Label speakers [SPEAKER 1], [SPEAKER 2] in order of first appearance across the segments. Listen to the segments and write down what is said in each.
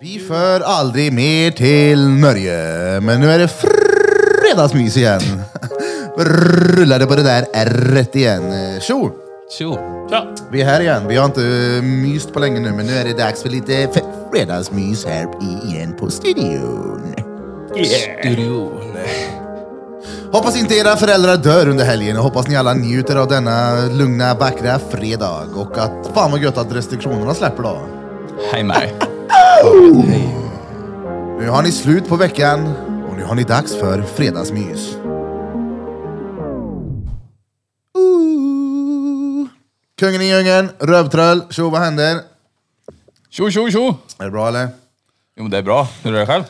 [SPEAKER 1] Vi för aldrig mer till Norge, men nu är det fredagsmys igen. Rullade på det där ärret igen. Tjo!
[SPEAKER 2] Tjo!
[SPEAKER 3] Tja!
[SPEAKER 1] Vi är här igen. Vi har inte myst på länge nu, men nu är det dags för lite f- fredagsmys här igen på studion.
[SPEAKER 2] Studio.
[SPEAKER 1] Hoppas inte era föräldrar dör under helgen och hoppas ni alla njuter av denna lugna, vackra fredag. Och att fan vad gött att restriktionerna släpper då.
[SPEAKER 2] Hej med
[SPEAKER 1] Nu har ni slut på veckan och nu har ni dags för fredagsmys. Ooh. Kungen i djungeln, rövtröll, tjo vad händer?
[SPEAKER 2] Tjo, tjo, tjo!
[SPEAKER 1] Är det bra eller?
[SPEAKER 2] Jo, men det är bra. Hur är det själv?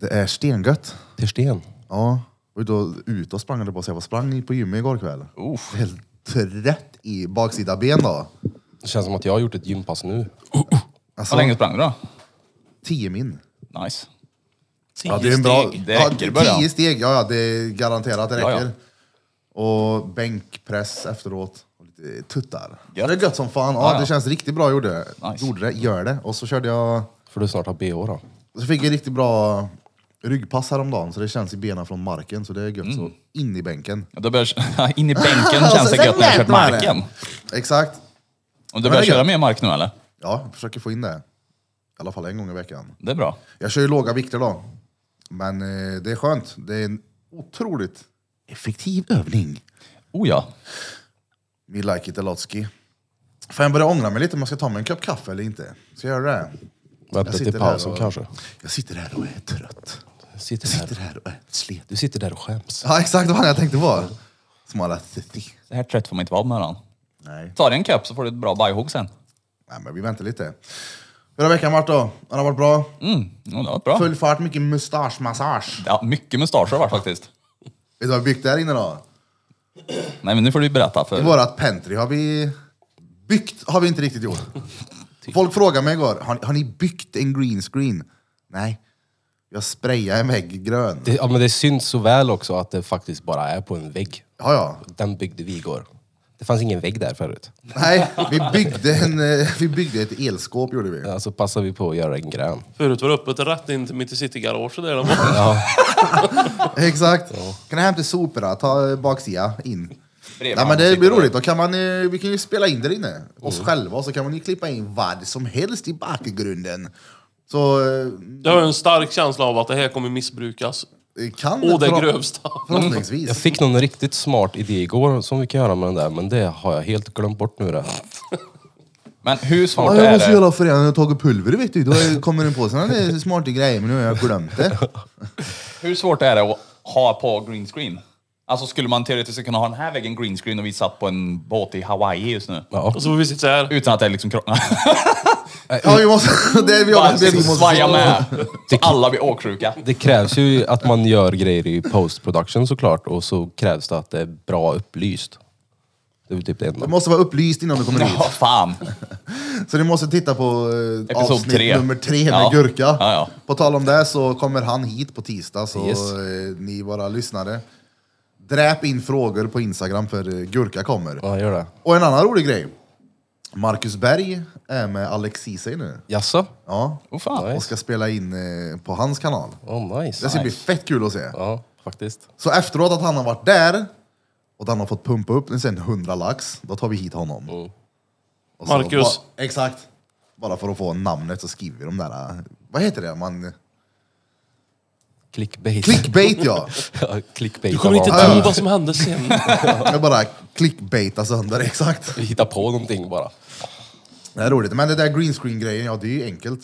[SPEAKER 1] Det är stengött.
[SPEAKER 4] Till sten.
[SPEAKER 1] Ja, och då ute och sprang, eller på att säga, vad sprang ni på gymmet igår kväll?
[SPEAKER 2] Uff.
[SPEAKER 1] Helt rätt i baksida ben då.
[SPEAKER 4] Det känns som att jag har gjort ett gympass nu.
[SPEAKER 1] Alltså,
[SPEAKER 2] Hur länge sprang du då?
[SPEAKER 1] 10 min.
[SPEAKER 2] Nice.
[SPEAKER 1] Ja, det är en bra...
[SPEAKER 2] steg. Det
[SPEAKER 1] ja,
[SPEAKER 2] räcker i början.
[SPEAKER 1] Tio steg, ja, ja det är garanterat det
[SPEAKER 2] Ja, ja.
[SPEAKER 1] räcker. Och bänkpress efteråt. Och lite tuttar.
[SPEAKER 2] Gött.
[SPEAKER 1] Det är gött som fan. Ja,
[SPEAKER 2] Ja, ja.
[SPEAKER 1] Det känns riktigt bra. Gjorde det.
[SPEAKER 2] Nice.
[SPEAKER 1] Gjorde det, gör det. Och så körde jag...
[SPEAKER 4] För du snart har BH då.
[SPEAKER 1] Så fick jag riktigt bra ryggpass häromdagen, så det känns i benen från marken. Så det är gött så in i bänken.
[SPEAKER 2] Ja, då börjar, in i bänken
[SPEAKER 1] Och
[SPEAKER 2] känns
[SPEAKER 1] så-
[SPEAKER 2] Mm. det gött när jag
[SPEAKER 1] sen
[SPEAKER 2] kört
[SPEAKER 1] vet man det.
[SPEAKER 2] marken.
[SPEAKER 1] Exakt.
[SPEAKER 2] Om du
[SPEAKER 1] Men det
[SPEAKER 2] börjar
[SPEAKER 1] är
[SPEAKER 2] köra
[SPEAKER 1] gött.
[SPEAKER 2] mer mark nu eller?
[SPEAKER 1] Ja, jag försöker få in det. I alla fall en gång i veckan.
[SPEAKER 2] Det är bra.
[SPEAKER 1] Jag kör ju låga vikter då. Men eh, det är skönt. Det är en otroligt effektiv övning.
[SPEAKER 2] Oh ja.
[SPEAKER 1] Me like it a lotski. Fan, jag börjar ångra mig lite om jag ska ta mig en kopp kaffe eller inte. Ska jag göra det?
[SPEAKER 4] Vänta
[SPEAKER 1] sitter
[SPEAKER 4] till pausen
[SPEAKER 1] här och-
[SPEAKER 4] kanske.
[SPEAKER 1] Jag sitter här och är trött.
[SPEAKER 4] Du sitter,
[SPEAKER 1] Jag sitter
[SPEAKER 4] här.
[SPEAKER 1] här och är slet.
[SPEAKER 4] du sitter där och skäms.
[SPEAKER 1] Ja, exakt vad jag tänkte på. Smala city.
[SPEAKER 2] Så här trött får man inte vara med den.
[SPEAKER 1] Nej.
[SPEAKER 2] Ta dig en kopp så får du ett bra bajhugg sen.
[SPEAKER 1] Nej, men vi väntar lite. Hur har veckan varit då? Den har varit bra?
[SPEAKER 2] Mm, ja, det var bra.
[SPEAKER 1] Full fart, mycket mustaschmassage.
[SPEAKER 2] Ja, mycket mustascher har det varit faktiskt.
[SPEAKER 1] Vet du vad vi byggt där inne då?
[SPEAKER 2] Nej, men nu får du berätta.
[SPEAKER 1] I
[SPEAKER 2] för...
[SPEAKER 1] vårat pentry har vi byggt, har vi inte riktigt gjort. Folk frågade mig igår, har, ni- har ni byggt en green screen? Nej, jag sprayade en vägg grön.
[SPEAKER 4] Det, ja, men det syns så väl också att det faktiskt bara är på en vägg.
[SPEAKER 1] Ja, ja.
[SPEAKER 4] Den byggde vi igår. Det fanns ingen vägg där förut.
[SPEAKER 1] Nej, vi byggde, en, eh, vi byggde ett elskåp gjorde vi.
[SPEAKER 4] Ja, Så passade Alltså, vi på att göra en grön.
[SPEAKER 3] Förut var det öppet rätt in till mitt i citygarage där de var.
[SPEAKER 1] Exakt. Kan jag hämta soporna? Ta eh, baksida in.
[SPEAKER 2] Bredvid
[SPEAKER 1] Nej, men det
[SPEAKER 2] ansiktet.
[SPEAKER 1] blir roligt. Då kan man, eh, vi kan ju spela in där inne, oss
[SPEAKER 4] Mm.
[SPEAKER 1] själva, och så kan man ju klippa in vad som helst i bakgrunden. Så eh,
[SPEAKER 3] Jag har en stark känsla av att det här kommer missbrukas.
[SPEAKER 1] kan...
[SPEAKER 3] Åh, det
[SPEAKER 1] förhopp-
[SPEAKER 3] grövsta.
[SPEAKER 1] Förhoppningsvis.
[SPEAKER 4] Jag fick någon riktigt smart idé igår som vi kan göra med den där, men det har jag helt glömt bort nu. Det.
[SPEAKER 2] Men hur svårt
[SPEAKER 1] Ja, jag
[SPEAKER 2] är
[SPEAKER 1] måste
[SPEAKER 2] det?
[SPEAKER 1] göra föreningen och tagit pulver vet du. Då är- kommer den på sådana där smarta grejer men nu har jag glömt det.
[SPEAKER 2] Hur svårt är det att ha på green screen? Alltså skulle man teoretiskt kunna ha den här väggen green screen och vi satt på en båt i Hawaii just nu?
[SPEAKER 4] Ja.
[SPEAKER 3] Och så får vi sitta så här.
[SPEAKER 2] Utan att det liksom krocknar.
[SPEAKER 1] Ja, vi måste... Det är vi har-
[SPEAKER 2] Bara
[SPEAKER 1] det är liksom vi måste...
[SPEAKER 2] svaja med. Så alla blir åksjuka.
[SPEAKER 4] Det krävs ju att man gör grejer i post production såklart och så krävs det att det är bra upplyst. Det är väl typ det enda.
[SPEAKER 1] Du måste vara upplyst innan du kommer hit.
[SPEAKER 2] Ja, fan.
[SPEAKER 1] Så ni måste titta på eh,
[SPEAKER 2] Episod
[SPEAKER 1] avsnitt
[SPEAKER 2] tre.
[SPEAKER 1] nummer tre med
[SPEAKER 2] Ja.
[SPEAKER 1] Gurka.
[SPEAKER 2] Ja, ja.
[SPEAKER 1] På tal om det så kommer han hit på tisdag, så
[SPEAKER 4] Yes.
[SPEAKER 1] eh, ni våra lyssnare. Dräp in frågor på Instagram för eh, Gurka kommer.
[SPEAKER 4] Ja, gör det.
[SPEAKER 1] Och en annan rolig grej. Marcus Berg är med Alex Ceesay nu.
[SPEAKER 4] Jaså?
[SPEAKER 1] Ja.
[SPEAKER 2] Oh, fan.
[SPEAKER 1] Och ska spela in eh, på hans kanal.
[SPEAKER 4] Oh,
[SPEAKER 1] Det
[SPEAKER 4] nice.
[SPEAKER 1] ska bli fett kul att se.
[SPEAKER 4] Ja, faktiskt.
[SPEAKER 1] Så efteråt att han har varit där och han har fått pumpa upp en sen 100 lax, då tar vi hit honom. Och så
[SPEAKER 3] Marcus.
[SPEAKER 1] Bara, exakt. Bara för att få namnet så skriver vi de där, eh, vad heter det? Man,
[SPEAKER 4] Clickbait.
[SPEAKER 1] clickbait ja!
[SPEAKER 4] Ja, Clickbait.
[SPEAKER 3] Du kommer inte
[SPEAKER 4] Ja,
[SPEAKER 3] tro vad som hände sen.
[SPEAKER 1] Jag bara clickbaita sönder, exakt.
[SPEAKER 4] Vi hittar på någonting bara.
[SPEAKER 1] Det är roligt. Men det där green screen grejen, ja det är ju enkelt.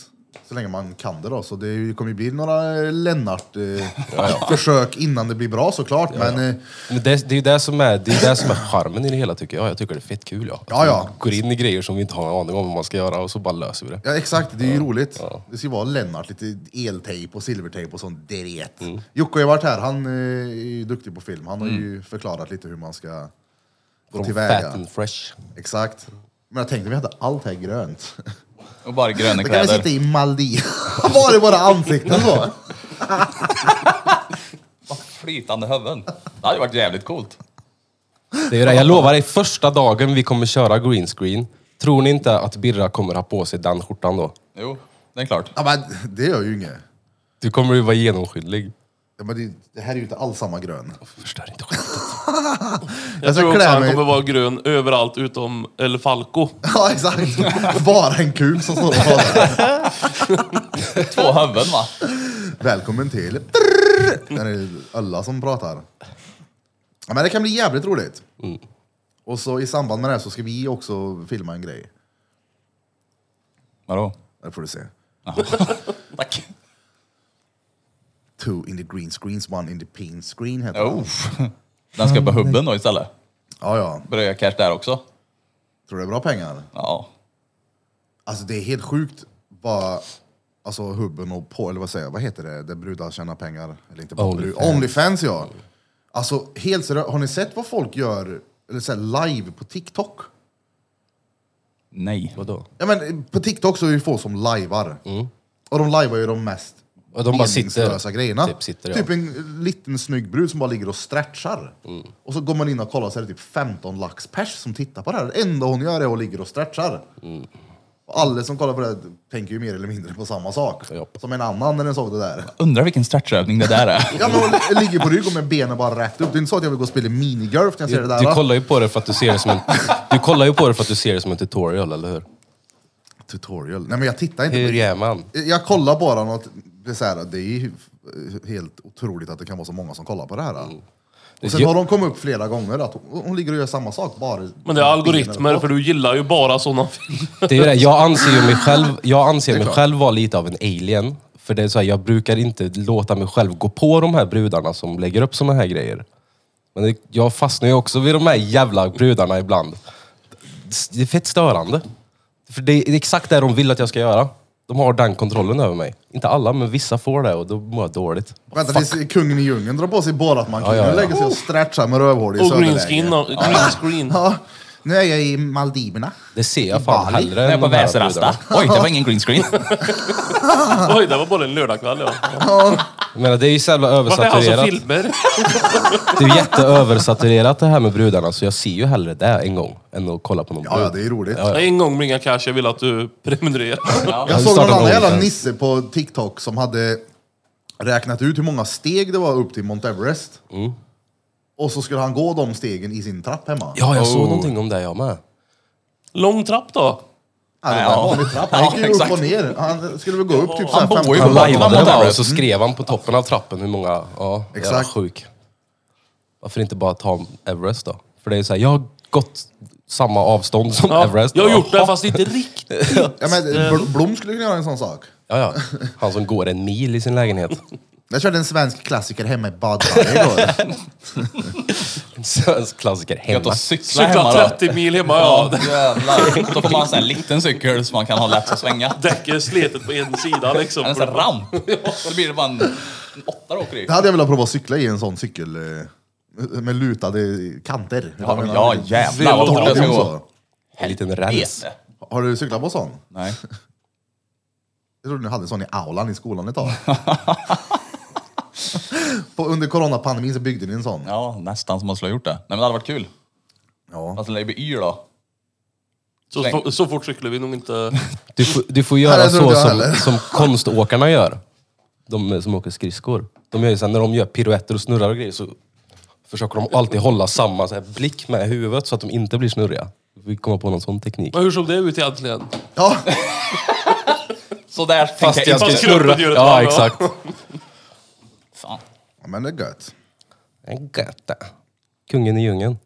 [SPEAKER 1] Så länge man kan det då. Så det kommer ju bli några eh, Lennart-försök innan det blir bra såklart. Men eh,
[SPEAKER 4] Men det, det är ju det som är, det är det som är charmen i det hela tycker jag. Jag tycker det är fett kul. Ja. Att
[SPEAKER 1] Ja, ja.
[SPEAKER 4] man Går in i grejer som vi inte har en aning om vad man ska göra och så bara löser vi det.
[SPEAKER 1] Ja exakt, det är ju roligt. Det ska ju vara Lennart, lite eltejp och silvertejp och sånt deret. Jocke har ju varit här, han eh, är ju duktig på film. Han har ju förklarat lite hur man ska gå
[SPEAKER 4] Från
[SPEAKER 1] tillväga.
[SPEAKER 4] Fat and fresh.
[SPEAKER 1] Exakt. Men jag tänkte vi hade allt här grönt.
[SPEAKER 2] Och bara gröna
[SPEAKER 1] Då kan vi
[SPEAKER 2] kläder.
[SPEAKER 1] sitta i Maldiv. Bara i våra ansikten då.
[SPEAKER 2] Flytande huvuden. Det hade varit jävligt coolt.
[SPEAKER 4] Det är ju det. Jag lovar dig, första dagen vi kommer köra green screen, tror ni inte att Birra kommer ha på sig den skjortan då?
[SPEAKER 2] Jo. det är klart.
[SPEAKER 1] Ja, men det gör ju inget.
[SPEAKER 4] Du kommer ju vara genomskinlig.
[SPEAKER 1] Ja, men det, det här är ju inte alls samma grön.
[SPEAKER 4] Förstör inte skämtet.
[SPEAKER 3] Jag,
[SPEAKER 1] Jag ska
[SPEAKER 3] tror också
[SPEAKER 1] klä
[SPEAKER 3] han
[SPEAKER 1] mig-
[SPEAKER 3] kommer vara grön överallt utom El Falco.
[SPEAKER 1] Ja, exakt. Bara en kul som står och pratar.
[SPEAKER 2] Två huvuden va?
[SPEAKER 1] Välkommen till... Brrr. Där är det alla som pratar. Ja, men det kan bli jävligt roligt. Och så i samband med det här så ska vi också filma en grej.
[SPEAKER 2] Vadå?
[SPEAKER 1] Det får du se.
[SPEAKER 2] Tack.
[SPEAKER 1] Two in the green screens, one in the pink screen heter det.
[SPEAKER 2] Oh. Den ska på hubben då istället.
[SPEAKER 1] Ja, ja.
[SPEAKER 2] Bröd cash där också.
[SPEAKER 1] Tror du det är bra pengar?
[SPEAKER 2] Ja.
[SPEAKER 1] Alltså det är helt sjukt vad alltså, hubben och på, eller vad säger jag, vad heter det, där brudar tjänar pengar? Eller inte bara brud-
[SPEAKER 4] Onlyfans.
[SPEAKER 1] Onlyfans ja! Alltså helt seriöst, har ni sett vad folk gör eller så här, live på TikTok?
[SPEAKER 2] Nej.
[SPEAKER 4] Vadå?
[SPEAKER 1] Ja men på TikTok så är det ju få som lajvar. Och de lajvar ju de mest
[SPEAKER 4] Och Mm. de bara sitter.
[SPEAKER 1] meningslösa grejerna.
[SPEAKER 4] Typ sitter, ja.
[SPEAKER 1] typ en liten snygg brud som bara ligger och stretchar.
[SPEAKER 4] Mm.
[SPEAKER 1] Och så går man in och kollar så är det typ 15 lax pers som tittar på det här. Det enda hon gör är att ligga och stretchar.
[SPEAKER 4] Mm.
[SPEAKER 1] Och alla som kollar på det här tänker ju mer eller mindre på samma sak.
[SPEAKER 4] Japp.
[SPEAKER 1] Som en annan när den såg det där.
[SPEAKER 2] Undrar vilken stretchövning det där är.
[SPEAKER 1] Ja, men hon ligger på rygg och med benen bara rätt upp. Det är inte så att jag vill gå och spela minigolf när jag ser det
[SPEAKER 4] Du,
[SPEAKER 1] där.
[SPEAKER 4] du
[SPEAKER 1] va?
[SPEAKER 4] kollar ju på det för att du ser det som en... Du kollar ju på det för att du ser det som en tutorial, eller hur?
[SPEAKER 1] Tutorial. Nej men jag tittar inte på
[SPEAKER 4] Hur gör man?
[SPEAKER 1] Jag kollar bara något, det är, så här, det är ju helt otroligt att det kan vara så många som kollar på det här.
[SPEAKER 3] Mm.
[SPEAKER 1] Och sen
[SPEAKER 4] Jo.
[SPEAKER 1] har de kommit upp flera gånger att hon, hon ligger och gör samma sak bara...
[SPEAKER 3] Men det är algoritmer, för du gillar ju bara sådana filmer.
[SPEAKER 4] Det är ju det. Jag anser ju mig själv, jag anser mig
[SPEAKER 1] klart.
[SPEAKER 4] själv vara lite av en alien. För det är så här, jag brukar inte låta mig själv gå på de här brudarna som lägger upp såna här grejer. Men det, jag fastnar ju också vid de här jävla brudarna ibland. Det är fett störande. För det är exakt det de vill att jag ska göra. De har den kontrollen över mig. Inte alla, men vissa får det och då mår jag dåligt.
[SPEAKER 1] Vänta tills kungen i djungen drar på sig borat man kan
[SPEAKER 4] Ja, ja, ja.
[SPEAKER 1] lägger sig och stretchar med rövhål i
[SPEAKER 3] Och
[SPEAKER 1] söderläge.
[SPEAKER 3] green screen. och- Green screen.
[SPEAKER 1] Ja, nu är jag i Maldiverna.
[SPEAKER 4] Det ser jag fan
[SPEAKER 1] Bali.
[SPEAKER 4] hellre
[SPEAKER 2] Den är
[SPEAKER 4] än
[SPEAKER 2] på
[SPEAKER 4] de här
[SPEAKER 2] Väserasta.
[SPEAKER 4] brudarna.
[SPEAKER 2] Oj, det var ingen green screen.
[SPEAKER 3] Oj, det var bara en lördagkväll ja.
[SPEAKER 4] Jag menar, det är ju så jävla
[SPEAKER 3] Varför är han så
[SPEAKER 4] översaturerat.
[SPEAKER 3] filmer?
[SPEAKER 4] Det är jätteöversaturerat det här med brudarna, så jag ser ju hellre det en gång än att kolla på någon
[SPEAKER 1] Ja,
[SPEAKER 4] brud.
[SPEAKER 1] ja, det är roligt.
[SPEAKER 3] En gång bringa cash, jag vill att du prenumererar.
[SPEAKER 1] Jag
[SPEAKER 4] vi
[SPEAKER 1] såg någon
[SPEAKER 4] startar
[SPEAKER 1] annan
[SPEAKER 4] med
[SPEAKER 1] jävla
[SPEAKER 4] Onlyfans.
[SPEAKER 1] nisse på TikTok som hade räknat ut hur många steg det var upp till Mount Everest.
[SPEAKER 3] Mm.
[SPEAKER 1] Och så skulle han gå de stegen i sin trapp hemma.
[SPEAKER 4] Ja, jag
[SPEAKER 3] Oh.
[SPEAKER 4] såg någonting om det jag med.
[SPEAKER 3] Lång trapp då?
[SPEAKER 1] Han
[SPEAKER 2] Ja.
[SPEAKER 1] ja. vanlig trapp. Han
[SPEAKER 2] Ja,
[SPEAKER 1] gick ju upp
[SPEAKER 2] exakt.
[SPEAKER 1] och ner. Han skulle väl gå upp typ så här
[SPEAKER 2] Han bor ju
[SPEAKER 1] 15
[SPEAKER 2] på
[SPEAKER 1] trappor.
[SPEAKER 2] Lajban.
[SPEAKER 4] Han
[SPEAKER 2] mot
[SPEAKER 4] där och
[SPEAKER 2] Everest.
[SPEAKER 4] så skrev han på toppen av trappen hur många... Ja,
[SPEAKER 1] Exakt.
[SPEAKER 4] Exakt. sjuk. Varför inte bara ta Everest då? För det är ju såhär, jag har gått samma avstånd som
[SPEAKER 3] Ja,
[SPEAKER 4] Everest.
[SPEAKER 3] jag har
[SPEAKER 4] Ja.
[SPEAKER 3] gjort det fast inte riktigt.
[SPEAKER 1] Ja, men
[SPEAKER 2] Eh.
[SPEAKER 1] Bl- Blom skulle kunna göra en sån sak.
[SPEAKER 4] Ja, ja. Han som går en mil i sin lägenhet.
[SPEAKER 1] Jag körde en svensk klassiker hemma i Bad Bunny igår.
[SPEAKER 4] En svensk klassiker
[SPEAKER 2] Gött
[SPEAKER 4] hemma.
[SPEAKER 2] att cykla hemma
[SPEAKER 3] Cykla
[SPEAKER 2] då.
[SPEAKER 3] 30 mil hemma, ja.
[SPEAKER 2] Ja, jävlar. Då får man en sån här liten cykel som man kan ha lätt att svänga.
[SPEAKER 3] Däcket är slitet på en sida liksom.
[SPEAKER 2] En sån här ramp. Då blir det bara en, en åtta du åker i.
[SPEAKER 1] Det hade jag velat prova att cykla i en sån cykel eh, med lutade kanter.
[SPEAKER 2] Ja, men
[SPEAKER 1] Jag
[SPEAKER 2] ja
[SPEAKER 1] menar,
[SPEAKER 2] jävlar vad fort
[SPEAKER 1] det
[SPEAKER 2] det
[SPEAKER 1] är
[SPEAKER 2] ska
[SPEAKER 1] ju
[SPEAKER 2] gå.
[SPEAKER 1] så.
[SPEAKER 4] En liten räls.
[SPEAKER 2] Ete.
[SPEAKER 1] Har du cyklat på sån?
[SPEAKER 2] Nej.
[SPEAKER 1] Jag trodde ni hade en sån i aulan i skolan ett tag. på, under coronapandemin så byggde ni en sån.
[SPEAKER 2] Ja, nästan som man skulle ha gjort det. Nej men det hade varit kul.
[SPEAKER 1] Ja.
[SPEAKER 2] Fast den lär ju bli yr då.
[SPEAKER 3] Så, så, så fort cyklar vi nog inte.
[SPEAKER 4] Du, får- du får
[SPEAKER 1] Nej,
[SPEAKER 4] göra
[SPEAKER 1] det tror
[SPEAKER 4] så
[SPEAKER 1] inte jag
[SPEAKER 4] som,
[SPEAKER 1] heller.
[SPEAKER 4] som konståkarna gör. De som åker skridskor. De gör ju så här, när de gör piruetter och snurrar och grejer så försöker de alltid hålla samma så här, blick med huvudet så att de inte blir snurriga. Vi kommer på någon sån teknik.
[SPEAKER 3] Men hur såg det ut egentligen?
[SPEAKER 1] ja,
[SPEAKER 2] Så där tänker jag
[SPEAKER 3] jag
[SPEAKER 2] inte.
[SPEAKER 3] ska- kroppen gör ett
[SPEAKER 4] Ja,
[SPEAKER 3] varv, ja.
[SPEAKER 4] exakt.
[SPEAKER 2] Fan.
[SPEAKER 1] men det är gött.
[SPEAKER 4] En Göta. Kungen i djungen.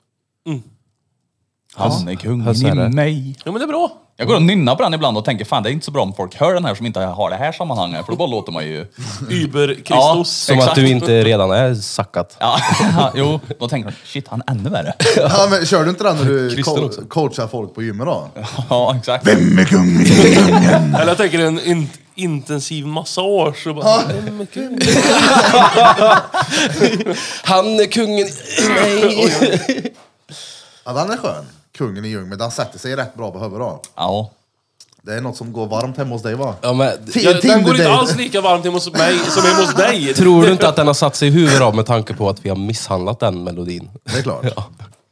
[SPEAKER 2] Han är
[SPEAKER 4] här så är
[SPEAKER 2] kungen
[SPEAKER 4] det.
[SPEAKER 2] i mig.
[SPEAKER 3] Ja men det är bra.
[SPEAKER 2] Jag går och nynnar på den ibland och tänker fan det är inte så bra om folk hör den här som inte har det här sammanhanget för då bara låter man ju...
[SPEAKER 3] Uber
[SPEAKER 2] Ja.
[SPEAKER 3] Kristus.
[SPEAKER 4] Som
[SPEAKER 2] Exakt.
[SPEAKER 4] att du inte redan är sackat.
[SPEAKER 2] Ja, jo, då tänker man shit han är ännu värre.
[SPEAKER 1] Ja, men, kör du inte den när du
[SPEAKER 4] Kristen
[SPEAKER 1] co-
[SPEAKER 4] också.
[SPEAKER 1] coachar folk på gymmet då?
[SPEAKER 2] Ja, exakt.
[SPEAKER 1] Vem är kung?
[SPEAKER 3] Eller jag tänker en in, intensiv massage. Och bara, "Nej, men gud."
[SPEAKER 4] Han är kungen i mig.
[SPEAKER 1] Ja, den är skön. Kungen i djungen, men den sätter sig rätt bra på huvudet då.
[SPEAKER 2] Ja.
[SPEAKER 1] Det är något som går varmt hemma hos dig va?
[SPEAKER 4] Ja, men,
[SPEAKER 1] Ti-
[SPEAKER 3] Ja, den går inte
[SPEAKER 1] Tinder-date.
[SPEAKER 3] alls lika varmt hemma hos mig som hemma hos dig.
[SPEAKER 4] tror du inte att den har satt sig i huvudet av med tanke på att vi har misshandlat den melodin?
[SPEAKER 1] Det är klart.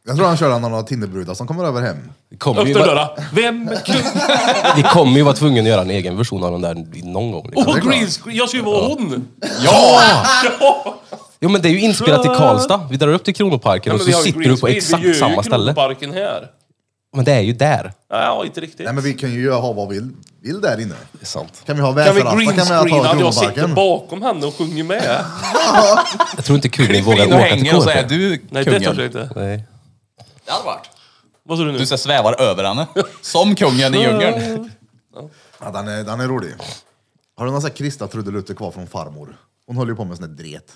[SPEAKER 1] Jag tror han körde någon av Tinderbrudar som kommer över hem.
[SPEAKER 4] Vi kommer ju,
[SPEAKER 3] Öppna
[SPEAKER 4] vara-
[SPEAKER 3] dörra. Vem kunde...
[SPEAKER 4] vi kommer ju vara tvungna att göra en egen version av den där någon gång. Liksom.
[SPEAKER 1] är
[SPEAKER 3] Oh,
[SPEAKER 1] klart.
[SPEAKER 3] green screen. Jag ska ju vara hon!
[SPEAKER 4] Ja!
[SPEAKER 3] Ja!
[SPEAKER 4] Jo men det är ju inspelat i Karlstad. Vi drar upp till Kronoparken och så sitter du på exakt samma ställe.
[SPEAKER 3] parken här.
[SPEAKER 4] Men det är ju där.
[SPEAKER 3] Ja, inte riktigt.
[SPEAKER 1] Nej men vi kan ju göra ha vad vi vill där inne.
[SPEAKER 4] Det är sant.
[SPEAKER 1] Kan vi ha
[SPEAKER 3] Kan vi
[SPEAKER 1] väsarasta kan vi ha
[SPEAKER 3] greenscreena
[SPEAKER 1] ta
[SPEAKER 3] att jag sitter
[SPEAKER 1] Kronoparken.
[SPEAKER 3] bakom henne och sjunger med?
[SPEAKER 4] Jag tror inte kungen
[SPEAKER 2] Klipper
[SPEAKER 4] vågar
[SPEAKER 2] in och
[SPEAKER 4] åka till
[SPEAKER 2] hänger och så är
[SPEAKER 4] KP.
[SPEAKER 2] du
[SPEAKER 3] Nej, det törs jag
[SPEAKER 2] kungen.
[SPEAKER 3] inte.
[SPEAKER 4] Nej.
[SPEAKER 2] Det hade varit.
[SPEAKER 3] Vad sa du nu?
[SPEAKER 2] Du så här svävar över henne. Som kungen i djungeln.
[SPEAKER 1] Ja, den, är, den är rolig. Har du någon sån här Krista trudelutter kvar från farmor? Hon höll ju på med sån där dret.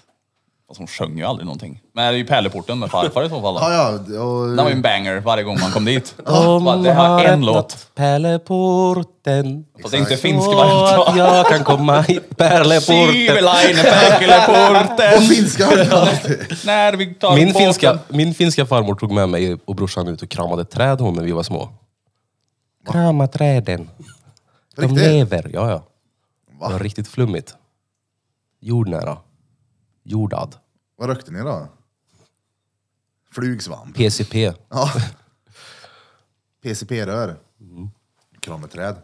[SPEAKER 2] Fast hon sjöng ju aldrig någonting. Men det är ju Pärleporten med farfar i så fall.
[SPEAKER 1] Ja,
[SPEAKER 2] Då.
[SPEAKER 1] ja,
[SPEAKER 2] Den var ju
[SPEAKER 1] och,
[SPEAKER 2] en banger varje gång man kom dit. Bara, det här är en låt.
[SPEAKER 4] Pärleporten.
[SPEAKER 2] Fast det är inte
[SPEAKER 1] Exakt.
[SPEAKER 2] finsk
[SPEAKER 4] Så
[SPEAKER 2] varje
[SPEAKER 4] att
[SPEAKER 2] dag.
[SPEAKER 4] jag kan komma hit. Pärleporten.
[SPEAKER 2] Sivelainen, Pärleporten.
[SPEAKER 1] och finska har jag alltid.
[SPEAKER 2] När vi tar
[SPEAKER 4] Min
[SPEAKER 2] båten.
[SPEAKER 4] finska, min finska farmor tog med mig och brorsan ut och kramade träd hon när vi var små. Krama träden. De
[SPEAKER 1] Riktigt?
[SPEAKER 4] lever. Ja, ja.
[SPEAKER 1] Va?
[SPEAKER 4] Det var riktigt flummigt. Jordnära. Jordad.
[SPEAKER 1] Vad rökte ni då? Flugsvamp.
[SPEAKER 4] PCP.
[SPEAKER 1] Ja. PCP-rör. Krameträd.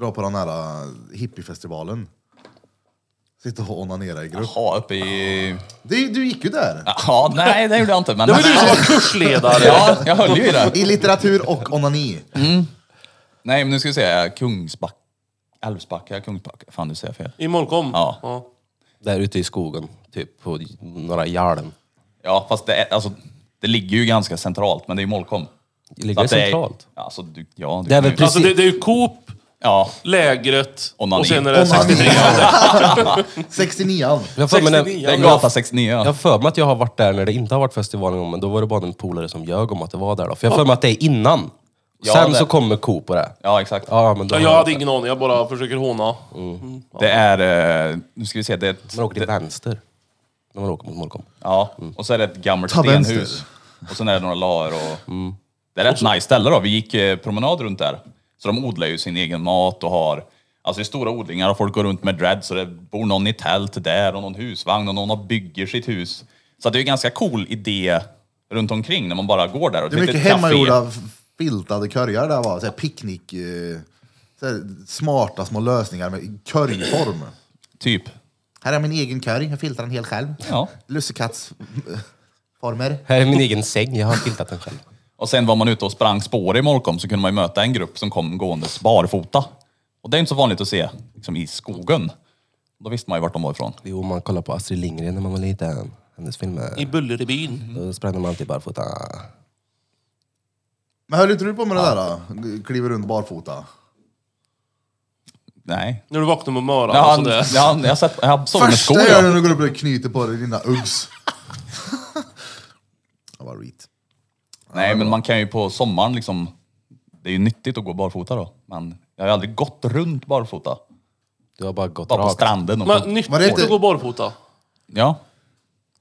[SPEAKER 1] Dra på den här äh, hippiefestivalen. Sitta och onanera i grupp.
[SPEAKER 2] Jaha, uppe i...
[SPEAKER 1] Du, du gick ju där.
[SPEAKER 2] Ja, nej det gjorde jag inte. Men...
[SPEAKER 3] Det var du som var kursledare!
[SPEAKER 2] Ja, jag höll ju i det.
[SPEAKER 1] I litteratur och onani.
[SPEAKER 2] Nej, men nu ska vi se. Kungsbacka. Älvsbacka, Kungsbacka. Fan, du säger fel.
[SPEAKER 3] I Molkom?
[SPEAKER 2] Ja.
[SPEAKER 4] Där ute i skogen. Typ på några järn.
[SPEAKER 2] Ja, fast det, är, alltså, det ligger ju ganska centralt, men det är ju Molkom.
[SPEAKER 4] Ligger det
[SPEAKER 2] Så att är-
[SPEAKER 4] centralt?
[SPEAKER 2] Ja, Alltså, du, ja, du
[SPEAKER 4] Det är
[SPEAKER 2] kan
[SPEAKER 4] väl
[SPEAKER 2] ju-
[SPEAKER 4] precis-
[SPEAKER 3] Alltså det, det är ju Coop,
[SPEAKER 2] Ja,
[SPEAKER 3] lägret
[SPEAKER 2] Onani.
[SPEAKER 3] och sen är det 60.
[SPEAKER 1] Onani. 69an.
[SPEAKER 4] Jag har för mig när-
[SPEAKER 3] 69,
[SPEAKER 2] det är gata 69.
[SPEAKER 4] jag
[SPEAKER 2] Ja.
[SPEAKER 4] har för mig att jag har varit där när det inte har varit festival någon gång, men då var det bara en polare som ljög om att det var där. Då. För jag har för mig att det är innan.
[SPEAKER 2] Ja,
[SPEAKER 4] Sen
[SPEAKER 2] det-
[SPEAKER 4] så kommer Coop på det.
[SPEAKER 2] ja, exakt.
[SPEAKER 4] Ja, men då
[SPEAKER 3] Ja, jag hade ingen aning, jag bara försöker håna.
[SPEAKER 2] Det är, eh, nu ska vi se, det är ett,
[SPEAKER 4] Man åker till vänster. När man åker mot Molkom.
[SPEAKER 2] ja, och så är det ett gammalt
[SPEAKER 1] Ta
[SPEAKER 2] stenhus.
[SPEAKER 1] vänster.
[SPEAKER 2] Och sen är det några lager och... Det är rätt nice ställe då. Vi gick eh, promenad runt där. Så de odlar ju sin egen mat och har... Alltså det är stora odlingar och folk går runt med dreads och det bor någon i tält där och någon husvagn och någon har bygger sitt hus. Så att det är en ganska cool idé runt omkring när man bara går där. Och
[SPEAKER 1] Det är mycket
[SPEAKER 2] ett litet café.
[SPEAKER 1] hemmagjorda filtade körjar där var. Såhär picknick... eh, såhär smarta små lösningar med körjform.
[SPEAKER 2] Typ.
[SPEAKER 1] Här är min egen körj, jag filtrar den helt själv.
[SPEAKER 2] Ja.
[SPEAKER 1] Lussekattsformer.
[SPEAKER 4] Här är min egen säng, jag har filtat den själv.
[SPEAKER 2] Och sen var man ute och sprang spår i Molkom så kunde man ju möta en grupp som kom gåendes barfota. Och det är inte så vanligt att se liksom, i skogen. Då visste man ju vart de var ifrån.
[SPEAKER 4] Jo, man kollar på Astrid Lindgren när man var liten. Hennes filmer.
[SPEAKER 3] I Bullerbyn.
[SPEAKER 4] Då sprang man alltid barfota.
[SPEAKER 1] Men höll inte du på med det där då? Kliver runt barfota.
[SPEAKER 2] Nej.
[SPEAKER 3] När du vaknar med möran och
[SPEAKER 4] alltså
[SPEAKER 2] Ja, han,
[SPEAKER 3] sådär.
[SPEAKER 2] ja, han, jag, sett, jag såg med skor.
[SPEAKER 1] Första jag gör
[SPEAKER 2] Ja.
[SPEAKER 1] när du går upp och knyter på dig dina Uggs. Jag var reet.
[SPEAKER 2] Nej, men man kan ju på sommaren liksom... Det är ju nyttigt att gå barfota då. Men jag har ju aldrig gått runt barfota.
[SPEAKER 4] Du har bara gått
[SPEAKER 2] Bara på
[SPEAKER 4] rakt.
[SPEAKER 2] stranden och...
[SPEAKER 3] Men
[SPEAKER 2] På,
[SPEAKER 3] nyttigt
[SPEAKER 1] Var det inte-
[SPEAKER 3] att gå barfota.
[SPEAKER 2] ja.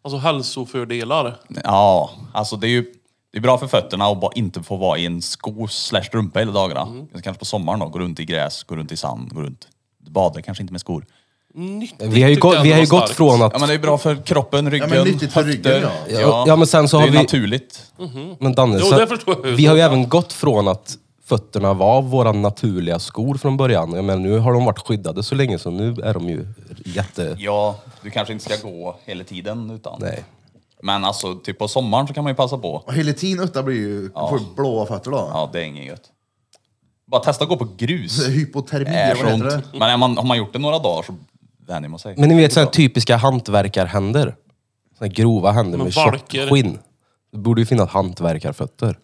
[SPEAKER 3] Alltså hälsofördelar.
[SPEAKER 2] Ja, alltså det är ju... Det är bra för fötterna att bara inte få vara i en sko slash strumpa hela dagarna.
[SPEAKER 4] Mm.
[SPEAKER 2] Kanske på sommaren då, gå runt i gräs, gå runt i sand, gå runt... Bada kanske inte med skor.
[SPEAKER 3] Nyttigt
[SPEAKER 4] Vi har ju,
[SPEAKER 3] tyckte jag
[SPEAKER 4] gått, vi har ju
[SPEAKER 3] ändå var
[SPEAKER 4] gått
[SPEAKER 3] starkt.
[SPEAKER 4] från att...
[SPEAKER 2] Ja men det är bra för kroppen, ryggen,
[SPEAKER 1] men nyttigt för ryggen,
[SPEAKER 4] ja. Ja, men sen så
[SPEAKER 2] det
[SPEAKER 4] har
[SPEAKER 2] är ju
[SPEAKER 4] vi-
[SPEAKER 2] naturligt.
[SPEAKER 4] Men Danne,
[SPEAKER 3] Jo,
[SPEAKER 4] så
[SPEAKER 3] det förstår jag ju.
[SPEAKER 4] vi har ju även gått från att fötterna var våra naturliga skor från början. Jag menar, nu har de varit skyddade så länge så nu är de ju jätte...
[SPEAKER 2] Ja, du kanske inte ska gå hela tiden utan...
[SPEAKER 4] Nej.
[SPEAKER 2] Men alltså, typ på sommaren så kan man ju passa på.
[SPEAKER 1] Och Helitin utta blir ju... får ju blåa fötter då.
[SPEAKER 2] Ja, det är inget gött. Bara testa att gå på grus.
[SPEAKER 1] Hypotermi,
[SPEAKER 2] Är
[SPEAKER 1] eller vad
[SPEAKER 2] Äh, sånt.
[SPEAKER 1] heter det?
[SPEAKER 2] Men är man, har man gjort det några dagar så vänjer man sig.
[SPEAKER 4] Men ni vet sådana typiska hantverkarhänder. Sådana grova händer
[SPEAKER 3] Men
[SPEAKER 4] med tjockt
[SPEAKER 3] valkar.
[SPEAKER 4] skinn. Det borde ju finnas hantverkarfötter.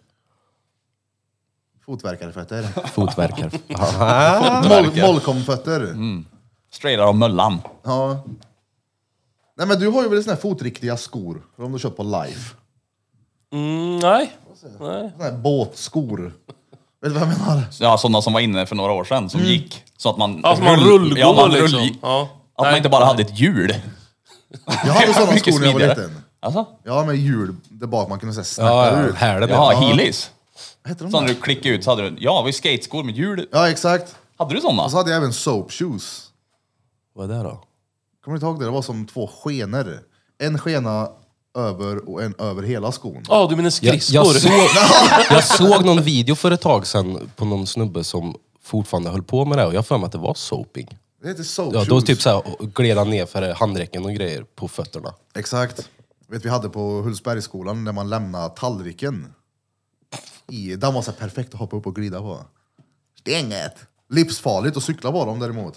[SPEAKER 1] Fotvärkarfötter.
[SPEAKER 4] Fotverkar...
[SPEAKER 1] Mol- Molkomfötter.
[SPEAKER 2] Mm. Straightar av möllan.
[SPEAKER 1] Ja. Nej men du har ju väl såna här fotriktiga skor? Om du köpt på Life.
[SPEAKER 3] Mm, nej. nej.
[SPEAKER 1] Såna här båtskor. Vet du vad jag menar?
[SPEAKER 2] Ja, sådana som var inne för några år sedan som
[SPEAKER 1] Mm.
[SPEAKER 2] gick. Så att man...
[SPEAKER 3] Alltså man
[SPEAKER 2] rull-
[SPEAKER 3] rullgår
[SPEAKER 2] ja, man rull-
[SPEAKER 3] liksom. Ja.
[SPEAKER 2] Att man
[SPEAKER 3] Nej.
[SPEAKER 2] inte bara hade ett hjul.
[SPEAKER 1] Jag hade såna
[SPEAKER 2] Mycket
[SPEAKER 1] skor när jag var
[SPEAKER 2] smidigare.
[SPEAKER 1] liten.
[SPEAKER 2] Alltså?
[SPEAKER 1] Ja med hjul där bak man kunde säga snäppa
[SPEAKER 4] Ja,
[SPEAKER 1] ut.
[SPEAKER 4] här det
[SPEAKER 2] Jaha,
[SPEAKER 4] med.
[SPEAKER 2] heelys.
[SPEAKER 1] Vad Heter de
[SPEAKER 2] Så
[SPEAKER 1] där?
[SPEAKER 2] när du klickade ut så hade du... Ja, vi har skateskor med hjul.
[SPEAKER 1] Ja exakt.
[SPEAKER 2] Hade du sådana?
[SPEAKER 1] Och så hade jag även soap shoes.
[SPEAKER 4] Vad är det då?
[SPEAKER 1] Kommer du inte ihåg det? Det var som två skenor. En skena över och en över hela skon.
[SPEAKER 3] Ja, du menar
[SPEAKER 4] Jag,
[SPEAKER 3] skridskor?
[SPEAKER 4] jag, såg, jag såg någon video för ett tag sedan på någon snubbe som fortfarande höll på med det här och jag har för mig att det var soaping.
[SPEAKER 1] Det heter soap
[SPEAKER 4] Ja, då
[SPEAKER 1] shoes.
[SPEAKER 4] typ såhär gled han ner för handräcken och grejer på fötterna.
[SPEAKER 1] Exakt. Vet vi hade på Hultsbergsskolan när man lämnade tallriken. I, den var så här perfekt att hoppa upp och glida på. Stänget! Livsfarligt att cykla på dem däremot.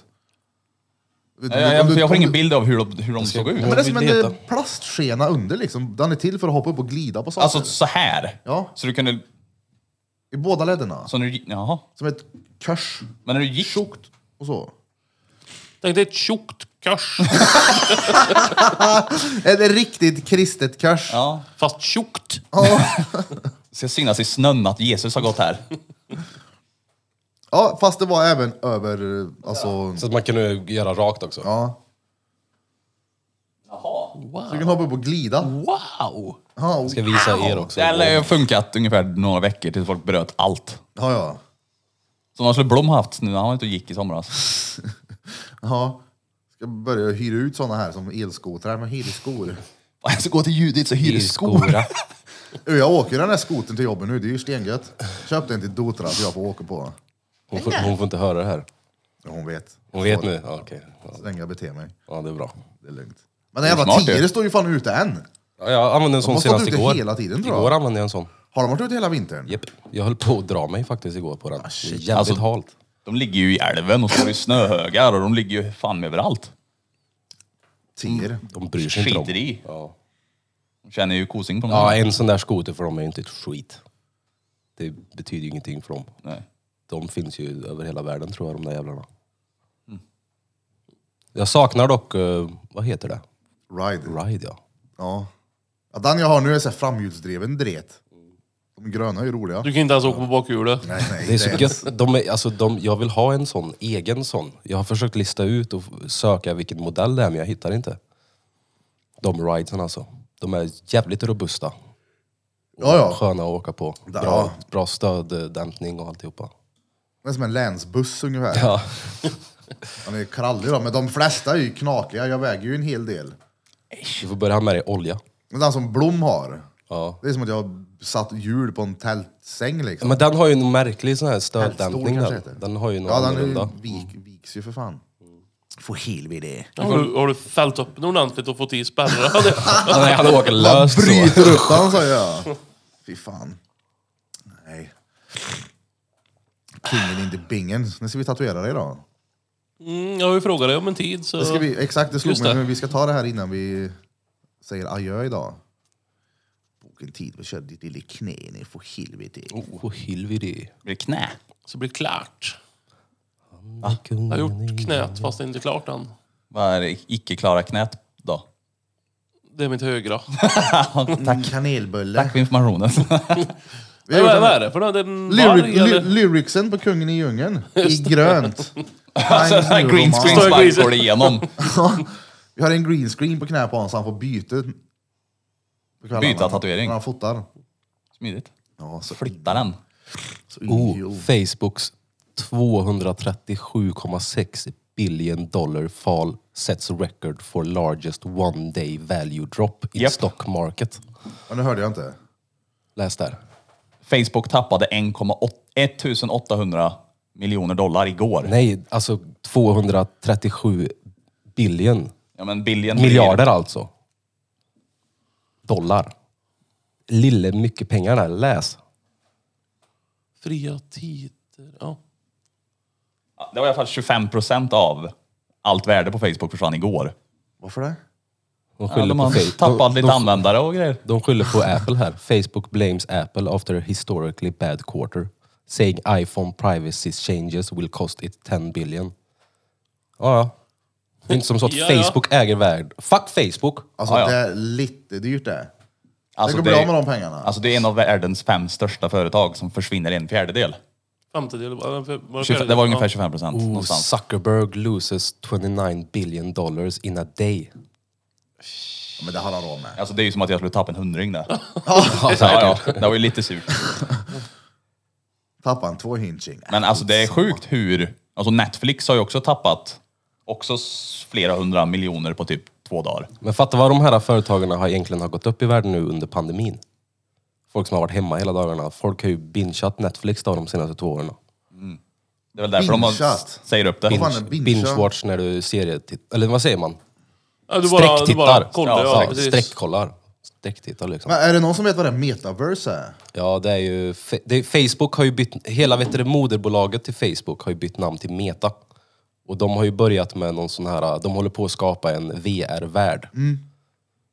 [SPEAKER 1] Vet du,
[SPEAKER 2] Jag, jag,
[SPEAKER 1] om du-
[SPEAKER 2] jag har
[SPEAKER 1] om
[SPEAKER 2] ingen
[SPEAKER 1] du-
[SPEAKER 2] bild av hur de, hur de såg ut.
[SPEAKER 1] Ja, Men det är som
[SPEAKER 4] vill
[SPEAKER 1] en eh,
[SPEAKER 4] veta.
[SPEAKER 1] plastskena under liksom. Den är till för att hoppa upp och glida på saker.
[SPEAKER 2] Alltså så här.
[SPEAKER 1] Ja.
[SPEAKER 2] Så du kunde...
[SPEAKER 1] I båda lederna.
[SPEAKER 2] Så när du, jaha.
[SPEAKER 1] Som ett kors.
[SPEAKER 2] Men när du gick...
[SPEAKER 1] Tjockt och så.
[SPEAKER 3] Tänk dig ett tjockt kors.
[SPEAKER 1] Ett riktigt kristet kors.
[SPEAKER 2] Ja.
[SPEAKER 3] Fast tjockt.
[SPEAKER 2] Ska synas i snön att Jesus har gått här.
[SPEAKER 1] Ja, fast det var även över, eh, alltså,
[SPEAKER 4] Så att man kunde göra rakt också.
[SPEAKER 1] ja. Så du kan hoppa upp och glida.
[SPEAKER 3] Wow!
[SPEAKER 1] Ja, och-
[SPEAKER 4] Ska visa er också.
[SPEAKER 2] Det har funkat ungefär några veckor tills folk bröt allt.
[SPEAKER 1] ja. ja.
[SPEAKER 2] Som han skulle Blom haft nu när han var ute och gick i somras.
[SPEAKER 1] ja. Ska börja hyra ut såna här som elskotrar med hyrskor.
[SPEAKER 2] Fan, Jag ska gå till Judit så hyr skor.
[SPEAKER 4] Skora.
[SPEAKER 1] Ö, Jag åker den här skoten till jobbet nu, det är ju stengött. Köpte en till Dotra så jag får åka på.
[SPEAKER 4] Hon får, hon får inte höra det här.
[SPEAKER 1] Ja, Hon vet.
[SPEAKER 4] Hon vet nu? Ja, Okej. Ja,
[SPEAKER 1] Så länge jag beter mig.
[SPEAKER 4] Ja, det är bra.
[SPEAKER 1] Det är lugnt. Men den jävla
[SPEAKER 2] Smart, ju.
[SPEAKER 1] tiger står ju fan ute än.
[SPEAKER 4] Ja, jag använde en sån
[SPEAKER 1] har stått
[SPEAKER 4] senast
[SPEAKER 1] ute
[SPEAKER 4] igår.
[SPEAKER 1] hela tiden, tror jag.
[SPEAKER 4] igår använde jag en sån.
[SPEAKER 1] Har de varit ute hela vintern?
[SPEAKER 4] Japp. Jag höll på att dra mig faktiskt igår på den.
[SPEAKER 1] Ah,
[SPEAKER 4] Det är jävligt
[SPEAKER 2] Alltså-
[SPEAKER 4] halt.
[SPEAKER 2] De ligger ju i älven och står i snöhögar och de ligger ju fan överallt.
[SPEAKER 1] Tiger.
[SPEAKER 4] De bryr sig inte
[SPEAKER 2] Skiter
[SPEAKER 4] om.
[SPEAKER 2] i.
[SPEAKER 4] Ja.
[SPEAKER 2] De känner ju kosing på
[SPEAKER 4] ja,
[SPEAKER 2] mig.
[SPEAKER 4] en sån där skoter för dem är ju inte ett skit. Det betyder ju ingenting för dem.
[SPEAKER 2] Nej.
[SPEAKER 4] De finns ju över hela världen tror jag, de där jävlarna.
[SPEAKER 2] Mm.
[SPEAKER 4] Jag saknar dock, eh, vad heter det?
[SPEAKER 1] Ride.
[SPEAKER 4] Ride ja.
[SPEAKER 1] Ja. ja. Den jag har nu är så här framhjulsdriven dret. De gröna är ju roliga.
[SPEAKER 3] Du kan inte ens åka på bakhjulet.
[SPEAKER 1] Nej, nej,
[SPEAKER 4] Det är
[SPEAKER 1] inte
[SPEAKER 4] så
[SPEAKER 1] ens.
[SPEAKER 4] gött. De är, alltså, de, jag vill ha en sån, egen sån. Jag har försökt lista ut och söka vilken modell det är, men jag hittar inte. De ridesen alltså. De är jävligt robusta.
[SPEAKER 1] Ja, ja.
[SPEAKER 4] Sköna att åka på.
[SPEAKER 1] Ja.
[SPEAKER 4] Bra, bra stöddämpning och alltihopa.
[SPEAKER 1] Det är som en länsbuss ungefär.
[SPEAKER 4] Ja.
[SPEAKER 1] Han är krallig då, men de flesta är ju knakiga. Jag väger ju en hel del.
[SPEAKER 4] Du får börja ha med dig olja.
[SPEAKER 1] Men den som Blom har,
[SPEAKER 4] Ja.
[SPEAKER 1] det är som att jag har satt hjul på en tältsäng liksom.
[SPEAKER 4] Men den har ju en märklig sån här
[SPEAKER 1] Tältstol
[SPEAKER 4] stöddämpning.
[SPEAKER 1] kanske
[SPEAKER 4] Den.
[SPEAKER 1] heter.
[SPEAKER 4] den har ju något
[SPEAKER 1] Ja, den är
[SPEAKER 4] annorlunda. Mm.
[SPEAKER 1] ju, vik, viks ju för fan. Få helvete.
[SPEAKER 3] Har du, har du fällt upp den ordentligt och fått i spärrar?
[SPEAKER 4] Nej, han åker
[SPEAKER 1] Man
[SPEAKER 4] löst så.
[SPEAKER 1] bryter upp den sa jag. Fy fan. Nej. Kingen inte bingen. Nu ska vi tatuera dig idag.
[SPEAKER 3] Mm, jag har ju frågat dig om en tid så...
[SPEAKER 1] Det ska vi, exakt, det slog
[SPEAKER 3] Just
[SPEAKER 1] mig.
[SPEAKER 3] det.
[SPEAKER 1] Men vi ska ta det här innan vi säger adjö idag. Boka en tid och kör ditt lilla knä ner för helvete.
[SPEAKER 4] Åh, Hylvidi.
[SPEAKER 2] Blir det knä?
[SPEAKER 3] så blir det klart.
[SPEAKER 4] Kungen
[SPEAKER 3] Jag har
[SPEAKER 4] i-
[SPEAKER 3] gjort knät fast det är inte klart än.
[SPEAKER 2] Vad är det icke-klara knät då?
[SPEAKER 3] Det är mitt högra.
[SPEAKER 1] Tack. Kanelbulle.
[SPEAKER 2] Tack för informationen.
[SPEAKER 1] har gjort
[SPEAKER 3] Vad vad
[SPEAKER 1] en-
[SPEAKER 3] är det för något? Det är en
[SPEAKER 1] Lyric,
[SPEAKER 3] varg
[SPEAKER 1] ly,
[SPEAKER 3] eller?
[SPEAKER 1] lyricsen på Kungen i djungeln. I grönt.
[SPEAKER 2] alltså,
[SPEAKER 1] Times New
[SPEAKER 2] green
[SPEAKER 1] Roman.
[SPEAKER 2] screen
[SPEAKER 3] Står green-
[SPEAKER 2] spike går det igenom.
[SPEAKER 1] Vi har en green screen på knä på honom så han får byta. på kvällarna.
[SPEAKER 2] Byta tatuering.
[SPEAKER 1] När han fotar.
[SPEAKER 2] Smidigt.
[SPEAKER 1] Ja, så,
[SPEAKER 2] Flytta den.
[SPEAKER 1] så
[SPEAKER 4] Oh, Facebooks 237,6 billion dollar fall sets record for largest one day value drop in
[SPEAKER 2] Japp.
[SPEAKER 4] stock market.
[SPEAKER 1] Ja, nu hörde jag inte.
[SPEAKER 4] Läs där.
[SPEAKER 2] Facebook tappade 1,8 1800 miljoner dollar igår.
[SPEAKER 4] Nej, alltså 237 billion.
[SPEAKER 2] Ja, men billion
[SPEAKER 4] Miljarder alltså. Dollar. Lille mycket pengar där. Läs.
[SPEAKER 3] Fria tider. Ja.
[SPEAKER 2] Ja, Det var i alla fall 25 procent av allt värde på Facebook försvann igår.
[SPEAKER 1] Varför det?
[SPEAKER 4] De
[SPEAKER 2] Ja,
[SPEAKER 4] skyller,
[SPEAKER 2] de
[SPEAKER 4] på,
[SPEAKER 2] har
[SPEAKER 4] fa-
[SPEAKER 2] tappat
[SPEAKER 4] de,
[SPEAKER 2] lite
[SPEAKER 4] de,
[SPEAKER 2] användare och grejer.
[SPEAKER 4] de skyller på Apple här. Facebook blames Apple after a historically bad quarter. Saying iPhone privacy changes will cost it 10 billion. Ja, ja. Det är inte som så att
[SPEAKER 3] Ja, ja.
[SPEAKER 4] Facebook äger värld. Fuck Facebook!
[SPEAKER 1] Alltså
[SPEAKER 2] Ah, ja.
[SPEAKER 1] det är lite dyrt det.
[SPEAKER 2] Alltså,
[SPEAKER 1] det går
[SPEAKER 2] det,
[SPEAKER 1] bra med
[SPEAKER 2] är,
[SPEAKER 1] de pengarna.
[SPEAKER 2] alltså, det är en av världens fem största företag som försvinner en fjärdedel.
[SPEAKER 3] Femtedel. Var det, var det,
[SPEAKER 2] 25,
[SPEAKER 3] fjärde?
[SPEAKER 2] det var ungefär
[SPEAKER 3] Ja.
[SPEAKER 2] 25 procent
[SPEAKER 4] Oh,
[SPEAKER 2] någonstans.
[SPEAKER 4] Zuckerberg loses 29 billion dollars in a day.
[SPEAKER 1] Men det har han råd med.
[SPEAKER 2] Alltså det är ju som att jag skulle tappa en hundring där.
[SPEAKER 4] Ja,
[SPEAKER 2] Så, ja, ja, det var ju lite surt.
[SPEAKER 1] Tappade han två hinching.
[SPEAKER 2] Men alltså det är sjukt hur... Alltså Netflix har ju också tappat också s- flera hundra miljoner på typ två dagar.
[SPEAKER 4] Men fatta vad de här företagen har egentligen har gått upp i världen nu under pandemin. Folk som har varit hemma hela dagarna. Folk har ju bingeat Netflix då de senaste två åren.
[SPEAKER 2] Det är väl därför de har,
[SPEAKER 1] Bingeat.
[SPEAKER 2] säger upp det.
[SPEAKER 1] Vad fan är
[SPEAKER 4] Binge-
[SPEAKER 1] bingea?
[SPEAKER 4] Binge-watch när du serietittar, eller vad säger man?
[SPEAKER 3] Ja, du bara, du bara
[SPEAKER 4] Sträcktittar.
[SPEAKER 3] kollar. Ja,
[SPEAKER 4] Ja,
[SPEAKER 3] precis.
[SPEAKER 4] Sträcktkollar. Sträcktittar liksom.
[SPEAKER 1] Men är det någon som vet vad det här metaverse är?
[SPEAKER 4] Ja, det är ju... Fe- Det är, Facebook har ju bytt... Hela vet du, det, moderbolaget till Facebook har ju bytt namn till Meta. Och de har ju börjat med någon sån här... De håller på att skapa en VR-värld.
[SPEAKER 1] Mm.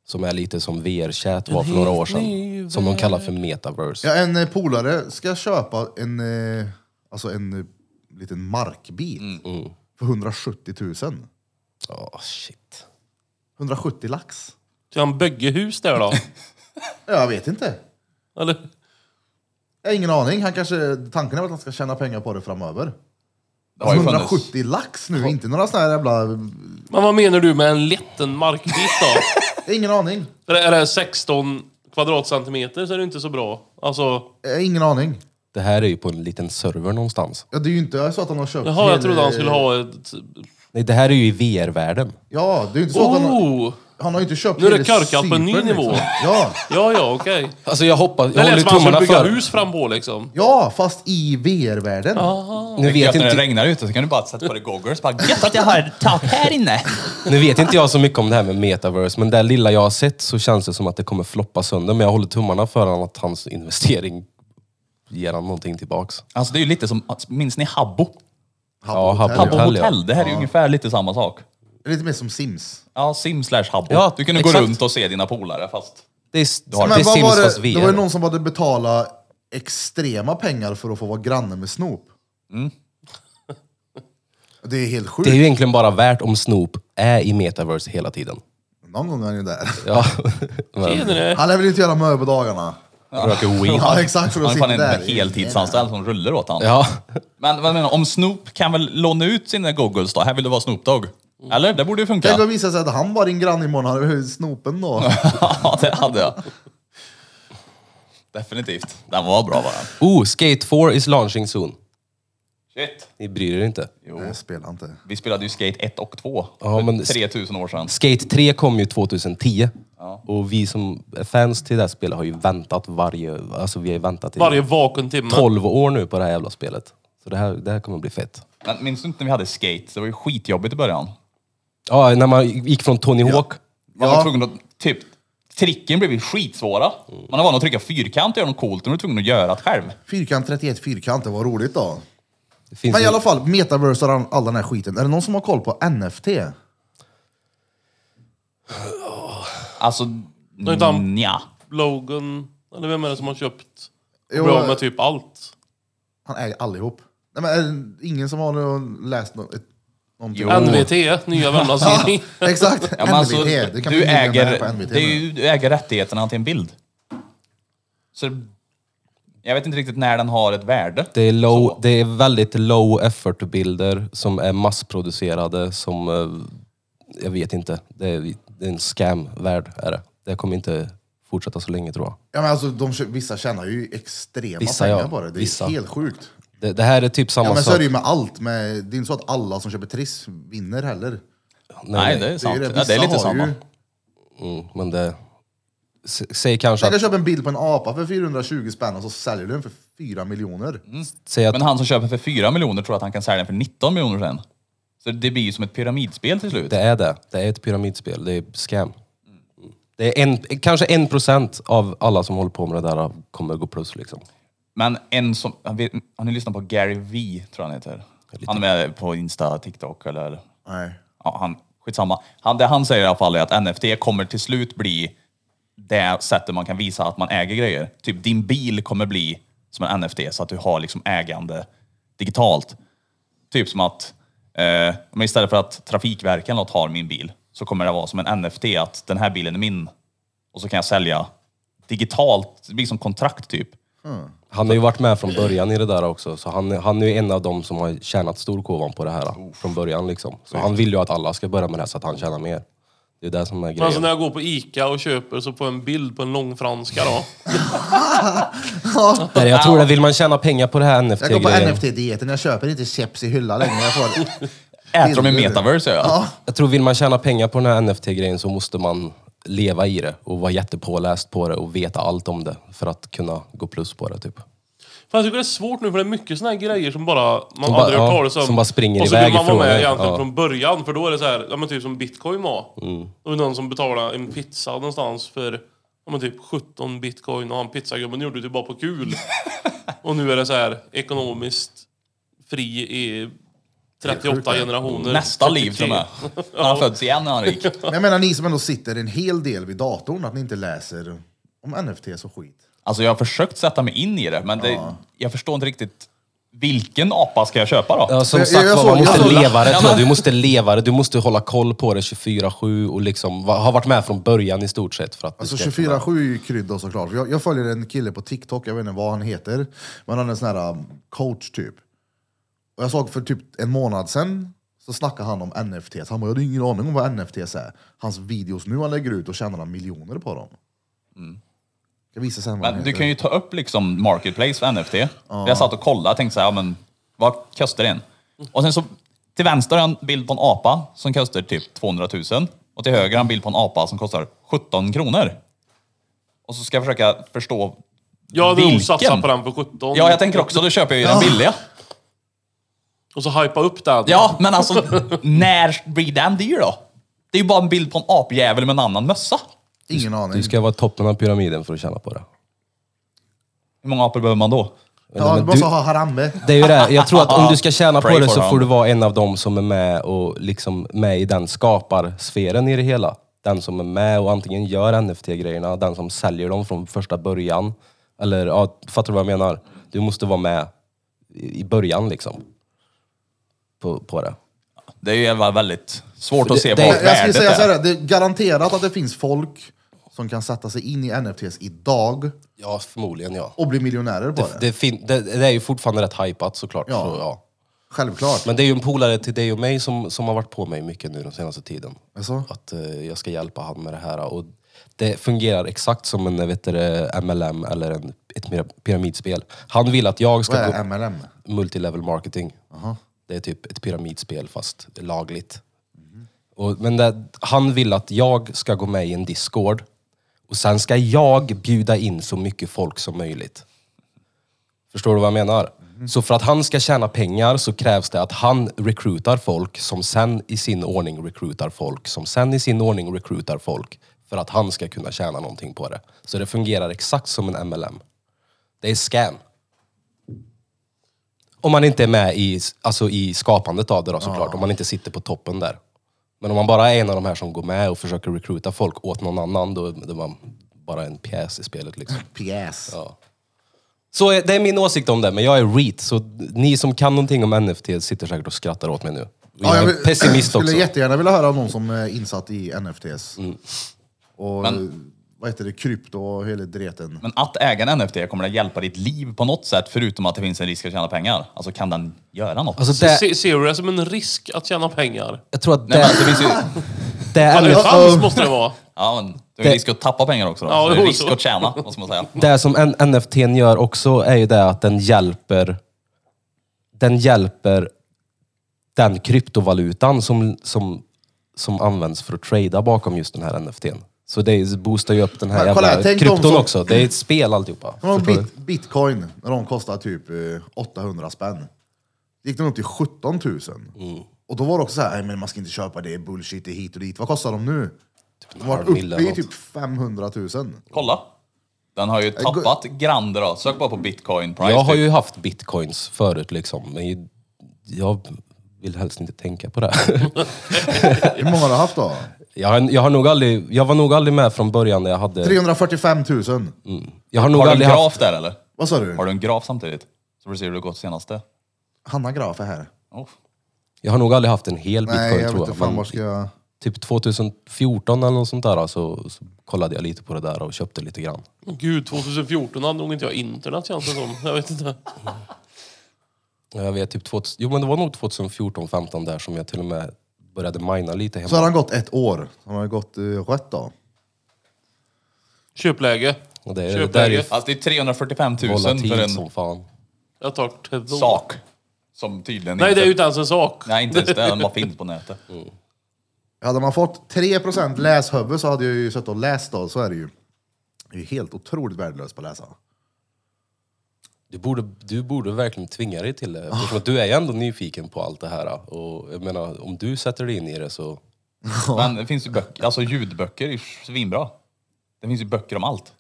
[SPEAKER 4] Som är lite som VR-chat var för några år sedan. Som de kallar för metaverse.
[SPEAKER 1] Ja, en eh, polare ska köpa en, eh, alltså en eh, liten markbit
[SPEAKER 2] Mm, oh.
[SPEAKER 1] för 170 000.
[SPEAKER 4] Ja, shit.
[SPEAKER 1] 170 lax.
[SPEAKER 3] Ska han bygga hus där då?
[SPEAKER 1] Jag vet inte.
[SPEAKER 3] Eller?
[SPEAKER 1] Jag har ingen aning. Han kanske, tanken är väl att han ska tjäna pengar på det framöver.
[SPEAKER 2] Det har ju funnits-
[SPEAKER 1] 170 lax nu, inte några såna här jävla...
[SPEAKER 3] Men vad menar du med en liten markbit då?
[SPEAKER 1] Ingen aning.
[SPEAKER 3] För är det 16 kvadratcentimeter så är det inte så bra. Alltså,
[SPEAKER 1] Jag har Eh, Ingen aning.
[SPEAKER 4] Det här är ju på en liten server någonstans.
[SPEAKER 1] Ja, det är ju inte så att han har köpt...
[SPEAKER 3] jaha, jag
[SPEAKER 1] hela-
[SPEAKER 3] trodde han skulle ha ett...
[SPEAKER 4] Nej, det här är ju i VR-världen.
[SPEAKER 1] Ja, det är ju inte så att han...
[SPEAKER 3] Oh!
[SPEAKER 1] Han har ju inte köpt
[SPEAKER 3] Nu är det
[SPEAKER 1] hela
[SPEAKER 3] korkat på en ny
[SPEAKER 1] Cypern,
[SPEAKER 3] nivå.
[SPEAKER 1] Ja,
[SPEAKER 3] Ja, ja, okej.
[SPEAKER 4] Alltså jag hoppas... Jag
[SPEAKER 3] Det
[SPEAKER 4] håller
[SPEAKER 3] lät som han
[SPEAKER 4] tummarna
[SPEAKER 3] skulle bygga
[SPEAKER 4] för...
[SPEAKER 3] hus fram på liksom.
[SPEAKER 1] ja, fast i VR-världen.
[SPEAKER 4] Nu
[SPEAKER 2] Gött
[SPEAKER 4] vet,
[SPEAKER 2] när det
[SPEAKER 4] inte,
[SPEAKER 2] regnar ute så kan du bara sätta på dig goggles. Bara, Gött att jag har tak här inne!
[SPEAKER 4] nu vet inte jag så mycket om det här med metaverse, men det lilla jag har sett så känns det som att det kommer floppa sönder. Men jag håller tummarna för han att hans investering ger han någonting tillbaks.
[SPEAKER 2] Alltså det är ju lite som, minns ni Habbo?
[SPEAKER 4] Ja,
[SPEAKER 1] Habbo Hotel.
[SPEAKER 4] Habbo
[SPEAKER 2] Habbo
[SPEAKER 4] Hotell, ja.
[SPEAKER 2] Hotel, det här är ju ungefär lite samma sak.
[SPEAKER 1] Lite mer som Sims.
[SPEAKER 2] Ja, sim slash Habbo.
[SPEAKER 4] Ja,
[SPEAKER 2] du kunde gå
[SPEAKER 4] exakt.
[SPEAKER 2] runt och se dina polare fast...
[SPEAKER 4] Det är,
[SPEAKER 1] Men
[SPEAKER 4] det är
[SPEAKER 1] vad
[SPEAKER 4] Sims
[SPEAKER 1] var det,
[SPEAKER 4] fast
[SPEAKER 1] det var ju
[SPEAKER 4] VR.
[SPEAKER 1] någon som hade betalat extrema pengar för att få vara granne med Snoop. Det är helt sjukt.
[SPEAKER 4] Mm. Det är ju egentligen bara värt om Snoop är i metaverse hela tiden.
[SPEAKER 1] Någon gång är han ju där.
[SPEAKER 4] Ja. Men,
[SPEAKER 3] Tjenare!
[SPEAKER 1] Han lär väl inte göra möbel på dagarna?
[SPEAKER 4] röker weed.
[SPEAKER 1] Ja, exakt. För att
[SPEAKER 2] Han är fan
[SPEAKER 1] sitta
[SPEAKER 2] en
[SPEAKER 1] där.
[SPEAKER 2] heltidsanställd som rullar åt han.
[SPEAKER 4] Ja.
[SPEAKER 2] Men vad menar, om Snoop kan väl låna ut sina goggles då? Här vill du vara Snoop Dogg. Eller? Det borde ju
[SPEAKER 1] Tänk om
[SPEAKER 2] funka.
[SPEAKER 1] det visar sig att han var din granne imorgon, hade du snopen då?
[SPEAKER 2] ja, det hade jag. Definitivt. Den var bra bara.
[SPEAKER 4] Oh, Skate 4 is launching soon.
[SPEAKER 2] Shit.
[SPEAKER 4] Ni bryr er inte.
[SPEAKER 1] Nej, spela inte.
[SPEAKER 2] Vi spelade ju Skate 1 och 2
[SPEAKER 4] Ja,
[SPEAKER 2] för
[SPEAKER 4] men-
[SPEAKER 2] 3000 år sedan.
[SPEAKER 4] Skate 3 kom ju 2010. Och vi som är fans till det här spelet har ju väntat varje... Alltså vi har ju väntat i
[SPEAKER 3] Varje vaken timme.
[SPEAKER 4] 12 år nu på det här jävla spelet. Så det här, det här kommer bli fett.
[SPEAKER 2] Men minns du inte när vi hade Skate? Det var ju skitjobbigt i början.
[SPEAKER 4] Ja, när man gick från Tony Hawk.
[SPEAKER 2] Man
[SPEAKER 1] Ja.
[SPEAKER 2] var tvungen att, typ, tricken blev ju skitsvåra. Man var van att trycka fyrkant och göra något coolt, men du var tvungen att göra det själv.
[SPEAKER 1] Fyrkant 31 fyrkant, det var roligt då.
[SPEAKER 4] Det finns
[SPEAKER 1] Men i
[SPEAKER 4] ju-
[SPEAKER 1] alla fall, metaverse och all all den här skiten. Är det någon som har koll på NFT?
[SPEAKER 2] Alltså,
[SPEAKER 3] inte han-
[SPEAKER 2] nja.
[SPEAKER 3] Logan, eller vem är det som har köpt?
[SPEAKER 1] Jo,
[SPEAKER 3] Bra
[SPEAKER 2] eh,
[SPEAKER 3] med typ allt.
[SPEAKER 1] Han äger allihop. Nej, men är det ingen som har någon- läst något? ett- Någonting?
[SPEAKER 2] Jo.
[SPEAKER 1] om-
[SPEAKER 3] NVT, Nya Värmlandstidning.
[SPEAKER 1] Exakt,
[SPEAKER 2] Ja,
[SPEAKER 1] NVT.
[SPEAKER 2] men alltså,
[SPEAKER 1] det kan
[SPEAKER 2] du,
[SPEAKER 1] bli miljonär på
[SPEAKER 2] äger,
[SPEAKER 1] NVT.
[SPEAKER 2] det är ju, du äger rättigheterna till en bild. Så jag vet inte riktigt när den har ett värde.
[SPEAKER 4] Det är, low, det är väldigt low effort-bilder som är massproducerade som... eh, Jag vet inte. Det är, det är en scam-värld, är det. Det kommer inte fortsätta så länge tror jag.
[SPEAKER 1] ja, men alltså, de, kö- vissa tjänar ju extrema
[SPEAKER 4] Vissa,
[SPEAKER 1] pengar
[SPEAKER 4] ja.
[SPEAKER 1] på det. Det är
[SPEAKER 4] Vissa.
[SPEAKER 1] helt sjukt.
[SPEAKER 4] Det, det här är typ samma
[SPEAKER 1] Ja, men så
[SPEAKER 4] sak.
[SPEAKER 1] är det ju med allt. Med, det är inte så att alla som köper Triss vinner heller.
[SPEAKER 2] Nej, det är
[SPEAKER 1] Det är,
[SPEAKER 2] sant.
[SPEAKER 1] ju
[SPEAKER 2] Det
[SPEAKER 1] det.
[SPEAKER 2] är, ja, det är
[SPEAKER 1] Vissa
[SPEAKER 2] lite
[SPEAKER 1] har
[SPEAKER 2] samma.
[SPEAKER 1] Ju,
[SPEAKER 4] Mm, men det... s- Säg kanske
[SPEAKER 1] tänk
[SPEAKER 4] att...
[SPEAKER 1] att köpa en bild på en apa för 420 spänn och så säljer du den för 4 miljoner.
[SPEAKER 2] Mm.
[SPEAKER 4] Säg att
[SPEAKER 2] Men han som köper för 4 miljoner tror att han kan sälja den för 19 miljoner sen. Så det blir ju som ett pyramidspel till slut.
[SPEAKER 4] Det är det. Det är ett pyramidspel. Det är scam. Det är en, kanske en procent av alla som håller på med det där kommer gå plus liksom.
[SPEAKER 2] Men en som, han vet- har ni lyssnat på Gary V tror jag han heter? Han är med på Insta, TikTok eller?
[SPEAKER 1] Nej.
[SPEAKER 2] Ja, han, skitsamma. Han, det han säger i alla fall är att NFT kommer till slut bli det sättet man kan visa att man äger grejer. Typ din bil kommer bli som en NFT så att du har liksom ägande digitalt. Typ som att eh, men istället för att Trafikverket eller något har min bil så kommer det vara som en NFT att den här bilen är min och så kan jag sälja digitalt. Det blir som kontrakt typ.
[SPEAKER 4] Han har ju varit med från början i det där också, så han, han är ju en av dem som har tjänat storkovan på det här från början liksom. Så han vill ju att alla ska börja med det här så att han tjänar mer. Det är det som är
[SPEAKER 3] Men alltså
[SPEAKER 4] grejen.
[SPEAKER 3] när jag går på Ica och köper så får jag en bild på en långfranska då.
[SPEAKER 4] Nej, jag tror att vill man tjäna pengar på det
[SPEAKER 1] Jag
[SPEAKER 4] här
[SPEAKER 1] går på
[SPEAKER 4] NFT-grejen,
[SPEAKER 1] NFT-dieten, jag köper inte chips i hylla längre. Jag får
[SPEAKER 2] Äter de i
[SPEAKER 1] Bilder.
[SPEAKER 2] metaverse ja.
[SPEAKER 1] Ja.
[SPEAKER 4] Jag tror vill man tjäna pengar på den här NFT-grejen så måste man leva i det och vara jättepåläst på det och veta allt om det för att kunna gå plus på det typ.
[SPEAKER 3] Fan, jag tycker det är svårt nu för det är mycket såna här grejer som bara man
[SPEAKER 4] Som bara-
[SPEAKER 3] aldrig hört
[SPEAKER 4] ja,
[SPEAKER 3] talas om.
[SPEAKER 4] som bara springer
[SPEAKER 3] Och så
[SPEAKER 4] iväg
[SPEAKER 3] vill man vara
[SPEAKER 4] ifrån
[SPEAKER 3] med
[SPEAKER 4] en,
[SPEAKER 3] egentligen
[SPEAKER 4] ja. Mm.
[SPEAKER 3] från början för då är det så här, ja men typ som bitcoin var. Då var det någon som betalade en pizza någonstans för ja men typ 17 bitcoin och han pizzagubben gjorde det typ bara på kul. och nu är det så här ekonomiskt fri i 38 generationer.
[SPEAKER 2] Nästa liv
[SPEAKER 3] 43.
[SPEAKER 2] till och med. När han föds igen är han rik.
[SPEAKER 1] Men jag menar ni som ändå sitter en hel del vid datorn, att ni inte läser om NFT så skit.
[SPEAKER 2] Alltså jag har försökt sätta mig in i det, men det, jag förstår inte riktigt. Vilken apa ska jag köpa då?
[SPEAKER 4] Ja, som
[SPEAKER 1] Jag-
[SPEAKER 4] sagt
[SPEAKER 1] jag
[SPEAKER 4] var,
[SPEAKER 1] såg-
[SPEAKER 4] man måste
[SPEAKER 1] jag såg-
[SPEAKER 4] leva det.
[SPEAKER 2] Ja,
[SPEAKER 4] tror jag.
[SPEAKER 2] men-
[SPEAKER 4] Du måste leva det, du måste hålla koll på det 24-7 och liksom va- ha varit med från början i stort sett. För att du
[SPEAKER 1] Alltså
[SPEAKER 4] ska
[SPEAKER 1] 24-7 är ju krydda såklart. För Jag, jag följer en kille på TikTok, jag vet inte vad han heter. Men han är en sån här um, coach typ. Och jag såg för typ en månad sedan, så snackade han om NFTs. Han bara, jag hade ingen aning om vad NFTs är. Hans videos nu han lägger ut, och tjänar han miljoner på dem. Jag visar sen vad han
[SPEAKER 2] Men du
[SPEAKER 1] heter.
[SPEAKER 2] kan ju ta upp liksom marketplace för NFT. Jag satt och kollade och tänkte så här, ja, men vad kostar den? Och sen så till vänster har jag en bild på en apa som kostar typ 200 000. Och till höger har jag en bild på en apa som kostar 17 kronor. Och så ska jag försöka förstå
[SPEAKER 3] Jag hade nog
[SPEAKER 2] Vilken?
[SPEAKER 3] satsat på den för 17.
[SPEAKER 2] Ja, jag tänker också, då köper jag ju den billiga.
[SPEAKER 3] Och så hypa upp den.
[SPEAKER 2] Ja, men alltså, när blir den dyr då? Det är ju bara en bild på en apjävel med en annan mössa.
[SPEAKER 1] Ingen aning.
[SPEAKER 4] Du ska vara toppen av pyramiden för att tjäna på det.
[SPEAKER 2] Hur många apor behöver man då?
[SPEAKER 1] ja, du
[SPEAKER 4] men
[SPEAKER 1] bara
[SPEAKER 4] du-
[SPEAKER 1] så ha harambe.
[SPEAKER 4] Det är ju det. Jag tror att om du ska tjäna
[SPEAKER 2] Pray
[SPEAKER 4] på det
[SPEAKER 2] for
[SPEAKER 4] så får
[SPEAKER 2] them.
[SPEAKER 4] du vara en av dem som är med och liksom med i den skaparsfären i det hela. Den som är med och antingen gör NFT-grejerna, den som säljer dem från första början. Eller, ja, fattar du vad jag menar? Du måste vara med i i början liksom. På, på det.
[SPEAKER 2] Det är ju jävla väldigt svårt
[SPEAKER 4] Det-
[SPEAKER 2] att se
[SPEAKER 4] det-
[SPEAKER 2] vad
[SPEAKER 1] Jag, jag skulle
[SPEAKER 2] värdet
[SPEAKER 1] säga så
[SPEAKER 2] är.
[SPEAKER 1] här, det är garanterat att det finns folk som kan sätta sig in i NFTs idag
[SPEAKER 4] Ja, förmodligen ja.
[SPEAKER 1] och bli miljonärer på det.
[SPEAKER 4] Det, fin- det, det är ju fortfarande rätt hypat såklart.
[SPEAKER 1] Ja.
[SPEAKER 4] Så, ja.
[SPEAKER 1] Självklart.
[SPEAKER 4] Men det är ju en polare till dig och mig som, som har varit på mig mycket nu den senaste tiden.
[SPEAKER 1] Alltså?
[SPEAKER 4] Att eh, jag ska hjälpa han med det här. Och det fungerar exakt som en eh, vet du, det, MLM eller en, ett pyra- pyramidspel. Han vill att jag
[SPEAKER 1] Vad
[SPEAKER 4] ska
[SPEAKER 1] är
[SPEAKER 4] gå...
[SPEAKER 1] MLM?
[SPEAKER 4] Multilevel marketing. Det är typ ett pyramidspel fast lagligt. Och, men det, han vill att jag ska gå med i en Discord. Och sen ska jag bjuda in så mycket folk som möjligt. Förstår du vad jag menar? Så för att han ska tjäna pengar så krävs det att han recruitar folk som sen i sin ordning recruitar folk som sen i sin ordning recruitar folk för att han ska kunna tjäna någonting på det. Så det fungerar exakt som en MLM. Det är scam. Om man inte är med i, alltså i skapandet av det då såklart, om man inte sitter på toppen där. Men om man bara är en av de här som går med och försöker recruita folk åt någon annan, då är man bara en pjäs i spelet liksom.
[SPEAKER 1] PS.
[SPEAKER 4] Ja. Så eh, det är min åsikt om det, men jag är REIT, så ni som kan någonting om NFT sitter säkert och skrattar åt mig nu. Och jag är
[SPEAKER 1] vill-
[SPEAKER 4] pessimist också. Mm.
[SPEAKER 1] skulle jättegärna vilja höra om någon som är insatt i NFTs. Och vad heter det, krypto och hela dreten.
[SPEAKER 2] Men att äga en NFT, kommer det hjälpa ditt liv på något sätt förutom att det finns en risk att tjäna pengar? Alltså kan den göra något?
[SPEAKER 4] Alltså det,
[SPEAKER 3] Se, ser du det som en risk att tjäna pengar?
[SPEAKER 4] jag tror
[SPEAKER 2] Nej,
[SPEAKER 4] att det,
[SPEAKER 2] men, alltså, det finns ju,
[SPEAKER 4] det är
[SPEAKER 3] En
[SPEAKER 4] NFT
[SPEAKER 3] chans måste det vara.
[SPEAKER 2] ja, men, det är ju risk att tappa pengar också. Då.
[SPEAKER 3] Ja,
[SPEAKER 2] det är
[SPEAKER 3] jo,
[SPEAKER 2] ju risk
[SPEAKER 3] så.
[SPEAKER 2] att tjäna, måste man säga.
[SPEAKER 4] det som N- NFT n gör också är ju det att den hjälper den hjälper den kryptovalutan som, som, som används för att trada bakom just den här NFTn. Så det är- boostar ju upp den här
[SPEAKER 1] Men kolla här,
[SPEAKER 4] jävla
[SPEAKER 1] tänk de
[SPEAKER 4] krypton
[SPEAKER 1] som-
[SPEAKER 4] också. Det är ett spel alltihopa.
[SPEAKER 1] Det var
[SPEAKER 4] Förstår du?
[SPEAKER 1] Bit, bitcoin, när de kostade typ eh, 800 spänn. Gick den upp till 17 000.
[SPEAKER 4] Mm.
[SPEAKER 1] Och då var det också så här, "Nej, men man ska inte köpa det, bullshit, det är hit och dit. Vad kostar de nu? De var
[SPEAKER 4] halv mille
[SPEAKER 1] uppe
[SPEAKER 4] eller
[SPEAKER 1] i
[SPEAKER 4] något.
[SPEAKER 1] typ 500 000.
[SPEAKER 2] Kolla. Den har ju
[SPEAKER 1] går-
[SPEAKER 2] tappat grander då. Sök bara på bitcoin price.
[SPEAKER 4] Jag har
[SPEAKER 2] typ.
[SPEAKER 4] ju haft bitcoins förut liksom, men ju- jag vill helst inte tänka på det.
[SPEAKER 1] Hur många har du haft då?
[SPEAKER 4] Jag, har, jag, har nog aldrig, jag var nog aldrig med från början när jag hade...
[SPEAKER 1] 345 000.
[SPEAKER 4] Mm. Jag har nog
[SPEAKER 2] Har du en
[SPEAKER 4] aldrig
[SPEAKER 2] graf
[SPEAKER 4] haft...
[SPEAKER 2] där eller?
[SPEAKER 1] Vad sa du?
[SPEAKER 2] Har du en graf samtidigt? Så får du se hur det gått senaste.
[SPEAKER 1] Hanna Graf är här.
[SPEAKER 2] Oh.
[SPEAKER 4] Jag har nog aldrig haft en hel bitcoin
[SPEAKER 1] Nej, jag vet
[SPEAKER 4] tror
[SPEAKER 1] inte
[SPEAKER 4] jag.
[SPEAKER 1] fan
[SPEAKER 4] men
[SPEAKER 1] var ska jag...
[SPEAKER 4] Typ 2014 eller något sånt där så, så kollade jag lite på det där och köpte lite grann.
[SPEAKER 3] Gud, 2014 hade nog inte jag internet känns det som. Jag vet inte.
[SPEAKER 4] Jag vet typ... 2000, jo men det var nog 2014-15 där som jag till och med började mina lite hemma.
[SPEAKER 1] Så har han gått ett år. Han har gått uh, rätt då.
[SPEAKER 3] Köpläge.
[SPEAKER 4] Och det, är- det där är ju
[SPEAKER 3] Köpläge.
[SPEAKER 2] Alltså det är 345 000 för
[SPEAKER 4] volatilt
[SPEAKER 2] en
[SPEAKER 4] som fan.
[SPEAKER 3] Jag tar två.
[SPEAKER 2] sak. Som tydligen
[SPEAKER 3] Nej,
[SPEAKER 2] inte...
[SPEAKER 3] det är ju inte ens en sak.
[SPEAKER 2] Nej, inte ens det. Den bara finns på nätet.
[SPEAKER 1] Hade man fått 3% läshuvud så hade jag ju suttit och läst då, så är det ju. Jag är ju helt otroligt värdelös på att läsa.
[SPEAKER 4] Du borde, du borde verkligen tvinga dig till det. Eftersom att du är ju ändå nyfiken på allt det här. Och jag menar, om du sätter dig in i det så...
[SPEAKER 2] Men det finns ju böcker, alltså ljudböcker är ju svinbra. Det finns ju böcker om allt.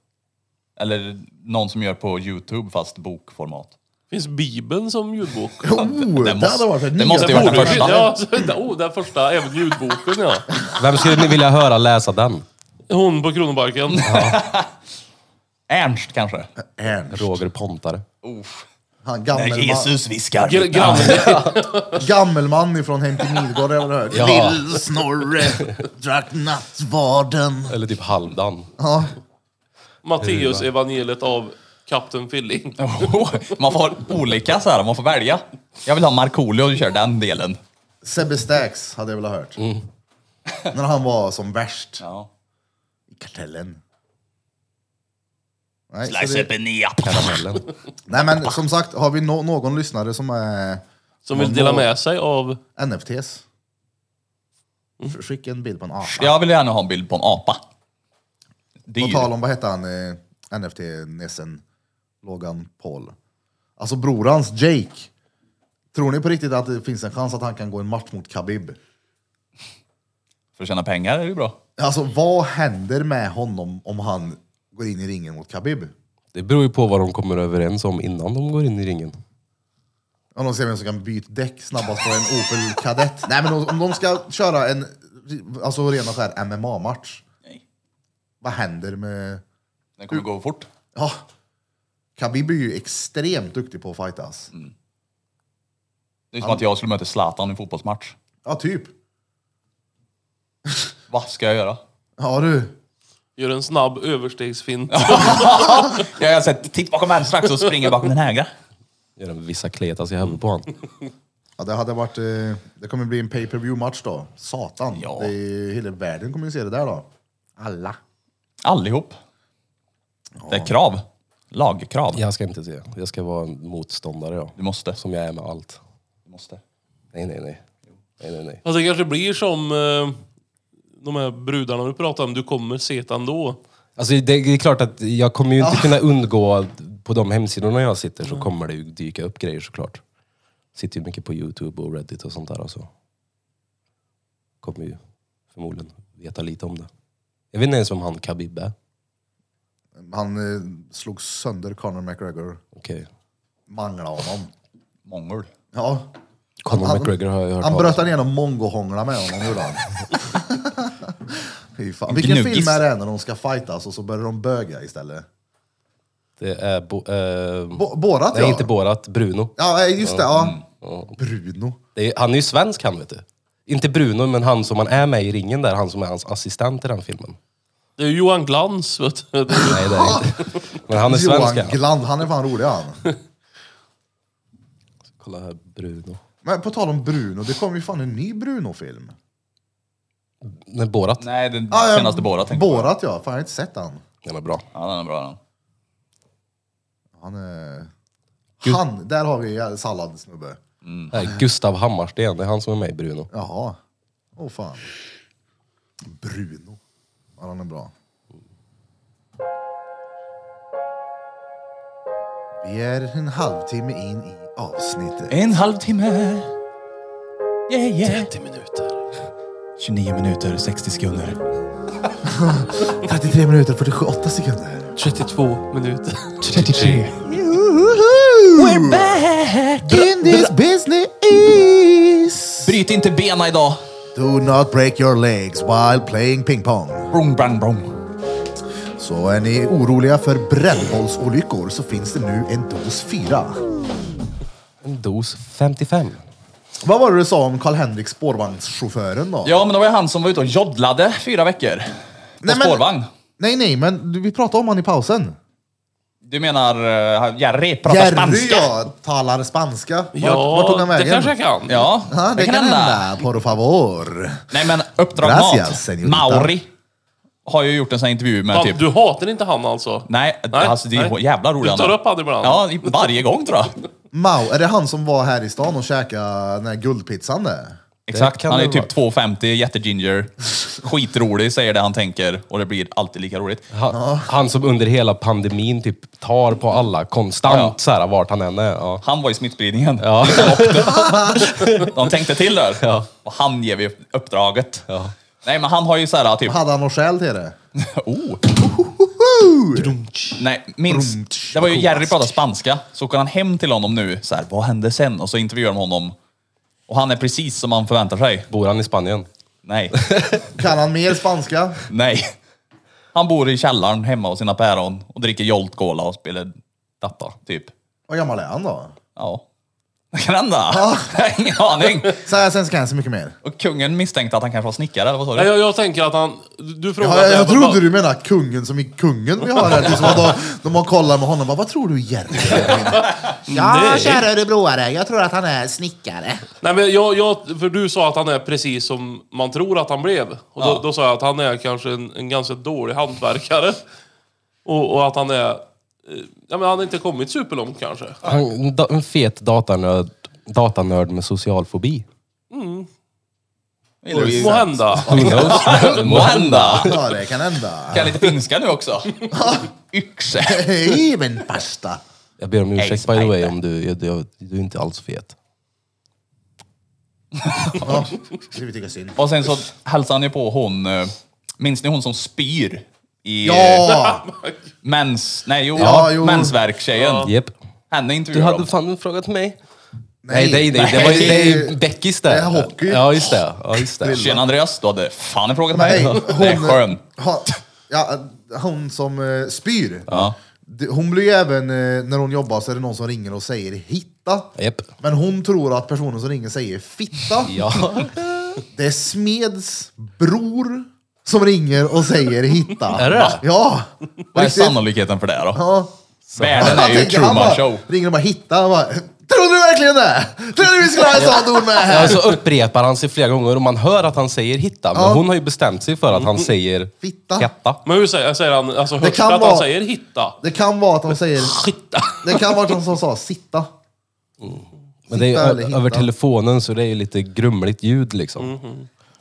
[SPEAKER 2] Eller någon som gör på Youtube fast bokformat.
[SPEAKER 3] Finns Bibeln som ljudbok?
[SPEAKER 1] Oh, det,
[SPEAKER 2] måste-
[SPEAKER 1] hade varit ett
[SPEAKER 2] det måste
[SPEAKER 1] nytt-
[SPEAKER 2] ju varit den
[SPEAKER 3] Borde-
[SPEAKER 2] första.
[SPEAKER 3] Ja, så- oh, den första, även ljudboken ja.
[SPEAKER 4] Vem skulle ni vilja höra läsa den?
[SPEAKER 3] Hon på Kronoparken.
[SPEAKER 2] Ernst kanske?
[SPEAKER 1] Ernst.
[SPEAKER 4] Roger Pontare.
[SPEAKER 2] Uff.
[SPEAKER 1] Han
[SPEAKER 2] När
[SPEAKER 1] gammelman,
[SPEAKER 2] Jesus viskar.
[SPEAKER 3] Gr- Grannen,
[SPEAKER 1] gammelman ifrån Hem till Midgård har jag hört.
[SPEAKER 4] Ja.
[SPEAKER 1] Lill-Snorre drack nattvarden.
[SPEAKER 4] Eller typ Halvdan.
[SPEAKER 1] Ja.
[SPEAKER 3] Matteus evangeliet av Kapten Filling.
[SPEAKER 2] man får olika så här, man får välja. Jag vill ha Markoolio, du kör den delen.
[SPEAKER 1] Sebbe Stax hade jag velat ha hört.
[SPEAKER 2] Mm.
[SPEAKER 1] När han var som värst
[SPEAKER 2] Ja.
[SPEAKER 1] i Kartellen. Nej, så
[SPEAKER 2] Slice
[SPEAKER 1] det-
[SPEAKER 2] up and eat.
[SPEAKER 4] Karamellen.
[SPEAKER 1] Nej men som sagt, har vi nå- någon lyssnare som är
[SPEAKER 3] Som vill dela med sig av...
[SPEAKER 1] NFTs? Sk- Skicka en bild på en apa.
[SPEAKER 2] Jag vill gärna ha en bild på en apa.
[SPEAKER 1] På
[SPEAKER 2] Dyr.
[SPEAKER 1] tal om, vad hette han, eh, NFT-nissen? Logan Paul. Alltså bror hans, Jake. Tror ni på riktigt att det finns en chans att han kan gå en match mot Khabib?
[SPEAKER 2] För att tjäna pengar är det ju bra.
[SPEAKER 1] Alltså vad händer med honom om han går in i ringen mot Khabib?
[SPEAKER 4] Det beror ju på vad de kommer överens om innan de går in i ringen.
[SPEAKER 1] Om de ser vem som kan byta däck snabbast på en Opel Kadett. Nej men om- om de ska köra en alltså ren och skär MMA-match.
[SPEAKER 2] Nej.
[SPEAKER 1] Vad händer med...
[SPEAKER 2] Den kommer gå fort.
[SPEAKER 1] Ja, Khabib är ju extremt duktig på att fightas.
[SPEAKER 4] Mm.
[SPEAKER 2] Det är som att jag skulle möta Zlatan i en fotbollsmatch.
[SPEAKER 1] Ja, typ.
[SPEAKER 2] Vad ska jag göra?
[SPEAKER 1] Ja du.
[SPEAKER 3] Gör en snabb överstegsfint.
[SPEAKER 2] Jag har sett, titt bakom vänster axel och springer bakom den högra.
[SPEAKER 4] Gör en vissa kletas i huvudet på han.
[SPEAKER 1] Ja, det hade varit... eh, Det kommer bli en pay per view match då. Satan.
[SPEAKER 2] Ja.
[SPEAKER 1] Det är, ju- hela världen kommer ju se det där då. Alla.
[SPEAKER 2] Allihop. Det är krav. Lagkrav.
[SPEAKER 4] Jag ska inte se. Jag ska vara en motståndare jag.
[SPEAKER 2] Du måste.
[SPEAKER 4] Som jag är med allt.
[SPEAKER 2] Du måste.
[SPEAKER 4] Nej, nej, nej. Nej, nej, nej.
[SPEAKER 3] Fast det kanske blir som eh, de här brudarna du pratade om. Du kommer se det ändå.
[SPEAKER 4] Alltså det det är klart att jag kommer ju inte kunna undgå, att på de hemsidorna jag sitter
[SPEAKER 1] Mm.
[SPEAKER 4] så kommer det ju dyka upp grejer såklart. Sitter ju mycket på Youtube och Reddit och sånt där alltså. Kommer ju förmodligen veta lite om det. Jag vet inte ens om han Khabib är.
[SPEAKER 1] Han eh, slog sönder Conor McGregor.
[SPEAKER 4] Okej.
[SPEAKER 1] Manglade honom.
[SPEAKER 2] Mongol.
[SPEAKER 1] Ja.
[SPEAKER 4] Conor
[SPEAKER 1] Han-
[SPEAKER 4] McGregor har jag hört
[SPEAKER 1] Han
[SPEAKER 4] talas
[SPEAKER 1] bröt
[SPEAKER 4] om.
[SPEAKER 1] han igenom mongohånglarna med honom, gjorde han. Fy fan. Vilken
[SPEAKER 2] Gnuggis.
[SPEAKER 1] film är det när de ska fightas och så börjar de böga istället?
[SPEAKER 4] Det är bo, eh,
[SPEAKER 1] Bo- Borat
[SPEAKER 4] Nej,
[SPEAKER 1] ja.
[SPEAKER 4] inte Borat. Bruno.
[SPEAKER 1] Ja, nej, just det. Ja. Bruno.
[SPEAKER 4] Det är, han är ju svensk han vet du. Inte Bruno, men han som han är med i ringen där, han som är hans assistent i den filmen.
[SPEAKER 3] Det är ju Johan Glans vet du. Det är ju-
[SPEAKER 4] Nej det är inte. Men han är svensk
[SPEAKER 1] Johan
[SPEAKER 4] ja.
[SPEAKER 1] Gland, han är fan rolig han.
[SPEAKER 4] Kolla här, Bruno.
[SPEAKER 1] Men på tal om Bruno, det kom ju fan en ny Bruno-film.
[SPEAKER 4] Nej, Borat.
[SPEAKER 2] Nej, den
[SPEAKER 1] Ja, ja,
[SPEAKER 2] senaste Borat tänkte jag på.
[SPEAKER 1] Borat ja, fan jag har inte sett han.
[SPEAKER 4] Den är bra.
[SPEAKER 2] Ja, den är bra den.
[SPEAKER 1] Han är... Han, där har vi en salladsnubbe.
[SPEAKER 4] Det här är Gustav Hammarsten, det är han som är med i Bruno.
[SPEAKER 1] Jaha. Åh fan. Bruno. Ja, han är bra. Vi är en halvtimme in i avsnittet.
[SPEAKER 2] En halvtimme. Yeah, yeah.
[SPEAKER 4] 30 minuter.
[SPEAKER 2] 29 minuter, 60 sekunder.
[SPEAKER 1] 33 minuter 48 sekunder.
[SPEAKER 3] 32 minuter.
[SPEAKER 2] 33.
[SPEAKER 1] We're back in this business.
[SPEAKER 2] Bryt inte bena idag.
[SPEAKER 1] Do not break your legs while playing ping pong.
[SPEAKER 2] Brung, brung, brung.
[SPEAKER 1] Så är ni oroliga för brännbollsolyckor så finns det nu en dos 4.
[SPEAKER 4] En dos 55.
[SPEAKER 1] Vad var det du sa om Karl-Henrik spårvagnschauffören då?
[SPEAKER 2] Ja, men det var ju han som var ute och joddlade fyra veckor. På
[SPEAKER 1] Nej, men-
[SPEAKER 2] spårvagn.
[SPEAKER 1] Nej, nej, men du- vi pratade om han i pausen.
[SPEAKER 2] Du menar uh, Jerry pratar
[SPEAKER 1] Jerry
[SPEAKER 2] spanska?
[SPEAKER 1] ja, talar spanska. Vart,
[SPEAKER 3] Ja,
[SPEAKER 1] vart tog han vägen?
[SPEAKER 3] det kanske jag kan.
[SPEAKER 2] Ja,
[SPEAKER 1] Ja, det, kan hända. Por favor.
[SPEAKER 2] Nej men Uppdrag
[SPEAKER 1] Gracias,
[SPEAKER 2] Mat.
[SPEAKER 1] señorita.
[SPEAKER 2] Mauri. har jag gjort en sån här intervju med
[SPEAKER 3] Fan,
[SPEAKER 2] typ...
[SPEAKER 3] Du hatar inte han alltså?
[SPEAKER 2] Nej,
[SPEAKER 3] Nej,
[SPEAKER 2] alltså det är
[SPEAKER 3] nej.
[SPEAKER 2] jävla roligt.
[SPEAKER 3] Du tar upp han ibland.
[SPEAKER 2] Ja, i- varje gång tror jag.
[SPEAKER 1] Mao, är det han som var här i stan och käkade den här guldpizzan där?
[SPEAKER 2] Exakt.
[SPEAKER 4] kan
[SPEAKER 2] Han är
[SPEAKER 4] det
[SPEAKER 2] typ
[SPEAKER 4] vara.
[SPEAKER 2] 2,50, jätteginger, skitrolig, säger det han tänker och det blir alltid lika roligt.
[SPEAKER 4] Han, han som under hela pandemin typ tar på alla konstant
[SPEAKER 2] Ja.
[SPEAKER 4] så här, vart han än är. Ja.
[SPEAKER 2] Han var i smittspridningen. De tänkte till där. Och han ger vi uppdraget. Nej, men han har ju så här typ...
[SPEAKER 1] Hade han något skäl till det?
[SPEAKER 2] Oh. Nej, minns. Det var ju Jerry pratade spanska. Så åker han hem till honom nu. Så här, vad hände sen? Och så intervjuar de honom. Och han är precis som man förväntar sig.
[SPEAKER 4] Bor han i Spanien?
[SPEAKER 2] Nej,
[SPEAKER 1] Kan han mer spanska?
[SPEAKER 2] nej. Han bor i källaren hemma hos sina päron och dricker Jolt Cola och spelar data, typ.
[SPEAKER 1] Vad gammal är han då?
[SPEAKER 2] Ja. Vad kan hända? Ingen aning.
[SPEAKER 1] Så här, sen ska han så mycket mer.
[SPEAKER 2] Och kungen misstänkte att han kanske var snickare, eller vad sa
[SPEAKER 3] Nej,
[SPEAKER 2] du?
[SPEAKER 3] jag, jag tänker att han... Du frågar...
[SPEAKER 1] Ja, jag, jag trodde du menade kungen som i kungen vi har här. Liksom, att de, de har kollat med honom. Bara, Vad tror du Jerry? ja, kära örebroare. Jag tror att han är snickare.
[SPEAKER 3] Nej, men jag, jag, för du sa att han är precis som man tror att han blev. Och då, då sa jag att han är kanske en, en ganska dålig hantverkare. Och, och att han är... eh, Ja, men han har inte kommit superlångt kanske.
[SPEAKER 4] Han, en da- en fet datanörd, datanörd med social fobi.
[SPEAKER 3] Må hända.
[SPEAKER 4] Who knows?
[SPEAKER 2] Måhända.
[SPEAKER 1] Ja, det kan hända.
[SPEAKER 2] Kan jag lite finska nu också? Yxe.
[SPEAKER 1] Hej, men pasta.
[SPEAKER 4] Jag ber om ursäkt by the way
[SPEAKER 2] Expider.
[SPEAKER 4] om du, jag, jag, du är inte alls fet.
[SPEAKER 1] Ja, det vi tycka synd.
[SPEAKER 2] Och sen så hälsade han ju på hon, eh, minns ni hon som spyr? I eh,
[SPEAKER 1] Ja!
[SPEAKER 2] mens, nej jo,
[SPEAKER 1] Ja, jo.
[SPEAKER 2] mensvärktjejen.
[SPEAKER 4] Japp.
[SPEAKER 2] Henne
[SPEAKER 4] Du
[SPEAKER 2] intervjuade
[SPEAKER 4] hade
[SPEAKER 2] de.
[SPEAKER 4] fan frågat mig.
[SPEAKER 1] Nej.
[SPEAKER 4] Nej, nej, nej. Det var ju det är ju Beckis där.
[SPEAKER 1] Det är hockey.
[SPEAKER 4] Ja, just det. Ja, just det.
[SPEAKER 2] Tjena Andreas, du hade fan en fråga till
[SPEAKER 1] Nej,
[SPEAKER 2] mig. Det är
[SPEAKER 1] hon-
[SPEAKER 2] skön.
[SPEAKER 1] Ha, ja, hon som eh, spyr.
[SPEAKER 2] Ja.
[SPEAKER 1] Det- Hon blir ju även, eh, när hon jobbar så är det någon som ringer och säger hitta.
[SPEAKER 4] Japp.
[SPEAKER 1] Men hon tror att personen som ringer säger fitta.
[SPEAKER 4] Ja.
[SPEAKER 1] Det är Smeds bror som ringer och säger hitta.
[SPEAKER 4] Är det det?
[SPEAKER 1] Ja!
[SPEAKER 2] Vad är
[SPEAKER 1] Riktigt.
[SPEAKER 2] sannolikheten för det då?
[SPEAKER 1] Ja.
[SPEAKER 2] Världen är
[SPEAKER 1] Jag
[SPEAKER 2] ju
[SPEAKER 1] tänker, han
[SPEAKER 2] Truman
[SPEAKER 1] bara
[SPEAKER 2] show.
[SPEAKER 1] Ringer och bara hitta. Han bara, Trodde du verkligen det? Trodde du vi skulle ha ett sånt ord med
[SPEAKER 4] Ja,
[SPEAKER 1] här?
[SPEAKER 4] så upprepar han sig flera gånger och man hör att han säger hitta. Men
[SPEAKER 1] Ja. Mm.
[SPEAKER 4] hon har ju bestämt sig för att han säger
[SPEAKER 1] Fitta.
[SPEAKER 4] hetta.
[SPEAKER 3] Men hur säger, säger han? Alltså högt
[SPEAKER 1] kan
[SPEAKER 3] att
[SPEAKER 1] vara-
[SPEAKER 3] han säger hitta.
[SPEAKER 1] Det kan vara att de säger... Det kan vara att de som sa sitta.
[SPEAKER 4] Men det är ju
[SPEAKER 1] Sitta eller
[SPEAKER 4] ö-
[SPEAKER 1] hitta. Mm.
[SPEAKER 4] över telefonen så det är ju lite grumligt ljud liksom.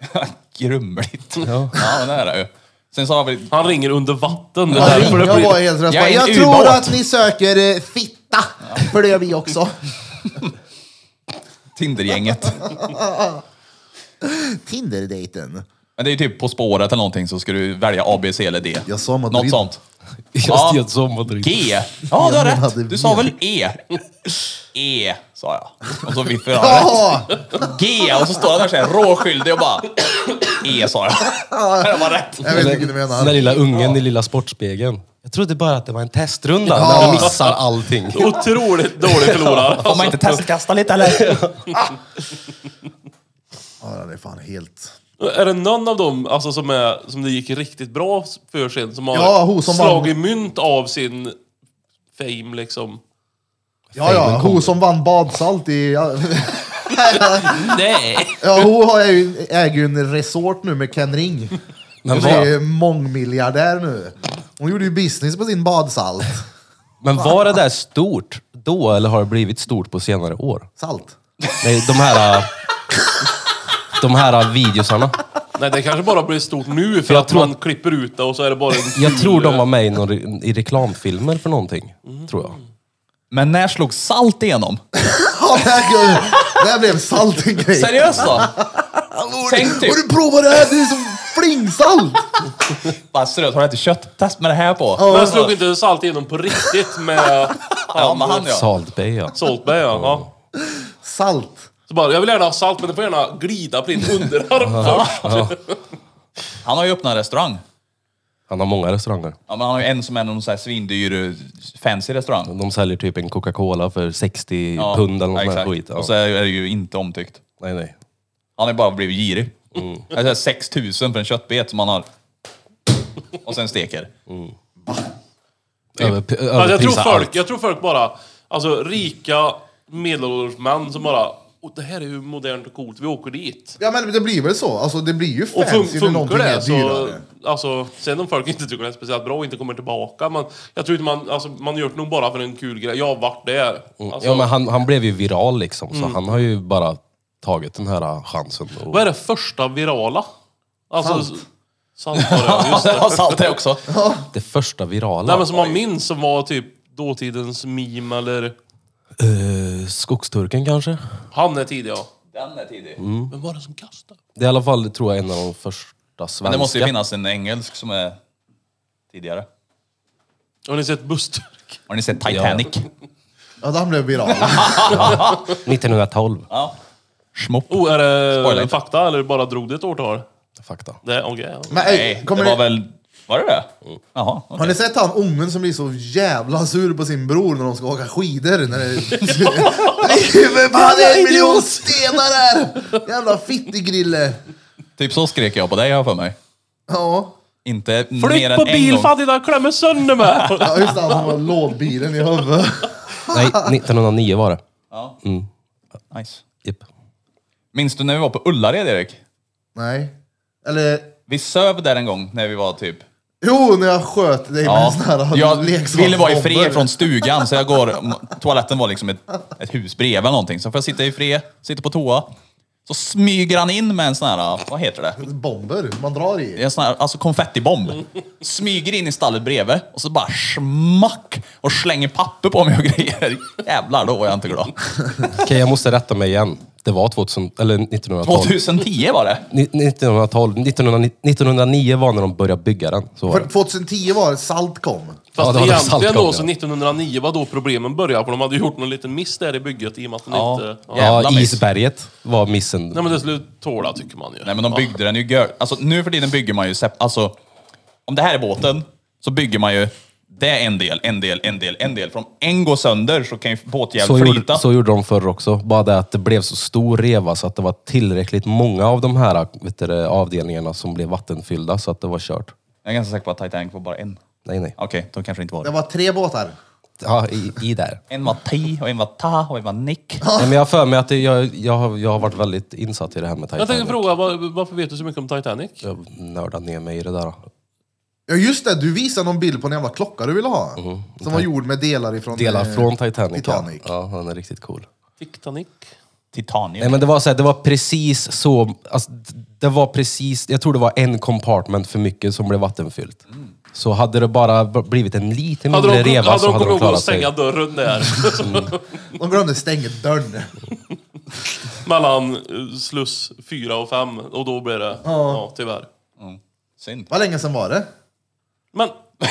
[SPEAKER 2] Grumligt. Ja. men det är det ju. Sen så har vi...
[SPEAKER 3] Han ringer under vatten. Det
[SPEAKER 1] Ja,
[SPEAKER 3] är därför det
[SPEAKER 1] jag
[SPEAKER 3] blir-
[SPEAKER 1] var helt rätt.
[SPEAKER 2] Jag är en
[SPEAKER 1] Jag, tror
[SPEAKER 2] ubåt.
[SPEAKER 1] att ni söker eh, fitta. För det gör vi också.
[SPEAKER 2] Tindergänget.
[SPEAKER 1] Tinder-dejten.
[SPEAKER 2] Men det är ju typ På spåret eller någonting så ska du välja A, B, C eller D.
[SPEAKER 1] Jag sa Madrid.
[SPEAKER 2] Något sånt. Ja.
[SPEAKER 4] Just det, så Madrid.
[SPEAKER 2] G. Ja, du har
[SPEAKER 1] Jag hade
[SPEAKER 2] rätt. Du sa
[SPEAKER 1] V.
[SPEAKER 2] väl E? E, sa jag. Och så vippade han rätt.
[SPEAKER 1] Ja!
[SPEAKER 2] G, och så står han där såhär råskyldig och bara... E, sa jag. Men Det var rätt.
[SPEAKER 1] Jag vet inte vilken du menar.
[SPEAKER 4] Den där lilla ungen i lilla sportspegeln. Jag trodde bara att det var en testrunda
[SPEAKER 1] Ja.
[SPEAKER 4] där han missar allting.
[SPEAKER 3] Otroligt dålig förlorare.
[SPEAKER 2] Får man inte testkasta lite eller?
[SPEAKER 1] Ja, det är fan helt...
[SPEAKER 3] Är det någon av dem alltså, som, är, som det gick riktigt bra för sen? Som har
[SPEAKER 1] Ja, hon som
[SPEAKER 3] slagit mynt av sin fame liksom?
[SPEAKER 1] Ja, ja, hon som vann badsalt i...
[SPEAKER 4] Nej!
[SPEAKER 1] Ja, hon har ju, äger ju en resort nu med Ken Ring.
[SPEAKER 4] Men
[SPEAKER 1] Hon är
[SPEAKER 4] var,
[SPEAKER 1] ju mångmiljardär nu. Hon gjorde ju business på sin badsalt.
[SPEAKER 4] men var det där stort då eller har det blivit stort på senare år?
[SPEAKER 1] Salt.
[SPEAKER 4] Nej, de här... äh, De här äh, videosarna.
[SPEAKER 3] Nej, det kanske bara blir stort nu för
[SPEAKER 4] Jag
[SPEAKER 3] att
[SPEAKER 4] tror
[SPEAKER 3] man klipper ut det och så är det bara en
[SPEAKER 4] Jag
[SPEAKER 3] kul-
[SPEAKER 4] tror de var med i, någon, re- i reklamfilmer för någonting. Tror jag.
[SPEAKER 2] Men när slog salt igenom?
[SPEAKER 1] Ja, det här, det här blev salt en grej.
[SPEAKER 2] Seriöst då? Tänk typ,
[SPEAKER 1] Har du provat det här? Det är som flingsalt!
[SPEAKER 2] bara seriöst, har du ätit kötttest med det här på?
[SPEAKER 3] Men jag slog inte salt igenom på riktigt med
[SPEAKER 2] Ja, men han ja.
[SPEAKER 4] Salt Bay ja.
[SPEAKER 3] Saltberg ja. ja.
[SPEAKER 1] Salt.
[SPEAKER 3] Så bara, jag vill gärna ha salt men det får gärna glida på din underarm först.
[SPEAKER 2] Han har ju öppnat en restaurang.
[SPEAKER 4] Han har många restauranger.
[SPEAKER 2] Ja, men han har ju en som är någon så här svindyr eh, fancy restaurang.
[SPEAKER 4] De säljer typ en Coca-Cola för 60
[SPEAKER 2] Ja,
[SPEAKER 4] pund eller
[SPEAKER 2] ja,
[SPEAKER 4] något sånt där
[SPEAKER 2] exakt.
[SPEAKER 4] skit. Ja.
[SPEAKER 2] Och så är det ju inte omtyckt.
[SPEAKER 4] Nej, nej.
[SPEAKER 2] Han har bara blivit girig.
[SPEAKER 4] Mm.
[SPEAKER 2] Alltså 6 000 för en köttbet som han har. Och sen steker.
[SPEAKER 4] Över, p-
[SPEAKER 3] Alltså, jag, tror
[SPEAKER 4] överprisar
[SPEAKER 3] folk,
[SPEAKER 4] allt.
[SPEAKER 3] jag tror folk bara, alltså rika medelålders män som bara, "Åh, det här är ju modernt och coolt, vi åker dit.
[SPEAKER 1] Ja men det blir väl så. Alltså det blir ju
[SPEAKER 3] Och fun
[SPEAKER 1] fancy när
[SPEAKER 3] funkar
[SPEAKER 1] någonting
[SPEAKER 3] det
[SPEAKER 1] är
[SPEAKER 3] så,
[SPEAKER 1] dyrare.
[SPEAKER 3] alltså, sen om folk inte tycker det är speciellt bra och inte kommer tillbaka. Man, jag tror inte man, alltså, man gör det nog bara för en kul grej. Jag har varit där. Alltså,
[SPEAKER 4] ja, men han, han blev ju viral liksom, så
[SPEAKER 2] Mm.
[SPEAKER 4] han har ju bara tagit den här äh, chansen. Och...
[SPEAKER 3] Vad är det första virala? Alltså,
[SPEAKER 1] Salt.
[SPEAKER 3] Salt var det, just det.
[SPEAKER 2] Jag salt det också.
[SPEAKER 4] Det första virala.
[SPEAKER 3] Nej men som man minns som var typ dåtidens meme eller...
[SPEAKER 4] Eh, skogsturken kanske?
[SPEAKER 3] Han är tidig ja.
[SPEAKER 2] Den är tidig.
[SPEAKER 3] Vem var det som kastade?
[SPEAKER 4] Det är i alla fall, tror jag, en av de första
[SPEAKER 2] Men
[SPEAKER 4] svenska.
[SPEAKER 2] det måste ju finnas en engelsk som är tidigare.
[SPEAKER 3] Har ni sett Buster?
[SPEAKER 2] Har ni sett Titanic? Ja.
[SPEAKER 1] Ja, den blev viral.
[SPEAKER 4] 1912.
[SPEAKER 2] Schmopp.
[SPEAKER 3] Oh, är det
[SPEAKER 2] Spoiler inte.
[SPEAKER 3] fakta eller bara drog det ett årtal?
[SPEAKER 4] Fakta.
[SPEAKER 3] Det är okej. ja.
[SPEAKER 1] Men
[SPEAKER 2] Nej,
[SPEAKER 1] ey,
[SPEAKER 2] det
[SPEAKER 1] kommer
[SPEAKER 2] var
[SPEAKER 1] ni,
[SPEAKER 2] väl... Var det det? Jaha.
[SPEAKER 1] har ni sett han ungen som blir så jävla sur på sin bror när de ska åka skidor? När det, Nej, för fan, det är en miljon stenar här! Jävla fittegrille!
[SPEAKER 2] Typ så skrek jag på dig, har jag för mig.
[SPEAKER 1] Ja.
[SPEAKER 2] Inte mer
[SPEAKER 3] Flytt
[SPEAKER 2] än
[SPEAKER 3] på
[SPEAKER 2] en
[SPEAKER 3] bil
[SPEAKER 2] gång.
[SPEAKER 3] fattig jag klämmer sönder mig!
[SPEAKER 1] ja, just det, han har lådbilen i huvudet.
[SPEAKER 4] Nej, 1909 var det. Typ.
[SPEAKER 2] Ja. Nice.
[SPEAKER 4] Japp.
[SPEAKER 2] Minns du när vi var på Ullared, Erik?
[SPEAKER 1] Nej. Eller,
[SPEAKER 2] Vi söv där en gång när vi var typ...
[SPEAKER 1] jo, när jag sköt dig med en sån här
[SPEAKER 2] jag
[SPEAKER 1] leksaksbomber.
[SPEAKER 2] ville vara i fred från stugan så jag går... Toaletten var liksom ett, ett hus bredvid eller någonting. Så får jag sitta i fred, sitta på toa. Så smyger han in med en sån här, vad heter det?
[SPEAKER 1] Bomber man drar i.
[SPEAKER 2] En sån här, alltså konfettibomb. Smyger in i stallet bredvid och så bara smack och slänger papper på mig och grejer. Jävlar, då var jag inte glad.
[SPEAKER 4] Okej, jag måste rätta mig igen. Det var 2000, eller 1912.
[SPEAKER 2] 2010 var det.
[SPEAKER 4] Ni- 1912. 1909 1909 var när de började bygga den. Så var
[SPEAKER 1] För
[SPEAKER 4] det.
[SPEAKER 1] 2010 var det salt kom.
[SPEAKER 4] Ja,
[SPEAKER 3] Fast
[SPEAKER 4] det var
[SPEAKER 3] egentligen
[SPEAKER 4] saltgång,
[SPEAKER 3] då
[SPEAKER 4] ja.
[SPEAKER 3] så 1909 var då problemen började för de hade gjort någon liten miss där i bygget i och med att de
[SPEAKER 2] Ja.
[SPEAKER 3] inte... Ja.
[SPEAKER 2] jävla
[SPEAKER 4] Ja,
[SPEAKER 2] miss.
[SPEAKER 4] isberget var missen.
[SPEAKER 3] Nej men det skulle tåla tycker man ju.
[SPEAKER 2] Nej men de byggde den ju gör. Alltså nu för tiden bygger man ju, sep- alltså om det här är båten så bygger man ju det är en del, en del, en del, en del. För om en går sönder så kan ju
[SPEAKER 4] Så
[SPEAKER 2] båtjäveln flyta.
[SPEAKER 4] gjorde, så gjorde de förr också. Bara det att det blev så stor reva så att det var tillräckligt många av de här vet du, det, avdelningarna som blev vattenfyllda så att det var kört.
[SPEAKER 2] Jag är ganska säker på att Titanic var bara en.
[SPEAKER 4] Nej, nej.
[SPEAKER 2] Okej, då kanske det inte var
[SPEAKER 1] Det
[SPEAKER 2] det.
[SPEAKER 1] var tre båtar.
[SPEAKER 4] Ja, i, i där.
[SPEAKER 2] En var Ti och en var Ta och en var Nick.
[SPEAKER 4] Nej, men jag har för mig att det, jag, jag, har, jag har varit väldigt insatt i det här med
[SPEAKER 3] Jag
[SPEAKER 4] Titanic.
[SPEAKER 3] tänkte fråga, var, varför vet du så mycket om Titanic?
[SPEAKER 4] Jag nördade ner mig i det där.
[SPEAKER 1] Ja just det, du visade någon bild på en jävla klocka du ville ha.
[SPEAKER 2] Mhm,
[SPEAKER 1] Som var gjord med delar ifrån...
[SPEAKER 4] Delar
[SPEAKER 1] eh,
[SPEAKER 4] från Titanic.
[SPEAKER 1] Titanic.
[SPEAKER 4] Ja, Ja, den är riktigt cool.
[SPEAKER 3] Titanic?
[SPEAKER 2] Titanium.
[SPEAKER 4] Nej, men det var så här, det var precis så, alltså, d- det var precis, jag tror det var en compartment för mycket som blev vattenfyllt.
[SPEAKER 1] Mm.
[SPEAKER 4] Så hade det bara b- blivit en lite
[SPEAKER 3] Hade
[SPEAKER 4] mindre
[SPEAKER 3] de,
[SPEAKER 4] reva
[SPEAKER 3] hade
[SPEAKER 4] så
[SPEAKER 3] de
[SPEAKER 4] hade de
[SPEAKER 3] kommit ihåg
[SPEAKER 4] klarat
[SPEAKER 3] att
[SPEAKER 4] sig. Mm.
[SPEAKER 3] stänga dörren där?
[SPEAKER 1] De glömde stänga dörren.
[SPEAKER 3] Mellan eh, sluss 4 och 5 och då blir det, ja tyvärr.
[SPEAKER 2] Synd.
[SPEAKER 1] Vad länge sedan var det?
[SPEAKER 3] Men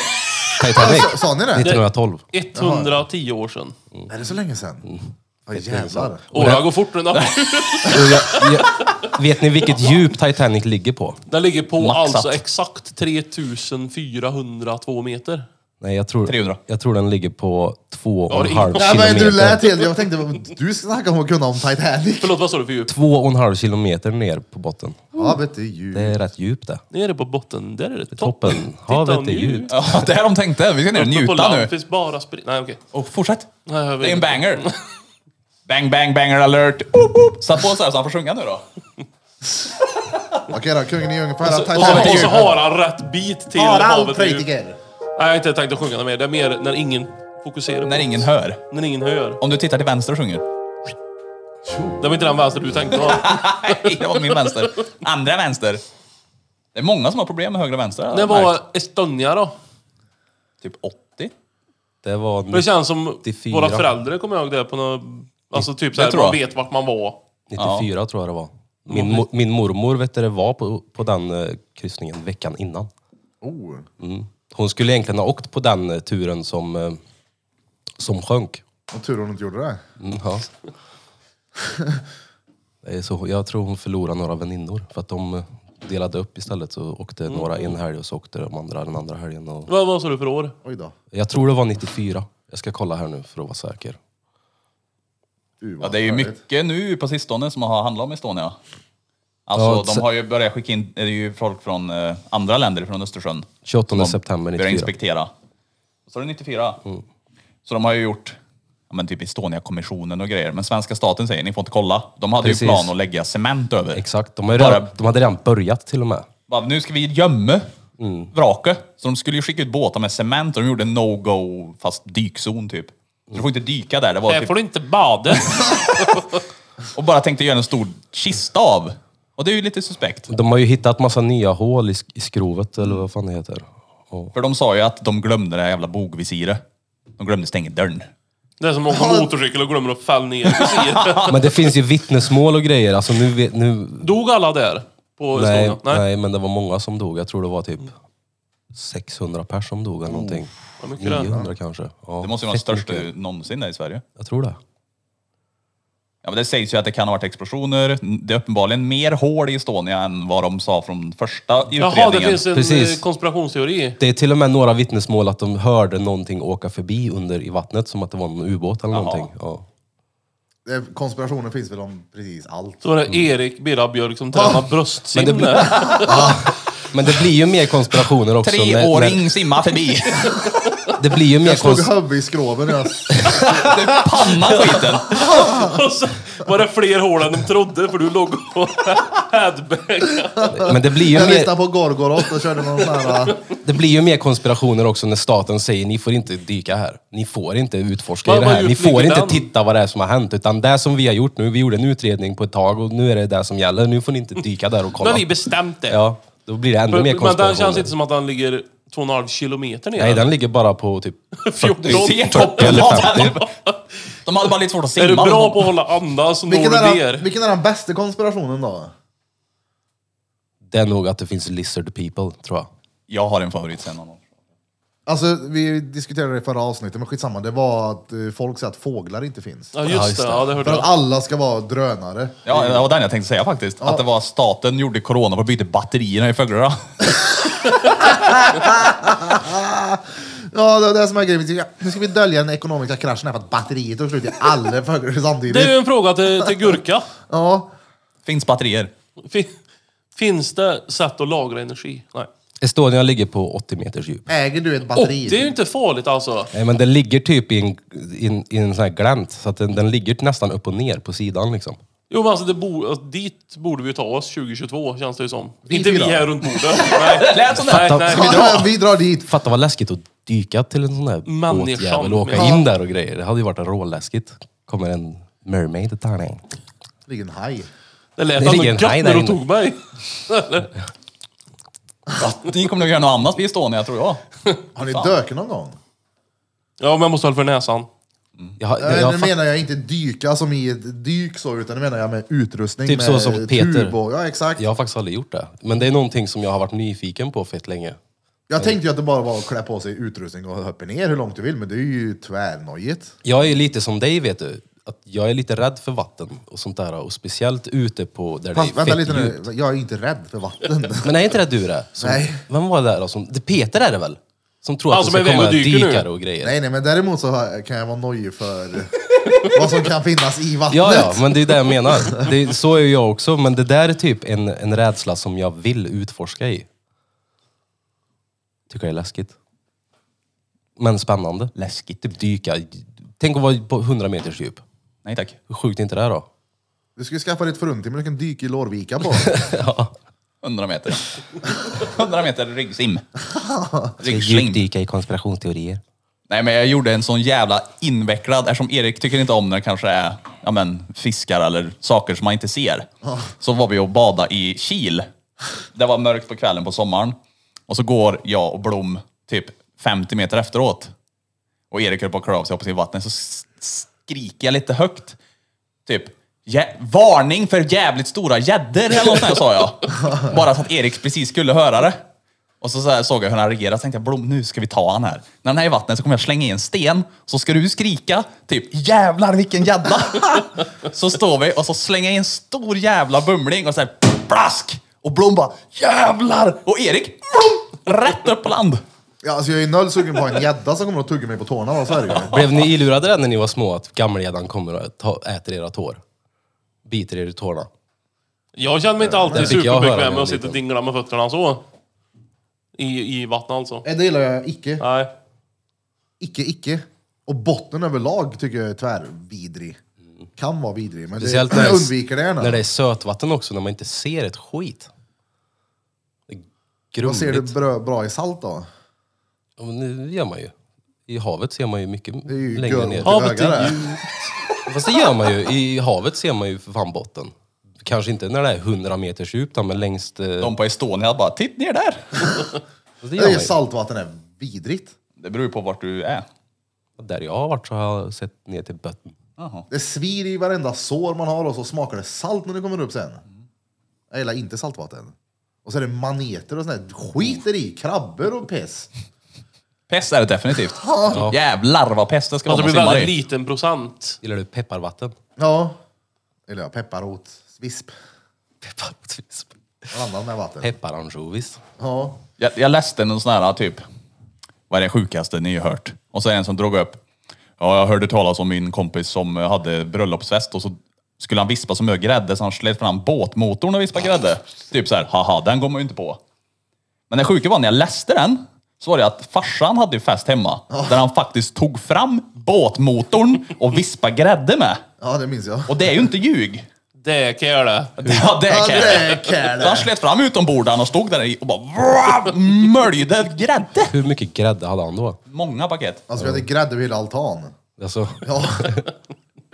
[SPEAKER 4] Titanic,
[SPEAKER 1] Sa ni det?
[SPEAKER 4] 1912.
[SPEAKER 3] 110 år sedan.
[SPEAKER 1] Är det så länge
[SPEAKER 2] Mm.
[SPEAKER 1] sedan? Vad jävlar.
[SPEAKER 3] Åh, går fort den där.
[SPEAKER 4] Och jag, jag, vet ni vilket djup Titanic ligger på?
[SPEAKER 3] Den ligger på
[SPEAKER 2] Maxat.
[SPEAKER 3] alltså exakt 3402 meter.
[SPEAKER 4] Nej, jag tror,
[SPEAKER 2] 300.
[SPEAKER 4] Jag tror den ligger på två
[SPEAKER 3] har
[SPEAKER 4] och en
[SPEAKER 3] ingen-
[SPEAKER 4] halv
[SPEAKER 1] Nej men du
[SPEAKER 4] kilometer.
[SPEAKER 1] lät helt... Jag tänkte, du snackar om att kunna om Titanic.
[SPEAKER 3] Förlåt, vad sa du för djup?
[SPEAKER 4] Två och en halv kilometer ner på botten.
[SPEAKER 2] Mm.
[SPEAKER 1] Ja vet du ju.
[SPEAKER 4] Det är rätt djupt det.
[SPEAKER 3] Nere på botten, där är det toppen.
[SPEAKER 4] Toppen. Havet är
[SPEAKER 3] nu.
[SPEAKER 4] djupt.
[SPEAKER 2] Ja, det här de tänkte. Vi ska ner och
[SPEAKER 3] Uppe på
[SPEAKER 2] njuta
[SPEAKER 3] land
[SPEAKER 2] nu.
[SPEAKER 3] finns bara sprit. Nej, okej.
[SPEAKER 2] Och fortsätt.
[SPEAKER 3] Nej, jag vet
[SPEAKER 2] Det är en
[SPEAKER 3] inte.
[SPEAKER 2] banger. Bang, bang, banger alert. Oop, oop. Satt på så här så han får sjunga nu då.
[SPEAKER 1] Okej då, kungen i djungeln får höra
[SPEAKER 3] Och så,
[SPEAKER 1] Titanic.
[SPEAKER 3] Alltså, och så har han rätt bit till
[SPEAKER 1] Harald
[SPEAKER 3] är djupt.
[SPEAKER 1] Treutiger.
[SPEAKER 3] Nej, jag har inte tänkt att sjunga det mer. Det är mer när ingen fokuserar på
[SPEAKER 2] När
[SPEAKER 3] det.
[SPEAKER 2] ingen hör.
[SPEAKER 3] När ingen hör.
[SPEAKER 2] Om du tittar till vänster och sjunger.
[SPEAKER 3] Det var inte den vänster du tänkte va?
[SPEAKER 2] Nej, det var min vänster. Andra vänster. Det är många som har problem med höger och vänster. har jag
[SPEAKER 3] När
[SPEAKER 2] märkt.
[SPEAKER 3] var Estonia då?
[SPEAKER 2] Typ 80?
[SPEAKER 4] Det var...
[SPEAKER 3] För det känns som
[SPEAKER 4] 94.
[SPEAKER 3] våra föräldrar kommer jag ihåg det på något... Alltså typ såhär,
[SPEAKER 2] tror jag.
[SPEAKER 3] man vet vart man var.
[SPEAKER 4] 94 tror jag det var. Min, mo- min mormor vet du, det var på, på den eh, kryssningen veckan innan.
[SPEAKER 1] Oh.
[SPEAKER 4] Hon skulle egentligen ha åkt på den eh, turen som, eh, som sjönk.
[SPEAKER 1] Och tur hon inte gjorde det.
[SPEAKER 4] Mm, ja. Det är så, jag tror hon förlorade några väninnor för att de eh, delade upp istället. Så åkte några en helg och så åkte de andra den andra helgen. Och
[SPEAKER 3] Vad vad sa du för år?
[SPEAKER 1] Oj då.
[SPEAKER 4] jag tror det var 94. Jag ska kolla här nu för att vara säker.
[SPEAKER 1] Du,
[SPEAKER 2] Ja,
[SPEAKER 1] vad
[SPEAKER 2] det är ju
[SPEAKER 1] härligt.
[SPEAKER 2] mycket nu på sistone som har handlat om Estonia. Alltså,
[SPEAKER 4] Ja,
[SPEAKER 2] de
[SPEAKER 4] så-
[SPEAKER 2] har ju börjat skicka in, det är ju folk från eh, andra länder, från Östersjön.
[SPEAKER 4] 28
[SPEAKER 2] de
[SPEAKER 4] september Mm.
[SPEAKER 2] Börjar
[SPEAKER 4] 94.
[SPEAKER 2] inspektera. Så är det 94. Så de har ju gjort ja, men typ Estonia-kommissionen och grejer. Men svenska staten säger, ni får inte kolla. De hade
[SPEAKER 4] Precis.
[SPEAKER 2] ju plan att lägga cement över.
[SPEAKER 4] Exakt, de, har ju
[SPEAKER 2] Bara-
[SPEAKER 4] redan, de hade redan börjat till och med.
[SPEAKER 2] Bara, Nu ska vi gömma
[SPEAKER 4] Mm.
[SPEAKER 2] vraket. Så de skulle ju skicka ut båtar med cement och de gjorde en no-go, fast dykzon typ. Så du får inte dyka där. Det var
[SPEAKER 3] Här
[SPEAKER 2] typ,
[SPEAKER 3] får du inte bada.
[SPEAKER 2] och bara tänkte göra en stor kista av. Och det är ju lite suspekt.
[SPEAKER 4] De har ju hittat massa nya hål i, sk- i skrovet, eller vad fan det heter. Och,
[SPEAKER 2] För de sa ju att de glömde det här jävla bogvisiret. De glömde stänga dörren.
[SPEAKER 3] Det är som att åka motorcykel och glömmer att fälla ner visiret.
[SPEAKER 4] men det finns ju vittnesmål och grejer. Alltså nu... vet- nu
[SPEAKER 3] Dog alla där? På
[SPEAKER 4] nej,
[SPEAKER 3] Estonia?
[SPEAKER 4] nej. men det var många som dog. Jag tror det var typ 600 pers som dog eller någonting.
[SPEAKER 3] Vad mycket det.
[SPEAKER 4] 900 kanske. Ja,
[SPEAKER 2] Det måste ju vara den
[SPEAKER 4] fett
[SPEAKER 2] största
[SPEAKER 4] mycket.
[SPEAKER 2] någonsin där i Sverige.
[SPEAKER 4] Jag tror det.
[SPEAKER 2] Ja, men det sägs ju att det kan ha varit explosioner. Det är uppenbarligen mer hål i Estonia än vad de sa från första utredningen.
[SPEAKER 3] Jaha, det finns en
[SPEAKER 4] Precis.
[SPEAKER 3] eh, konspirationsteori.
[SPEAKER 4] Det är till och med några vittnesmål att de hörde någonting åka förbi under i vattnet, som att det var en ubåt eller
[SPEAKER 2] Jaha.
[SPEAKER 4] någonting. Ja.
[SPEAKER 1] Eh, Konspirationer finns väl om precis allt.
[SPEAKER 3] Så var det Erik Birra Björk som tränar bröstsim
[SPEAKER 4] Mm. Men det blir-
[SPEAKER 3] där.
[SPEAKER 4] Men det blir ju mer konspirationer också. när, när,
[SPEAKER 2] Treåring simma förbi.
[SPEAKER 4] det blir ju mer
[SPEAKER 1] Jag slog
[SPEAKER 4] konspirationer.
[SPEAKER 1] huvudet i skroven när jag
[SPEAKER 2] Panna skiten.
[SPEAKER 3] Och så var det fler hål än de trodde för du låg på headbang.
[SPEAKER 4] Men det blir ju
[SPEAKER 1] Jag
[SPEAKER 4] mer...
[SPEAKER 1] lyssnade på Gorgoroth och körde någon sån här...
[SPEAKER 4] Det blir ju mer konspirationer också när staten säger ni får inte dyka här. Ni får inte utforska
[SPEAKER 3] Vad-
[SPEAKER 4] i det
[SPEAKER 3] vad
[SPEAKER 4] här. Ni
[SPEAKER 3] djupt ligger
[SPEAKER 4] får inte
[SPEAKER 3] den?
[SPEAKER 4] titta vad det är som har hänt. Utan det som vi har gjort nu, vi gjorde en utredning på ett tag och nu är det det som gäller. Nu får ni inte dyka där och
[SPEAKER 3] Nu
[SPEAKER 4] kolla.
[SPEAKER 3] har vi bestämt det.
[SPEAKER 4] Ja, då blir det ännu
[SPEAKER 3] men,
[SPEAKER 4] mer
[SPEAKER 3] men
[SPEAKER 4] konspirationer.
[SPEAKER 3] den känns inte som att den ligger 2,5 kilometer ner.
[SPEAKER 4] Nej, den ligger bara på typ...
[SPEAKER 3] 14.
[SPEAKER 2] Du ser
[SPEAKER 4] eller
[SPEAKER 2] toppen.
[SPEAKER 4] femtio.
[SPEAKER 2] De hade bara lite svårt att simma.
[SPEAKER 3] Är du bra på att hålla andan så når du
[SPEAKER 1] Vilken är,
[SPEAKER 3] ner.
[SPEAKER 1] den, vilken är den bästa konspirationen då?
[SPEAKER 4] Det är nog att det finns lizard people, tror jag.
[SPEAKER 2] Jag har en favorit sen någon år.
[SPEAKER 1] Alltså, vi diskuterade det i förra avsnittet, men skitsamma. Det var att eh, folk säger att fåglar inte finns.
[SPEAKER 3] Ja just det, ja, det hörde
[SPEAKER 1] För att
[SPEAKER 3] jag.
[SPEAKER 1] alla ska vara drönare.
[SPEAKER 2] Ja, det var den jag tänkte säga faktiskt. Att det var staten gjorde corona på att byta batterierna i fåglarna.
[SPEAKER 1] Ja, det är det som är grejen. Vi tycker, Nu ska vi dölja den ekonomiska kraschen här för att batteriet tog slut i alla fåglar
[SPEAKER 3] Det är
[SPEAKER 1] samtidigt.
[SPEAKER 3] ju en fråga till, till Gurka.
[SPEAKER 1] Ja.
[SPEAKER 2] Finns batterier?
[SPEAKER 3] Fin- Finns det sätt att lagra energi? Nej.
[SPEAKER 4] Estonia ligger på 80 meters djup.
[SPEAKER 1] Äger du ett
[SPEAKER 3] Och
[SPEAKER 1] batteri?
[SPEAKER 3] det är ju inte farligt alltså.
[SPEAKER 4] Nej, men den ligger typ i en, i en, i en sån här glänt. Så att den, den ligger nästan upp och ner på sidan liksom.
[SPEAKER 3] Jo men alltså, det bo, alltså dit borde vi ju ta oss 2022 känns det ju som. inte vi
[SPEAKER 1] fyra.
[SPEAKER 3] här runt bordet. Nej.
[SPEAKER 2] Lät som det.
[SPEAKER 3] Nej, nej.
[SPEAKER 1] Ja, ja, vi drar dit.
[SPEAKER 4] Fatta vad läskigt att dyka till en sån där
[SPEAKER 3] Människan.
[SPEAKER 4] båtjävel och åka
[SPEAKER 3] Ja.
[SPEAKER 4] in där och grejer. Det hade ju varit råläskigt. Kommer en mermaid och tar den.
[SPEAKER 1] Det ligger en haj.
[SPEAKER 3] Det lät
[SPEAKER 4] Det
[SPEAKER 3] ändå
[SPEAKER 4] ligger en
[SPEAKER 3] gött
[SPEAKER 4] haj där
[SPEAKER 3] när du
[SPEAKER 4] inne.
[SPEAKER 3] tog mig.
[SPEAKER 2] Ni kommer nog göra något annat vid Estonia tror jag.
[SPEAKER 1] Har ni dökt någon gång?
[SPEAKER 3] Ja men jag måste hålla för näsan.
[SPEAKER 4] Jag, har-
[SPEAKER 1] Nej,
[SPEAKER 4] jag har
[SPEAKER 1] Eh, nu
[SPEAKER 4] fatt-
[SPEAKER 1] menar jag inte dyka som i ett dyk så, utan nu menar jag med utrustning.
[SPEAKER 4] Typ
[SPEAKER 1] med
[SPEAKER 4] så som Peter.
[SPEAKER 1] tub och- Ja, exakt.
[SPEAKER 4] jag har faktiskt aldrig gjort det. Men det är någonting som jag har varit nyfiken på fett länge.
[SPEAKER 1] Jag tänkte ju att det bara var att klä på sig utrustning och hoppa ner hur långt du vill, men det är ju tvärnojigt.
[SPEAKER 4] Jag är lite som dig vet du. Att jag är lite rädd för vatten och sånt där. Och speciellt ute på där
[SPEAKER 1] Fast
[SPEAKER 4] det är
[SPEAKER 1] vänta
[SPEAKER 4] fett
[SPEAKER 1] lite
[SPEAKER 4] djupt.
[SPEAKER 1] nu, jag är ju inte rädd för vatten.
[SPEAKER 4] Men är inte det du det? Som,
[SPEAKER 1] Nej.
[SPEAKER 4] Vem var det där då? Som, det Peter är det väl? Som tror att
[SPEAKER 3] Han som
[SPEAKER 4] det
[SPEAKER 3] är
[SPEAKER 4] ska
[SPEAKER 3] iväg
[SPEAKER 4] komma
[SPEAKER 3] och Alltså, dyker nu.
[SPEAKER 4] dykare och grejer.
[SPEAKER 1] nej, nej, men däremot så har- kan jag vara nojig för vad som kan finnas i vattnet.
[SPEAKER 4] Ja, ja, men det är det jag menar. Det, så är ju jag också, men det där är typ en, en rädsla som jag vill utforska i. Tycker jag är läskigt. Men spännande. Läskigt. Typ dyka. Tänk att vara på 100 meters djup.
[SPEAKER 2] Nej tack.
[SPEAKER 4] Hur sjukt är inte det här då?
[SPEAKER 1] Du ska ju skaffa dig ett fruntimmer du kan dyka i Lårvika på.
[SPEAKER 2] 100 meter. 100 meter ryggsim. Ryggsling.
[SPEAKER 4] Djupdyka i konspirationsteorier.
[SPEAKER 2] Nej men jag gjorde en sån jävla invecklad, eftersom Erik tycker inte om när det kanske är ja, men, fiskar eller saker som man inte ser. Så var vi och bada i Kil. Det var mörkt på kvällen på sommaren. Och så går jag och Blom typ 50 meter efteråt. Och Erik höll på att klä av sig och hoppa sig i vattnet. Så s- skriker jag lite högt. Typ, "Jä- varning för jävligt stora gäddor eller något sånt här, sa jag. Bara så att Erik precis skulle höra det. Och så, så här såg jag hur han reagerade så tänkte jag Blom, nu ska vi ta han här. När han är i vattnet så kommer jag slänga i en sten, så ska du skrika typ jävlar vilken gädda. så står vi och så slänger jag i en stor jävla bumling och så här plask! Och Blom bara jävlar! Och Erik blom, rätt upp på land.
[SPEAKER 1] Ja, alltså, jag är ju noll sugen på en gädda som kommer och tugga mig på tårna. Vad så är det ju.
[SPEAKER 4] Blev ni ilurade där när ni var små att gammelgäddan kommer och ta, äter era tår? Biter er i tårna?
[SPEAKER 3] Jag känner mig inte
[SPEAKER 4] Den
[SPEAKER 3] alltid
[SPEAKER 4] fick jag höra
[SPEAKER 3] superbekväm
[SPEAKER 4] när
[SPEAKER 3] med
[SPEAKER 4] jag
[SPEAKER 3] att sitta
[SPEAKER 4] var
[SPEAKER 3] och dingla med fötterna så. I, i vattnet alltså.
[SPEAKER 1] Nej, Det gillar jag icke.
[SPEAKER 3] Nej.
[SPEAKER 1] Icke, icke. Och botten överlag tycker jag är tvärvidrig. Kan vara vidrig, men det,
[SPEAKER 4] Speciellt
[SPEAKER 1] jag
[SPEAKER 4] när,
[SPEAKER 1] undviker det gärna.
[SPEAKER 4] när det är sötvatten också, när man inte ser ett skit. Det är
[SPEAKER 1] Vad ser du
[SPEAKER 4] grumligt.
[SPEAKER 1] bra, bra i salt då?
[SPEAKER 4] Ja, men Det gör man ju. I havet ser man ju mycket
[SPEAKER 1] Det är ju
[SPEAKER 4] längre
[SPEAKER 1] gör
[SPEAKER 4] ner.
[SPEAKER 1] ont i
[SPEAKER 3] Havet är
[SPEAKER 1] ögat.
[SPEAKER 4] Fast det gör man ju. I havet ser man ju för fan botten. Kanske inte när det är 100 meters djupt, då, men längst... eh,
[SPEAKER 2] De på Estonia bara, titt ner där!
[SPEAKER 4] fast Det
[SPEAKER 1] Det
[SPEAKER 4] gör
[SPEAKER 1] är
[SPEAKER 4] man ju.
[SPEAKER 1] saltvatten är vidrigt.
[SPEAKER 2] Det beror ju på vart du är.
[SPEAKER 4] Där jag har varit så har jag sett ner till botten.
[SPEAKER 2] Jaha.
[SPEAKER 1] Det svir i varenda sår man har och så smakar det salt när det kommer upp sen. Jag gillar inte saltvatten. Och så är det maneter och sånt där skiter i. Krabbor och piss.
[SPEAKER 2] Pest är det definitivt. Jävlar vad pest det ska
[SPEAKER 3] Alltså
[SPEAKER 2] vara
[SPEAKER 3] det
[SPEAKER 2] man simmar
[SPEAKER 3] blir väldigt
[SPEAKER 2] i.
[SPEAKER 3] liten procent.
[SPEAKER 4] Gillar du pepparvatten?
[SPEAKER 1] Ja. Eller ja, pepparrot, svisp.
[SPEAKER 4] Pepparvatten.
[SPEAKER 1] Blandat med vatten.
[SPEAKER 4] Pepparansjovis.
[SPEAKER 1] Ja.
[SPEAKER 2] Jag, jag läste någon sån här typ, vad är det sjukaste ni har hört? Och så är det en som drog upp, ja jag hörde talas om min kompis som eh, hade bröllopsfest och så skulle han vispa så mycket grädde så han slet fram båtmotorn och vispade grädde. Typ så här, haha den går man ju inte på. Men det sjuka var när jag läste den, så var det att farsan hade ju fest hemma. Där han faktiskt tog fram båtmotorn och vispade grädde med.
[SPEAKER 1] ja, det minns jag.
[SPEAKER 2] Och det är ju inte ljug.
[SPEAKER 3] Det kan jag göra.
[SPEAKER 2] Ja, det
[SPEAKER 1] Ja,
[SPEAKER 2] kan jag.
[SPEAKER 1] det kan
[SPEAKER 2] Så han
[SPEAKER 1] det.
[SPEAKER 2] slet fram utombordaren och stod där i och bara vrrr, möljde grädde.
[SPEAKER 4] Hur mycket grädde hade han då?
[SPEAKER 2] Många paket.
[SPEAKER 1] Alltså vi hade grädde över hela altan.
[SPEAKER 4] Alltså,
[SPEAKER 1] Ja.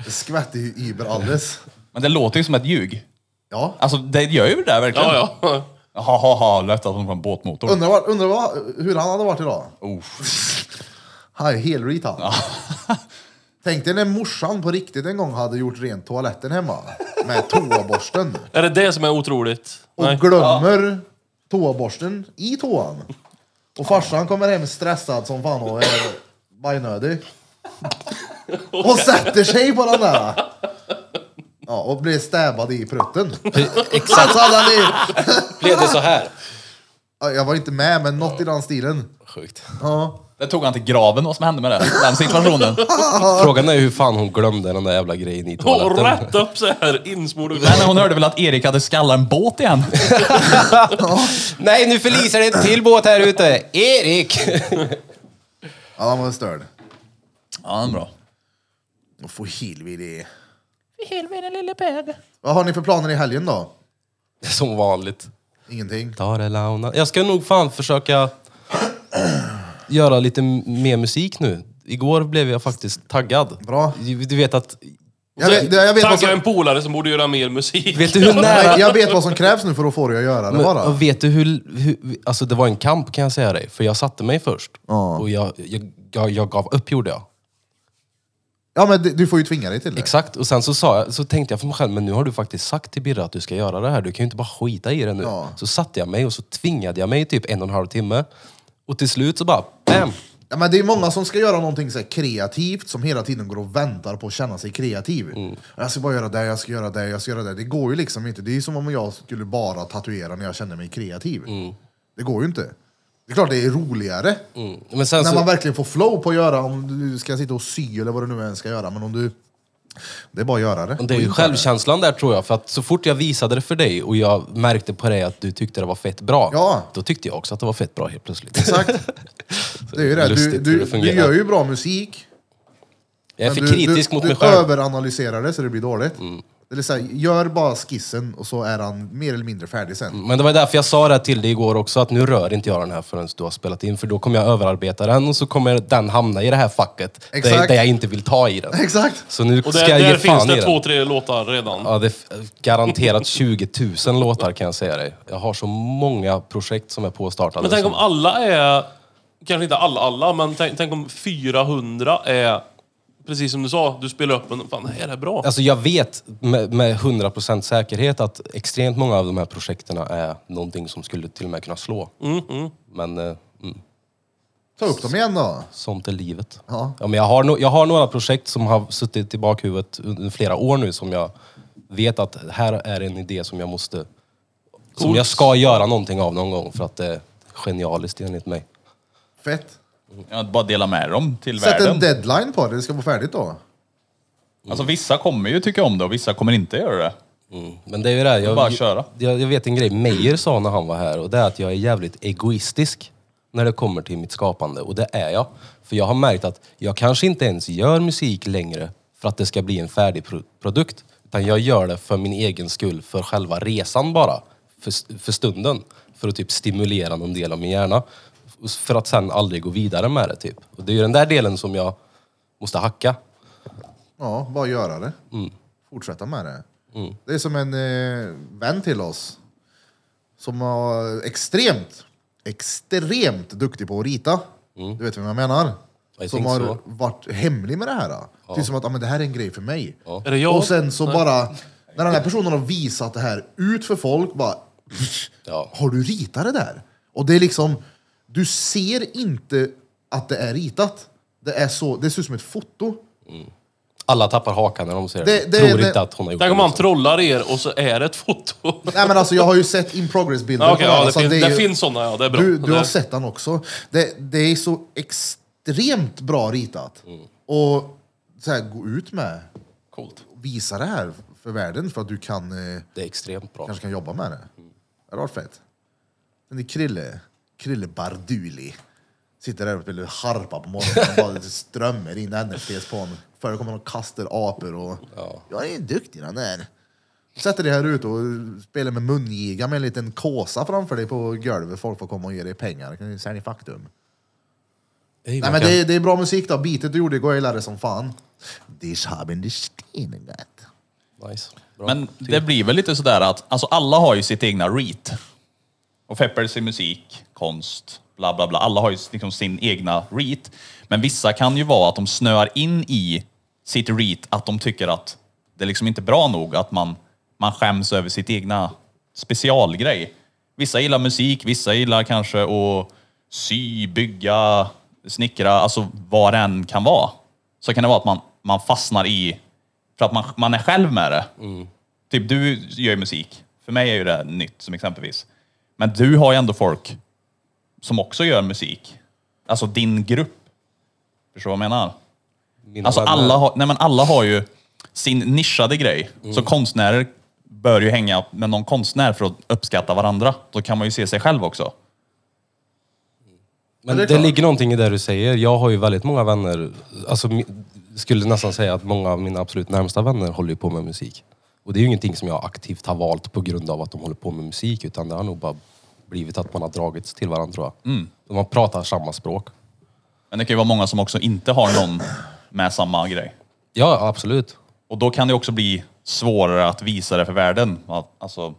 [SPEAKER 1] Det skvätte ju över alldeles.
[SPEAKER 2] Men det låter ju som ett ljug.
[SPEAKER 1] Ja.
[SPEAKER 2] Alltså det gör ju det där verkligen.
[SPEAKER 3] Ja, ja.
[SPEAKER 2] ja. Ha, ha, ha, lätt att de får en båtmotor.
[SPEAKER 1] Undrar, var, undrar vad, hur han hade varit idag.
[SPEAKER 2] Uff.
[SPEAKER 1] Han är helreet han. Tänk dig när morsan på riktigt en gång hade gjort rent toaletten hemma. Med toaborsten.
[SPEAKER 3] Är det det som är otroligt?
[SPEAKER 1] och
[SPEAKER 3] Nej.
[SPEAKER 1] glömmer toaborsten i toan. Och farsan kommer hem stressad som fan och är bajnödig. Och sätter sig på den där. Ja, och blir stäbbad i prutten. Exakt. Så hade han i,
[SPEAKER 4] blev det så här?
[SPEAKER 1] Ja, jag var inte med, men något i den stilen.
[SPEAKER 4] Sjukt.
[SPEAKER 1] Ja.
[SPEAKER 2] Det tog han till graven vad som hände med det. Den situationen.
[SPEAKER 4] Frågan är ju hur fan hon glömde den där jävla grejen i
[SPEAKER 3] Och
[SPEAKER 4] toaletten.
[SPEAKER 3] rätt upp så här insmord och
[SPEAKER 2] Men hon hörde väl att Erik hade skallat en båt igen.
[SPEAKER 4] Nej, nu förliser det en till båt här ute! Erik!
[SPEAKER 1] ja, han var störd.
[SPEAKER 2] Ja, den är bra.
[SPEAKER 1] Och få helvete. det.
[SPEAKER 5] Helvete lille Per.
[SPEAKER 1] Vad har ni för planer i helgen då?
[SPEAKER 4] Som vanligt.
[SPEAKER 1] Ingenting?
[SPEAKER 4] Ta det launa. Jag ska nog fan försöka göra lite m- mer musik nu. Igår blev jag faktiskt taggad.
[SPEAKER 1] Bra.
[SPEAKER 4] Du du vet att...
[SPEAKER 1] Jag vet, jag vet, vad,
[SPEAKER 3] Tagga en
[SPEAKER 1] som,
[SPEAKER 3] polare som borde göra mer musik.
[SPEAKER 4] Vet du hur
[SPEAKER 1] nej,
[SPEAKER 4] nära...
[SPEAKER 1] jag vet vad som krävs nu för att få dig att göra det
[SPEAKER 4] Men,
[SPEAKER 1] bara.
[SPEAKER 4] och vet du hur, hur... Alltså det var en kamp kan jag säga dig. För jag satte mig först. Och jag, jag, jag, jag gav upp gjorde jag.
[SPEAKER 1] Ja, men du- du får ju tvinga dig till det.
[SPEAKER 4] Exakt. Och sen så, sa jag, så tänkte jag för mig själv, men nu har du faktiskt sagt till Birra att du ska göra det här. Du kan ju inte bara skita i det nu.
[SPEAKER 1] Ja.
[SPEAKER 4] Så satte jag mig och så tvingade jag mig i typ en och en halv timme. Och till slut så bara, bam!
[SPEAKER 1] Ja, men det är många som ska göra någonting så här kreativt som hela tiden går och väntar på att känna sig kreativ.
[SPEAKER 4] Mm.
[SPEAKER 1] Jag ska bara göra det, jag ska göra det, jag ska göra det. Det går ju liksom inte. Det är som om jag skulle bara tatuera när jag känner mig kreativ.
[SPEAKER 4] Mm.
[SPEAKER 1] Det går ju inte. Det är klart det är roligare.
[SPEAKER 4] Mm. Men sen
[SPEAKER 1] När
[SPEAKER 4] så,
[SPEAKER 1] man verkligen får flow på att göra, om du ska sitta och sy eller vad du nu än ska göra. Men om du... Det är bara att göra det.
[SPEAKER 4] Och Det är ju självkänslan där tror jag, för att så fort jag visade det för dig och jag märkte på dig att du tyckte det var fett bra,
[SPEAKER 1] Ja.
[SPEAKER 4] då tyckte jag också att det var fett bra helt plötsligt.
[SPEAKER 1] Exakt. Det är ju det. Du,
[SPEAKER 4] Lustigt hur
[SPEAKER 1] du,
[SPEAKER 4] det
[SPEAKER 1] du
[SPEAKER 4] fungerar.
[SPEAKER 1] gör ju bra musik.
[SPEAKER 4] jag är
[SPEAKER 1] Men
[SPEAKER 4] för
[SPEAKER 1] du-
[SPEAKER 4] kritisk
[SPEAKER 1] du,
[SPEAKER 4] mot
[SPEAKER 1] du
[SPEAKER 4] mig själv. Mm.
[SPEAKER 1] överanalyserar det så det blir dåligt. Eller så här, gör bara skissen och så är han mer eller mindre färdig sen.
[SPEAKER 4] Men det var därför jag sa det här till dig igår också, att nu rör inte jag den här förrän du har spelat in, för då kommer jag överarbeta den och så kommer den hamna i det här facket, där,
[SPEAKER 1] Exakt.
[SPEAKER 4] där jag inte vill ta i den.
[SPEAKER 1] Exakt!
[SPEAKER 4] Så nu
[SPEAKER 3] Och
[SPEAKER 4] ska
[SPEAKER 3] där,
[SPEAKER 4] jag
[SPEAKER 3] där
[SPEAKER 4] ge
[SPEAKER 3] finns
[SPEAKER 4] fan i
[SPEAKER 3] det två,
[SPEAKER 4] den.
[SPEAKER 3] tre låtar redan.
[SPEAKER 4] Ja, det är f- garanterat 20 000 låtar kan jag säga dig. Jag har så många projekt som är påstartade.
[SPEAKER 3] Men tänk om
[SPEAKER 4] som-
[SPEAKER 3] alla är... Kanske inte alla, alla, men tänk, tänk om 400 är... Precis som du sa, du spelar upp en... Fan, det här är bra.
[SPEAKER 4] Alltså jag vet med, med 100% säkerhet att extremt många av de här projekten är någonting som skulle till och med kunna slå. Men eh, mm,
[SPEAKER 1] Ta upp dem igen då.
[SPEAKER 4] sånt är livet.
[SPEAKER 1] Ja.
[SPEAKER 4] men jag, har no, jag har några projekt som har suttit i bakhuvudet under flera år nu som jag vet att här är en idé som jag måste... Som jag ska göra någonting av någon gång för att det är genialiskt enligt mig.
[SPEAKER 1] Fett.
[SPEAKER 2] Jag vill bara dela med dem till
[SPEAKER 1] Sätt en
[SPEAKER 2] världen.
[SPEAKER 1] deadline på det, det ska vara färdigt då.
[SPEAKER 2] Alltså vissa kommer ju tycka om det och vissa kommer inte göra det.
[SPEAKER 4] Mm. Men det är ju det. här, Jag,
[SPEAKER 2] Bara köra.
[SPEAKER 4] Jag, jag vet en grej Meyer sa när han var här och det är att jag är jävligt egoistisk när det kommer till mitt skapande. Och det är jag. För jag har märkt att jag kanske inte ens gör musik längre för att det ska bli en färdig pro- produkt. Utan jag gör det för min egen skull, för själva resan bara. För, för stunden. för att typ stimulera någon del av min hjärna. För att sen aldrig gå vidare med det typ. Och det är ju den där delen som jag måste hacka.
[SPEAKER 1] Ja, bara göra det.
[SPEAKER 4] Mm.
[SPEAKER 1] Fortsätta med det. Det är som en eh, vän till oss som var extremt, extremt duktig på att rita. Du vet vad jag menar?
[SPEAKER 4] Mm. I
[SPEAKER 1] Som
[SPEAKER 4] think
[SPEAKER 1] har
[SPEAKER 4] so.
[SPEAKER 1] varit hemlig med det här. Det är som att ah, men det här är en grej för mig.
[SPEAKER 3] Är det jag?
[SPEAKER 1] Och sen så bara, när den här personen har visat det här ut för folk, bara
[SPEAKER 4] Ja.
[SPEAKER 1] har du ritat det där? Och det är liksom, du ser inte att det är ritat. Det, är så, det ser ut som ett foto.
[SPEAKER 4] Alla tappar hakan när de ser det.
[SPEAKER 1] Det- det-
[SPEAKER 4] Tror
[SPEAKER 1] det-
[SPEAKER 4] inte att hon har gjort
[SPEAKER 3] Tänk om
[SPEAKER 4] det,
[SPEAKER 3] han
[SPEAKER 4] liksom.
[SPEAKER 3] trollar er och så är det ett foto.
[SPEAKER 1] Nej men alltså jag har ju sett in progress-bilder
[SPEAKER 3] Ja,
[SPEAKER 1] på
[SPEAKER 3] Okej,
[SPEAKER 1] den,
[SPEAKER 3] ja, det,
[SPEAKER 1] så alltså,
[SPEAKER 3] finns,
[SPEAKER 1] det
[SPEAKER 3] det,
[SPEAKER 1] är ju-
[SPEAKER 3] finns sådana ja, det är bra.
[SPEAKER 1] Du, du har
[SPEAKER 3] Det-
[SPEAKER 1] sett den också. Det, det är så extremt bra ritat.
[SPEAKER 3] Mm.
[SPEAKER 1] Och så här, gå ut med,
[SPEAKER 3] Coolt.
[SPEAKER 1] visa det här för världen för att du kan, eh,
[SPEAKER 4] Det är extremt bra.
[SPEAKER 1] kanske kan jobba med det. Det hade varit fett. Men det är Krille, Krille Barduli. Sitter där och spelar harpa på morgonen och bara det strömmar in NFTs på honom. Förr kommer de och kastar apor och... Jag är duktig den där. Sätter dig här ute och spelar med mungiga med en liten kåsa framför dig på golvet. Folk får komma och ge dig pengar. Kan ni Sälj faktum.
[SPEAKER 4] Ey,
[SPEAKER 1] Nej
[SPEAKER 4] man
[SPEAKER 1] men
[SPEAKER 4] kan-
[SPEAKER 1] det, är- det är bra musik då. Beatet du gjorde igår gillade det som fan. This haben die Stenen gett.
[SPEAKER 4] Nice. Bra.
[SPEAKER 2] Men det blir väl lite sådär att alltså alla har ju sitt egna reat. Och Peppers i musik, konst, bla bla bla. Alla har ju liksom sin egna reat. Men vissa kan ju vara att de snöar in i sitt reat, att de tycker att det liksom inte är bra nog, att man, man skäms över sitt egna specialgrej. Vissa gillar musik, vissa gillar kanske att sy, bygga, snickra, alltså vad det än kan vara. Så kan det vara att man, man fastnar i, för att man, man är själv med det. Typ du gör ju musik. För mig är ju det nytt som exempelvis. Men du har ju ändå folk som också gör musik. Alltså din grupp. Förstår du vad jag menar?
[SPEAKER 4] Mina
[SPEAKER 2] Alltså
[SPEAKER 4] vänner-
[SPEAKER 2] alla har, nej men alla har ju sin nischade grej. Så konstnärer bör ju hänga med någon konstnär för att uppskatta varandra. Då kan man ju se sig själv också.
[SPEAKER 4] Men
[SPEAKER 1] det
[SPEAKER 4] det,
[SPEAKER 1] är klart.
[SPEAKER 4] ligger någonting i det du säger. Jag har ju väldigt många vänner, alltså mi- skulle nästan säga att många av mina absolut närmsta vänner håller ju på med musik. Och det är ju ingenting som jag aktivt har valt på grund av att de håller på med musik, utan det har nog bara blivit att man har dragits till varandra tror jag.
[SPEAKER 2] Mm.
[SPEAKER 4] Och Man pratar samma språk.
[SPEAKER 2] Men det kan ju vara många som också inte har någon med samma grej.
[SPEAKER 4] Ja, absolut.
[SPEAKER 2] Och då kan det också bli svårare att visa det för världen. Att- Alltså,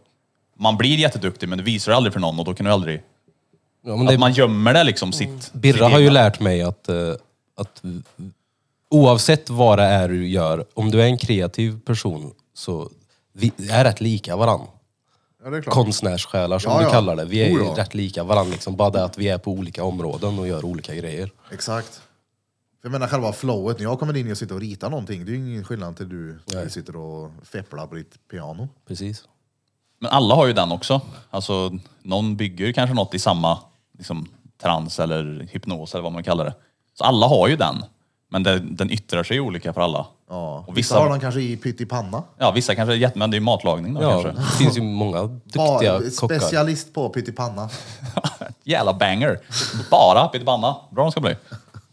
[SPEAKER 2] man blir jätteduktig men du visar det aldrig för någon och då kan du aldrig
[SPEAKER 4] Ja, men
[SPEAKER 2] Att man gömmer det liksom sitt... sitt
[SPEAKER 4] Birra har ju
[SPEAKER 2] egna.
[SPEAKER 4] lärt mig att, eh, att oavsett vad det är du gör, om du är en kreativ person så vi är rätt lika varandra.
[SPEAKER 1] Ja, det är klart.
[SPEAKER 4] konstnärssjälar som
[SPEAKER 1] Ja,
[SPEAKER 4] vi
[SPEAKER 1] ja.
[SPEAKER 4] kallar det. Vi är
[SPEAKER 1] Oh,
[SPEAKER 4] ju
[SPEAKER 1] ja.
[SPEAKER 4] rätt lika varandra, liksom, bara det att vi är på olika områden och gör olika grejer.
[SPEAKER 1] Exakt. För Jag menar själva flowet, när jag kommer in och sitter och ritar någonting, det är ju ingen skillnad till du, du sitter och fepplar på ditt piano.
[SPEAKER 4] Precis.
[SPEAKER 2] Men alla har ju den också. Alltså, någon bygger kanske något i samma liksom, trans eller hypnos eller vad man kallar det. Så alla har ju den. Men det, den yttrar sig ju olika för alla.
[SPEAKER 1] Ja.
[SPEAKER 2] Och
[SPEAKER 1] vissa
[SPEAKER 2] vissa,
[SPEAKER 1] har den kanske i pyttipanna.
[SPEAKER 2] ja, vissa kanske är jätte... Men det är ju matlagning då
[SPEAKER 4] Ja,
[SPEAKER 2] kanske.
[SPEAKER 4] det finns ju många duktiga
[SPEAKER 1] Bara-
[SPEAKER 4] kockar.
[SPEAKER 1] specialist på pyttipanna.
[SPEAKER 2] Jävla banger! Bara pyttipanna. Bra de ska bli.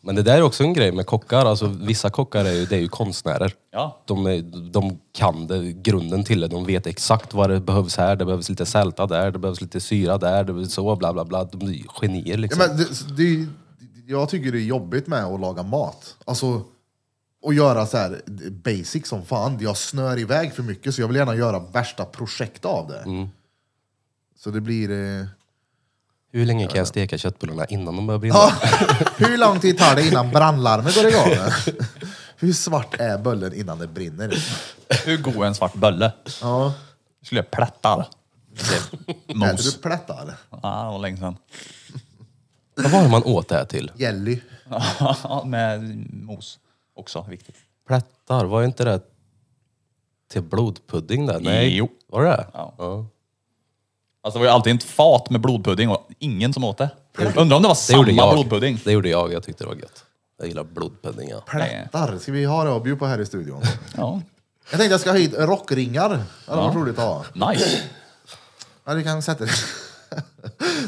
[SPEAKER 4] Men det där är också en grej med kockar. Alltså, vissa kockar är ju, det är ju konstnärer.
[SPEAKER 2] Ja.
[SPEAKER 4] De, är, de kan det, grunden till det. De vet exakt vad det behövs här. Det behövs lite sälta där, det behövs lite syra där, det behövs så bla bla bla. De är ju genier
[SPEAKER 1] Ja,
[SPEAKER 4] liksom.
[SPEAKER 1] men det, det, är ju- jag tycker det är jobbigt med att laga mat. Alltså, och göra så här basic som fan. Jag snör iväg för mycket så jag vill gärna göra värsta projekt av det. Så det blir... Eh...
[SPEAKER 4] Hur länge kan jag steka köttbullarna innan de börjar brinna?
[SPEAKER 1] Ja, hur lång tid tar det innan brandlarmet går igång? Hur svart är bullen innan det brinner?
[SPEAKER 2] Hur god är en svart bölle?
[SPEAKER 1] Ja.
[SPEAKER 2] Skulle jag plättar.
[SPEAKER 1] Äter du
[SPEAKER 2] Mos.
[SPEAKER 1] plättar?
[SPEAKER 2] Ja, det var länge sedan.
[SPEAKER 4] Vad var det man åt det här till?
[SPEAKER 1] Jelly?
[SPEAKER 2] Ja, Med mos. Också viktigt.
[SPEAKER 4] Plättar, var inte det till blodpudding där? Nej.
[SPEAKER 2] Jo.
[SPEAKER 4] Var det
[SPEAKER 2] Ja.
[SPEAKER 4] ja.
[SPEAKER 2] Alltså det var ju alltid ett fat med blodpudding och ingen som åt det. Undrar om det var
[SPEAKER 4] Det gjorde
[SPEAKER 2] samma
[SPEAKER 4] jag.
[SPEAKER 2] blodpudding.
[SPEAKER 4] Det gjorde jag, jag tyckte det var gött. Jag gillar blodpudding ja.
[SPEAKER 1] Plättar? Ska vi ha det att bjuda på här i studion?
[SPEAKER 2] Ja.
[SPEAKER 1] Jag tänkte jag ska ha hit rockringar. Det hade varit roligt att ha.
[SPEAKER 2] Nice.
[SPEAKER 1] Ja, du kan sätta dig...